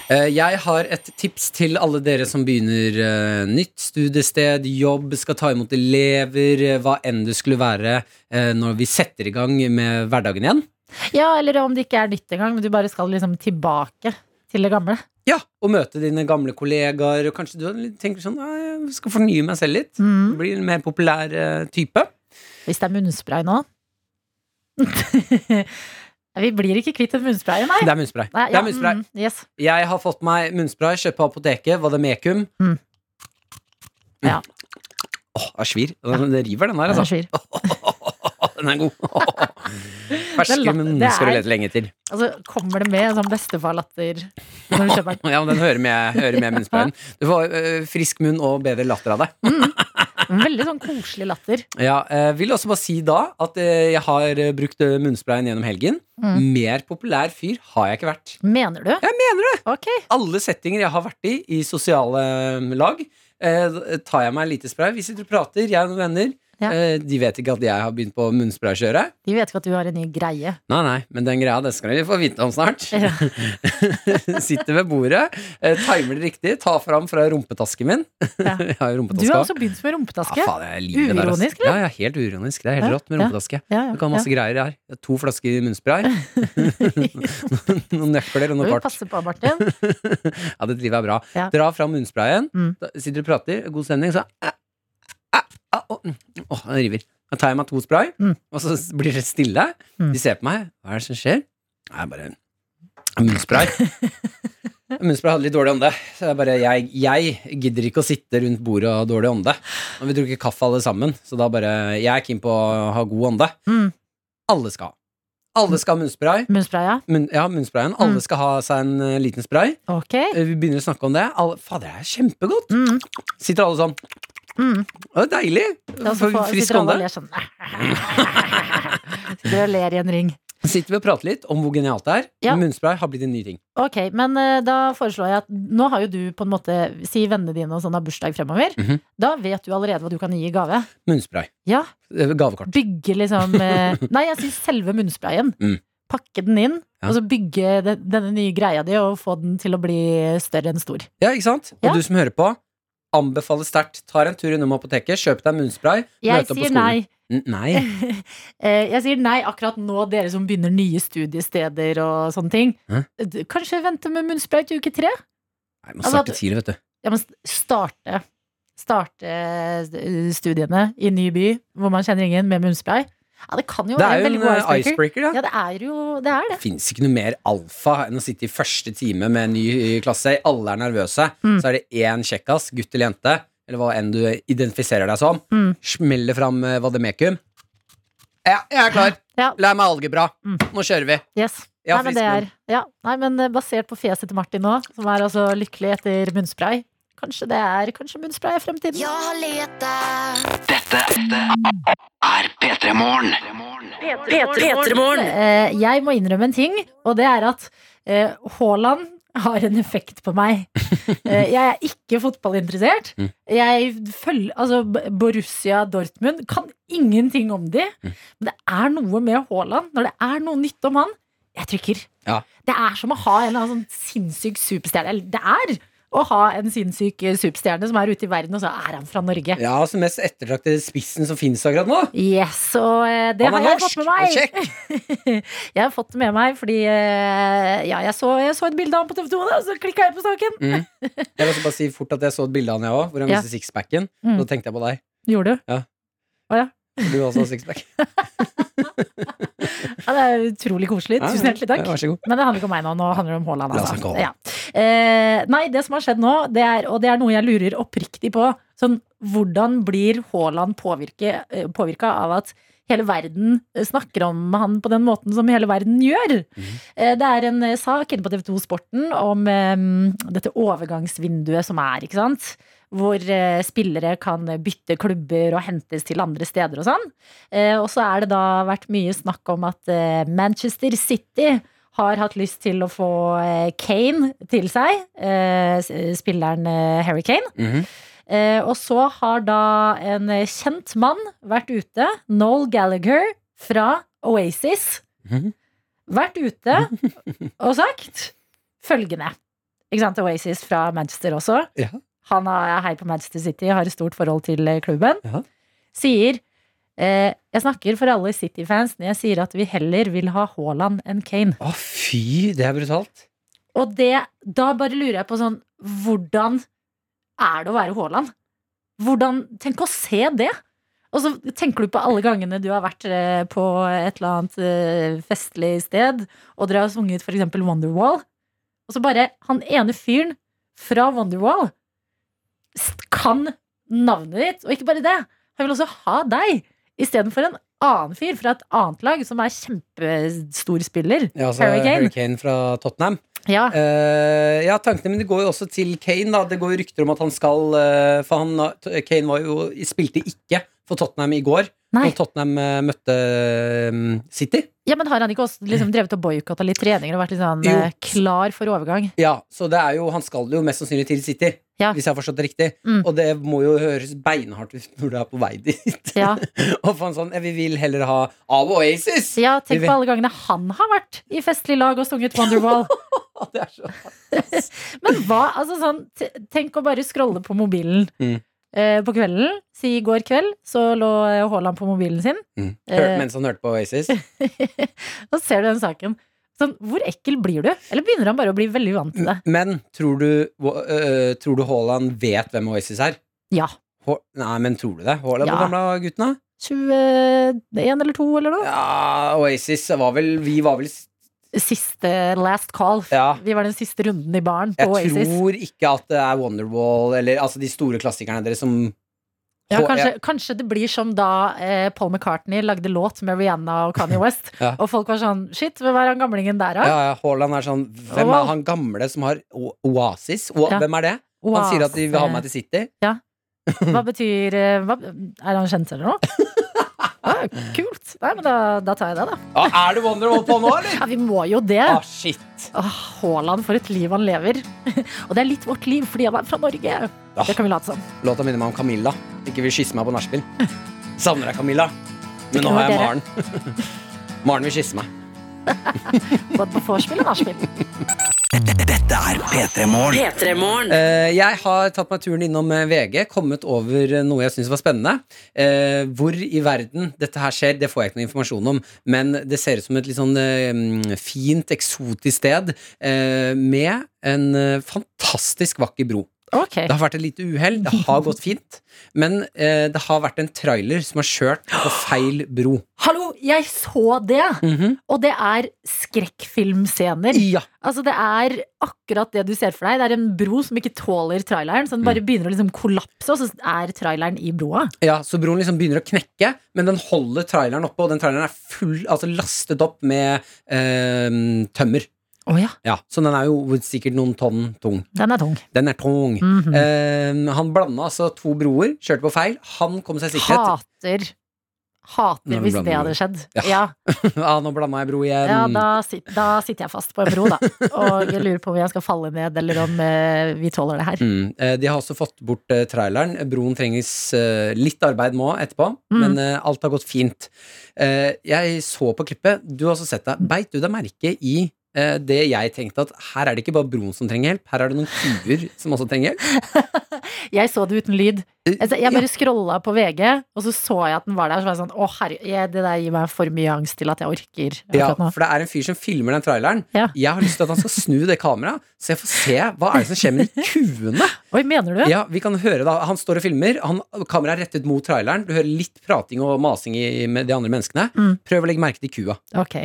[SPEAKER 3] Eh, Jeg har et tips til alle dere som begynner eh, nytt studiested, jobb, skal ta imot elever, eh, hva enn det skulle være eh, når vi setter i gang med hverdagen igjen.
[SPEAKER 2] Ja, eller om det ikke er nytt engang, men du bare skal liksom tilbake til det gamle.
[SPEAKER 3] Ja, Og møte dine gamle kollegaer, og kanskje du tenker sånn «Nei, Jeg skal fornye meg selv litt.
[SPEAKER 2] Mm.
[SPEAKER 3] Bli en mer populær eh, type.
[SPEAKER 2] Hvis det er munnspray nå. Vi blir ikke kvitt en munnspray, nei.
[SPEAKER 3] Det er munnspray.
[SPEAKER 2] Nei,
[SPEAKER 3] Det er munnspray.
[SPEAKER 2] mm, yes.
[SPEAKER 3] Jeg har fått meg munnspray, kjøpt på apoteket, var det Mekum? Mm.
[SPEAKER 2] Mm. Ja.
[SPEAKER 3] Åh, jeg svir. Den- Det river, den her,
[SPEAKER 2] Den
[SPEAKER 3] altså.
[SPEAKER 2] svir.
[SPEAKER 3] Den er god. Ferske
[SPEAKER 2] latter-
[SPEAKER 3] munn
[SPEAKER 2] det
[SPEAKER 3] skal du
[SPEAKER 2] er-
[SPEAKER 3] lete lenge etter.
[SPEAKER 2] Altså, kommer det med en sånn bestefar-latter når du kjøper den?
[SPEAKER 3] Ja, men den hører med, hører med munnsprayen. Du får øh, frisk munn og bedre latter av deg.
[SPEAKER 2] Veldig sånn koselig latter.
[SPEAKER 3] Ja, øh, vil også bare si da at øh, jeg har øh, brukt øh, munnsprayen gjennom helgen.
[SPEAKER 2] Mm.
[SPEAKER 3] Mer populær fyr har jeg ikke vært.
[SPEAKER 2] Mener du?
[SPEAKER 3] Jeg mener det!
[SPEAKER 2] Ok.
[SPEAKER 3] Alle settinger jeg har vært i, i sosiale øh, lag, øh, tar jeg meg en lite spray. Vi sitter og prater, jeg og noen venner.
[SPEAKER 2] Ja.
[SPEAKER 3] Øh, de vet ikke at jeg har begynt på munnspraykjøret.
[SPEAKER 2] De vet ikke at du har en ny greie.
[SPEAKER 3] Nei, nei, men den greia, det skal dere få vite om snart. Sitter ved bordet, eh, timer det riktig, tar fram fra rumpetasken min.
[SPEAKER 2] Ja.
[SPEAKER 3] Jeg har
[SPEAKER 2] Du har
[SPEAKER 3] jo rumpetaske.
[SPEAKER 2] også begynt med rumpetaske.
[SPEAKER 3] Ja, faen, jeg liker det der, ass.
[SPEAKER 2] Uironisk, eller?
[SPEAKER 3] Ja, ja, helt uironisk. Det er
[SPEAKER 2] Ja,
[SPEAKER 3] helt rått med
[SPEAKER 2] ja.
[SPEAKER 3] rumpetaske.
[SPEAKER 2] Ja, ja,
[SPEAKER 3] Du kan ha masse greier jeg har. Jeg har To flasker munnspray. noen nøkler og
[SPEAKER 2] Må
[SPEAKER 3] noe
[SPEAKER 2] vi
[SPEAKER 3] kart.
[SPEAKER 2] passe på, Martin.
[SPEAKER 3] Ja, det driver jeg bra.
[SPEAKER 2] Ja.
[SPEAKER 3] Dra fram munnsprayen,
[SPEAKER 2] Mm.
[SPEAKER 3] da sitter ah, og prater, god stemning, så Æ, æ, æ, å, Åh, den river. Da tar jeg meg to spray,
[SPEAKER 11] Mm.
[SPEAKER 3] og så blir det stille.
[SPEAKER 11] Mm.
[SPEAKER 3] De ser på meg. Hva er det som skjer? Nei, jeg bare Munnspray. Munnspray hadde litt dårlig ånde. Så jeg bare jeg, jeg gidder ikke å sitte rundt bordet og ha dårlig ånde. Og vi drukker kaffe alle sammen, så da bare Jeg er keen på å ha god ånde.
[SPEAKER 2] Mm.
[SPEAKER 3] Alle skal. Alle skal ha munnspray.
[SPEAKER 2] Munnspray, ja.
[SPEAKER 3] Munn, ja, munnsprayen. Alle
[SPEAKER 2] Mm.
[SPEAKER 3] skal ha seg en eh, liten spray.
[SPEAKER 2] Ok.
[SPEAKER 3] Eh, Vi begynner å snakke om det. Alle, Fader, det er kjempegodt! Sitter alle sånn.
[SPEAKER 2] Mm.
[SPEAKER 3] Det er deilig!
[SPEAKER 2] Ja, så
[SPEAKER 3] For
[SPEAKER 2] får-
[SPEAKER 3] frisk
[SPEAKER 2] sitter alle og
[SPEAKER 3] ånde.
[SPEAKER 2] ler sånn. Sitter og ler i en ring.
[SPEAKER 3] Sitter vi og prater litt om hvor genialt det er.
[SPEAKER 2] Ja.
[SPEAKER 3] Munnspray har blitt en ny ting.
[SPEAKER 2] Ok, men eh, da foreslår jeg at nå har jo du på en måte Si vennene dine og sånn har bursdag fremover.
[SPEAKER 3] Mhm.
[SPEAKER 2] Da vet du allerede hva du kan gi i gave.
[SPEAKER 3] Munnspray.
[SPEAKER 2] Ja,
[SPEAKER 3] Eh, Gavekort.
[SPEAKER 2] Bygge liksom eh, Nei, jeg sier selve munnsprayen.
[SPEAKER 3] Mm.
[SPEAKER 2] Pakke den inn,
[SPEAKER 3] Ja.
[SPEAKER 2] og så bygge de- denne nye greia di og få den til å bli større enn stor.
[SPEAKER 3] Ja, ikke sant?
[SPEAKER 2] Ja.
[SPEAKER 3] Og du som hører på, anbefaler sterkt. Tar en tur innom apoteket, kjøp deg munnspray.
[SPEAKER 2] Jeg
[SPEAKER 3] møt opp på
[SPEAKER 2] sier
[SPEAKER 3] skolen.
[SPEAKER 2] nei.
[SPEAKER 3] N- Nei.
[SPEAKER 2] Eh, Jeg sier nei akkurat nå, dere som begynner nye studiesteder og sånne ting.
[SPEAKER 3] Hæ?
[SPEAKER 2] D- Kanskje vente med munnspray til uke tre?
[SPEAKER 3] Nei, man
[SPEAKER 2] Altså,
[SPEAKER 3] starter
[SPEAKER 2] at-
[SPEAKER 3] tidlig, vet du.
[SPEAKER 2] Ja, men st- starte Starte eh, studiene i ny by hvor man kjenner ingen, med munnspray. Ja, det kan jo
[SPEAKER 3] Det er
[SPEAKER 2] være
[SPEAKER 3] jo
[SPEAKER 2] veldig
[SPEAKER 3] en
[SPEAKER 2] god
[SPEAKER 3] eh,
[SPEAKER 2] icebreaker.
[SPEAKER 3] icebreaker,
[SPEAKER 2] Ja,
[SPEAKER 3] da.
[SPEAKER 2] det er jo det. Er det.
[SPEAKER 3] Det fins ikke noe mer alfa enn å sitte i første time med en ny eh, klasse. Alle er nervøse.
[SPEAKER 2] Mm.
[SPEAKER 3] Så er det én kjekkas, gutt eller jente, eller hva enn du identifiserer deg som,
[SPEAKER 2] Mm.
[SPEAKER 3] smeller fram eh, vademekum. Ja, jeg er klar.
[SPEAKER 2] Ja.
[SPEAKER 3] Lær meg algebra.
[SPEAKER 2] Mm.
[SPEAKER 3] Nå kjører vi.
[SPEAKER 2] Yes.
[SPEAKER 3] Ja,
[SPEAKER 2] nei, men det er,
[SPEAKER 3] friskmenn.
[SPEAKER 2] ja. nei, men eh, basert på fjeset til Martin nå, som er altså lykkelig etter munnspray Kanskje det er, kanskje munnspray er fremtiden.
[SPEAKER 8] Jeg har Dette er P3 Morgen.
[SPEAKER 4] Petremorne.
[SPEAKER 2] Eh, Jeg må innrømme en ting, og det er at eh, Haaland har en effekt på meg. Eh, jeg er ikke fotballinteressert.
[SPEAKER 3] Mm.
[SPEAKER 2] Jeg følger Altså, B- Borussia Dortmund kan ingenting om de.
[SPEAKER 3] Mm.
[SPEAKER 2] Men det er noe med Haaland. Når det er noe nytt om han, jeg trykker.
[SPEAKER 3] Ja.
[SPEAKER 2] Det er som å ha en eller annen sånn sinnssyk superstjerne. Eller det er å ha en sinnssyk eh, superstjerne som er ute i verden, og så er han fra Norge.
[SPEAKER 3] Ja, altså mest ettertraktede spissen som finnes akkurat nå.
[SPEAKER 2] Yes, og eh, det
[SPEAKER 3] Han
[SPEAKER 2] har
[SPEAKER 3] er
[SPEAKER 2] jeg
[SPEAKER 3] norsk
[SPEAKER 2] fått med meg.
[SPEAKER 3] og kjekk.
[SPEAKER 2] Jeg har fått det med meg fordi eh, ja, jeg, så, jeg så et bilde av ham på TV 2, og så klikka jeg på saken.
[SPEAKER 3] Mm. Jeg vil også bare si fort at jeg så et bilde av han, jeg òg, hvor han
[SPEAKER 2] Ja.
[SPEAKER 3] viser sixpacken.
[SPEAKER 2] Mm.
[SPEAKER 3] Da tenkte jeg på deg.
[SPEAKER 2] Gjorde du?
[SPEAKER 3] Ja.
[SPEAKER 2] Å, ja.
[SPEAKER 3] For Du også har sixpack.
[SPEAKER 2] Ja, det er utrolig koselig.
[SPEAKER 3] Ja,
[SPEAKER 2] Tusen hjertelig takk.
[SPEAKER 3] ja, vær så god.
[SPEAKER 2] Men det handler ikke om meg nå. Nå handler det om Haaland.
[SPEAKER 3] La oss snakke
[SPEAKER 2] Altså.
[SPEAKER 3] om
[SPEAKER 2] Ja. Eh, nei, det som har skjedd nå, det er, og det er noe jeg lurer oppriktig på sånn, Hvordan blir Haaland påvirka av at hele verden eh, snakker om han på den måten som hele verden gjør?
[SPEAKER 3] Mhm.
[SPEAKER 2] Eh, det er en eh, sak inne på TV2 Sporten om eh, dette overgangsvinduet som er, ikke sant? Hvor eh, spillere kan bytte klubber og hentes til andre steder og sånn. Eh, og så er det da vært mye snakk om at eh, Manchester City har hatt lyst til å få eh, Kane til seg. Eh, s- spilleren eh, Harry Kane.
[SPEAKER 3] Mhm.
[SPEAKER 2] Eh, og så har da en eh, kjent mann vært ute, Noel Gallagher fra Oasis,
[SPEAKER 3] Mhm.
[SPEAKER 2] vært ute og sagt følgende. Ikke sant, Oasis fra Manchester også.
[SPEAKER 3] Ja.
[SPEAKER 2] Han er hei på Manchester City, har et stort forhold til eh, klubben.
[SPEAKER 3] Ja.
[SPEAKER 2] Sier eh, Jeg snakker for alle City-fans når jeg sier at vi heller vil ha Haaland enn Kane.
[SPEAKER 3] Å, fy, det er brutalt.
[SPEAKER 2] Og det, da bare lurer jeg på sånn Hvordan er det å være Haaland? Hvordan, Tenk å se det! Og så tenker du på alle gangene du har vært eh, på et eller annet eh, festlig sted, og dere har sunget for eksempel Wonderwall. Og så bare han ene fyren fra Wonderwall s- kan navnet ditt, og ikke bare det. Han vil også ha deg, istedenfor en annen fyr fra et annet lag som er kjempestor spiller.
[SPEAKER 3] Ja, altså,
[SPEAKER 2] Harry Kane.
[SPEAKER 3] Harry Kane fra Tottenham.
[SPEAKER 2] Ja.
[SPEAKER 3] Eh, ja, tankene mine går jo også til Kane. da Det går jo rykter om at han skal eh, For han, har- Kane var jo, spilte ikke for Tottenham i går,
[SPEAKER 2] Nei.
[SPEAKER 3] når Tottenham eh, møtte eh, City.
[SPEAKER 2] Ja, men Har han ikke også liksom drevet og boikotta litt treninger og vært litt sånn
[SPEAKER 3] Jo.
[SPEAKER 2] eh, klar for overgang?
[SPEAKER 3] Ja, så det er jo, han skal jo mest sannsynlig til City,
[SPEAKER 2] Ja.
[SPEAKER 3] hvis jeg har forstått det riktig.
[SPEAKER 2] Mm.
[SPEAKER 3] Og det må jo høres beinhardt ut når du er på vei dit.
[SPEAKER 2] Ja,
[SPEAKER 3] og faen sånn, eh, Vi vil heller ha av Oasis!
[SPEAKER 2] ja Tenk
[SPEAKER 3] Vi
[SPEAKER 2] på alle gangene han har vært i festlig lag og sunget Wonderwall.
[SPEAKER 3] Ja, det er så
[SPEAKER 2] Men hva, altså sånn t- Tenk å bare scrolle på mobilen
[SPEAKER 3] Mm.
[SPEAKER 2] eh, på kvelden. Si i går kveld så lå eh, Haaland på mobilen sin,
[SPEAKER 3] mm. Hør,
[SPEAKER 2] Eh.
[SPEAKER 3] Mens han hørte på Oasis.
[SPEAKER 2] og så ser du den saken. Sånn, hvor ekkel blir du? Eller begynner han bare å bli
[SPEAKER 3] Mm.
[SPEAKER 2] veldig vant til det?
[SPEAKER 3] Men tror du, eh, tror du Haaland vet hvem Oasis er?
[SPEAKER 2] Ja.
[SPEAKER 3] Hå- Nei, men tror du det? Haaland,
[SPEAKER 2] Ja.
[SPEAKER 3] hvor gamle er gutten, da?
[SPEAKER 2] 21 eller 2 eller noe?
[SPEAKER 3] Ja, Oasis var vel Vi var vel
[SPEAKER 2] Siste last call.
[SPEAKER 3] Ja.
[SPEAKER 2] Vi var den siste runden i baren på
[SPEAKER 3] Jeg
[SPEAKER 2] Oasis.
[SPEAKER 3] tror ikke at det er Wonderwall eller altså de store klassikerne deres som
[SPEAKER 2] Ja,
[SPEAKER 3] Hå-
[SPEAKER 2] kanskje,
[SPEAKER 3] ja.
[SPEAKER 2] kanskje det blir som da eh, Paul McCartney lagde låt med Rihanna og Kanye West.
[SPEAKER 3] Ja.
[SPEAKER 2] Og folk var sånn Shit, hvem er han gamlingen der,
[SPEAKER 3] Ja,
[SPEAKER 2] da?
[SPEAKER 3] ja, Haaland er sånn Hvem
[SPEAKER 2] Wow.
[SPEAKER 3] er han gamle som har o Oasis? O
[SPEAKER 2] Ja.
[SPEAKER 3] Hvem er det? Han sier at de vil ha meg til City.
[SPEAKER 2] Hva betyr eh, hva, Er han kjent eller noe? Ah, kult. Nei, men da, da tar jeg det, da.
[SPEAKER 3] Ja, Ah, er det Wonderwall på nå, eller?
[SPEAKER 2] Ja, vi må jo det.
[SPEAKER 3] Ah, shit.
[SPEAKER 2] Åh, Haaland, for et liv han lever. Og det er litt vårt liv, fordi han er fra Norge.
[SPEAKER 3] Ah.
[SPEAKER 2] Det kan vi late som.
[SPEAKER 3] Låta minner meg om Camilla. Ikke vil kysse meg på nachspiel. Savner deg, Camilla.
[SPEAKER 2] Det
[SPEAKER 3] Men nå
[SPEAKER 2] kan
[SPEAKER 3] har jeg
[SPEAKER 2] være
[SPEAKER 3] Maren. Maren vil kysse meg.
[SPEAKER 2] Både på vorspiel og nachspiel.
[SPEAKER 8] Dette er P3 Morgen.
[SPEAKER 4] P3-morgen.
[SPEAKER 3] Eh, jeg har tatt meg turen innom eh, VG, kommet over eh, noe jeg syns var spennende. Eh, hvor i verden dette her skjer, det får jeg ikke noe informasjon om, men det ser ut som et litt sånn eh, mm, fint, eksotisk sted eh, med en eh, fantastisk vakker bro.
[SPEAKER 2] Ok.
[SPEAKER 3] Det har vært et lite uhell, det har gått fint, men eh, det har vært en trailer som har kjørt på feil bro.
[SPEAKER 2] Hallo, jeg så det!
[SPEAKER 3] Mhm.
[SPEAKER 2] Og det er skrekkfilmscener.
[SPEAKER 3] Ja,
[SPEAKER 2] Altså Det er akkurat det du ser for deg. Det er en bro som ikke tåler traileren, så den
[SPEAKER 3] Mm.
[SPEAKER 2] bare begynner å liksom kollapse, og så er traileren i broa.
[SPEAKER 3] Ja, så broen liksom begynner å knekke, men den holder traileren oppe, og den traileren er full, altså lastet opp med eh, tømmer.
[SPEAKER 2] Å ja,
[SPEAKER 3] Ja, Så den er jo sikkert noen tonn tung.
[SPEAKER 2] den er tung.
[SPEAKER 3] Den er tung.
[SPEAKER 2] Mhm.
[SPEAKER 3] Eh, han blanda altså to broer, kjørte på feil. Han kom seg i sikkerhet.
[SPEAKER 2] Hater
[SPEAKER 3] Når
[SPEAKER 2] Hater
[SPEAKER 3] du
[SPEAKER 2] hvis
[SPEAKER 3] blander
[SPEAKER 2] det hadde
[SPEAKER 3] broer.
[SPEAKER 2] skjedd.
[SPEAKER 3] Ja. Um.
[SPEAKER 2] Ja,
[SPEAKER 3] ah, nå blanda jeg bro igjen.
[SPEAKER 2] ja da, sit, da sitter jeg fast på en bro, da. Og jeg lurer på om jeg skal falle ned, eller om eh, vi tåler det her.
[SPEAKER 3] Mm. Eh, de har også fått bort eh, traileren. Broen trengs eh, litt arbeid nå etterpå,
[SPEAKER 2] Mm.
[SPEAKER 3] men eh, alt har gått fint. Eh, jeg så på klippet, du har også sett det. Beit du deg merke i eh, det jeg tenkte at her er det ikke bare broen som trenger hjelp, her er det noen kuer som også trenger hjelp?
[SPEAKER 2] Jeg så det uten lyd.
[SPEAKER 3] Eh,
[SPEAKER 2] Altså, jeg
[SPEAKER 3] ja.
[SPEAKER 2] bare scrolla på VG, og så så jeg at den var der. Så var jeg sånn, å herre, jeg- det der gir meg for mye angst til at jeg orker
[SPEAKER 3] Ja,
[SPEAKER 2] akkurat nå.
[SPEAKER 3] for det er en fyr som filmer den traileren.
[SPEAKER 2] Ja.
[SPEAKER 3] Jeg har lyst til at han skal snu det kameraet, så jeg får se hva er det som skjer med de kuene.
[SPEAKER 2] Oi, mener du?
[SPEAKER 3] Ja, vi kan høre da Han står og filmer, han, kameraet er rettet mot traileren. Du hører litt prating og masing i, med de andre menneskene.
[SPEAKER 2] Mm.
[SPEAKER 3] Prøv å legge merke til kua.
[SPEAKER 2] Ok.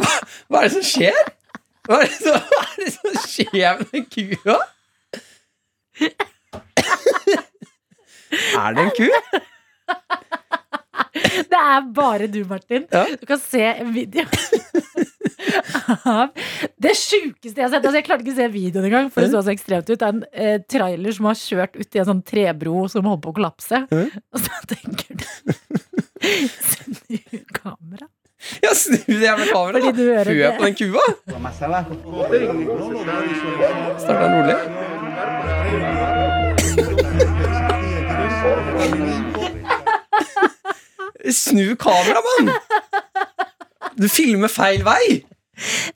[SPEAKER 3] Hva er det som skjer? Hva er det som, hva er det som skjer med kua? er det en ku?
[SPEAKER 2] Det er bare du, Martin.
[SPEAKER 3] Ja.
[SPEAKER 2] Du kan se en video av det sjukeste jeg har sett. Altså, jeg klarte ikke å se videoen engang, for det så så ekstremt ut. Det er en eh, trailer som har kjørt uti en sånn trebro som holder på å kollapse.
[SPEAKER 3] Mhm.
[SPEAKER 2] Og så tenker du Snu kamera.
[SPEAKER 3] Ja, snu det jævla kameraet,
[SPEAKER 2] Fordi du
[SPEAKER 3] da.
[SPEAKER 2] hører
[SPEAKER 3] Hør
[SPEAKER 2] det.
[SPEAKER 3] på den kua. Starter den rolig? Snu kameraet, mann! Du filmer feil vei!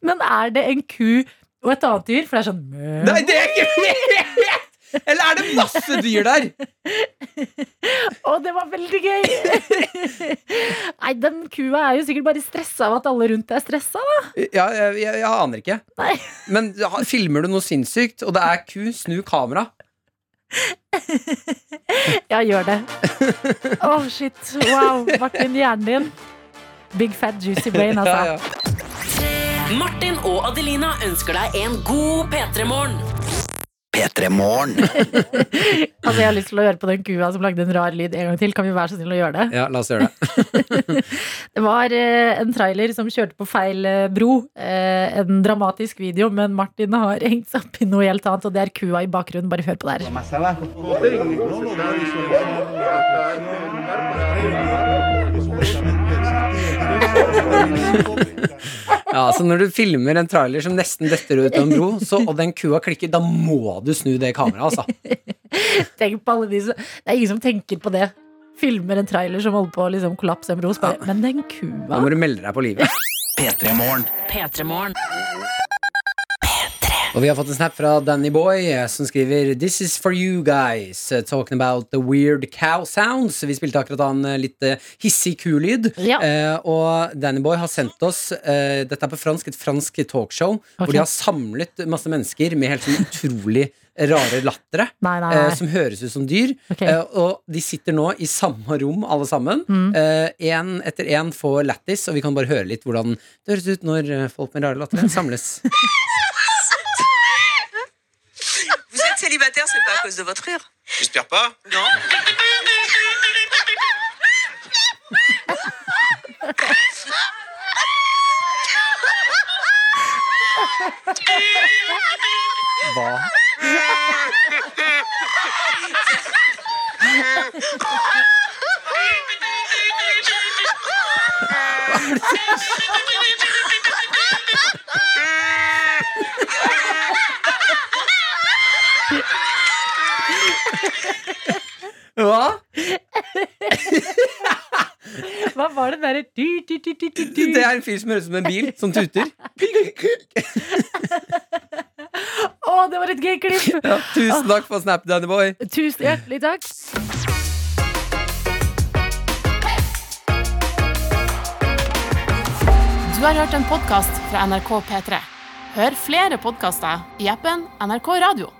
[SPEAKER 2] Men er det en ku og et annet dyr? For det er sånn mø.
[SPEAKER 3] Nei, det er ikke Eller er det masse dyr der?
[SPEAKER 2] Å, det var veldig gøy! Nei, den kua er jo sikkert bare stressa av at alle rundt er stressa, da.
[SPEAKER 3] Ja, jeg, jeg, jeg aner ikke.
[SPEAKER 2] Nei.
[SPEAKER 3] Men ja, filmer du noe sinnssykt, og det er ku, snu kamera.
[SPEAKER 2] Ja, gjør det. Å, shit. Wow. Martin, hjernen din. Big fat juicy brain, altså.
[SPEAKER 3] Ja, ja.
[SPEAKER 4] Martin og Adelina ønsker deg en god P3-morgen.
[SPEAKER 8] P3 Morgen.
[SPEAKER 2] Altså, Jeg har lyst til å høre på den kua som lagde en rar lyd en gang til. Kan vi være så snill å gjøre det?
[SPEAKER 3] Ja, la oss gjøre det.
[SPEAKER 2] Det var eh, en trailer som kjørte på feil eh, bro. Eh, en dramatisk video, men Martin har hengt seg opp i noe helt annet, og det er kua i bakgrunnen. Bare hør på det her.
[SPEAKER 3] Ja, så når du filmer en trailer som nesten detter ut av en bro, så, og den kua klikker, da må du snu det kameraet, altså.
[SPEAKER 2] Tenk på alle de som Det er ingen som tenker på det. Filmer en trailer som holder på å liksom kollapse en bro. så Bare, men den
[SPEAKER 3] Da
[SPEAKER 2] kua
[SPEAKER 3] må du melde deg på livet.
[SPEAKER 8] P3 Morgen.
[SPEAKER 4] P3-morgen.
[SPEAKER 3] Og vi har fått en snap fra Danny Boy eh, som skriver This is for you guys eh, Talking about the weird cow sounds Vi spilte akkurat av en eh, litt eh, hissig kulyd
[SPEAKER 2] Ja.
[SPEAKER 3] Eh, Og Danny Boy har sendt oss eh, Dette er på fransk, et fransk talkshow
[SPEAKER 2] Ok.
[SPEAKER 3] Hvor de har samlet masse mennesker Med helt sånn utrolig rare lattere
[SPEAKER 2] Nei, nei, nei.
[SPEAKER 3] eh, Som høres ut som dyr
[SPEAKER 2] Ok.
[SPEAKER 3] eh, Og de sitter nå i samme rom alle sammen
[SPEAKER 2] Mm.
[SPEAKER 3] eh, En etter en får lattis Og vi kan bare høre litt hvordan det høres ut Når eh, folk med rare lattere samles
[SPEAKER 11] Vous êtes célibataire, c'est pas à cause de votre rire.
[SPEAKER 12] J'espère pas.
[SPEAKER 11] Non.
[SPEAKER 3] Hva? Hva?
[SPEAKER 2] Hva var det derre
[SPEAKER 3] Det er en fyr som høres ut som en bil som tuter.
[SPEAKER 2] Å, det var et gøy klipp!
[SPEAKER 3] Ja, tusen takk for Snap, Danny Boy.
[SPEAKER 2] Tusen hjertelig takk.
[SPEAKER 13] Du har hørt en podkast fra NRK P3. Hør flere podkaster i appen NRK Radio.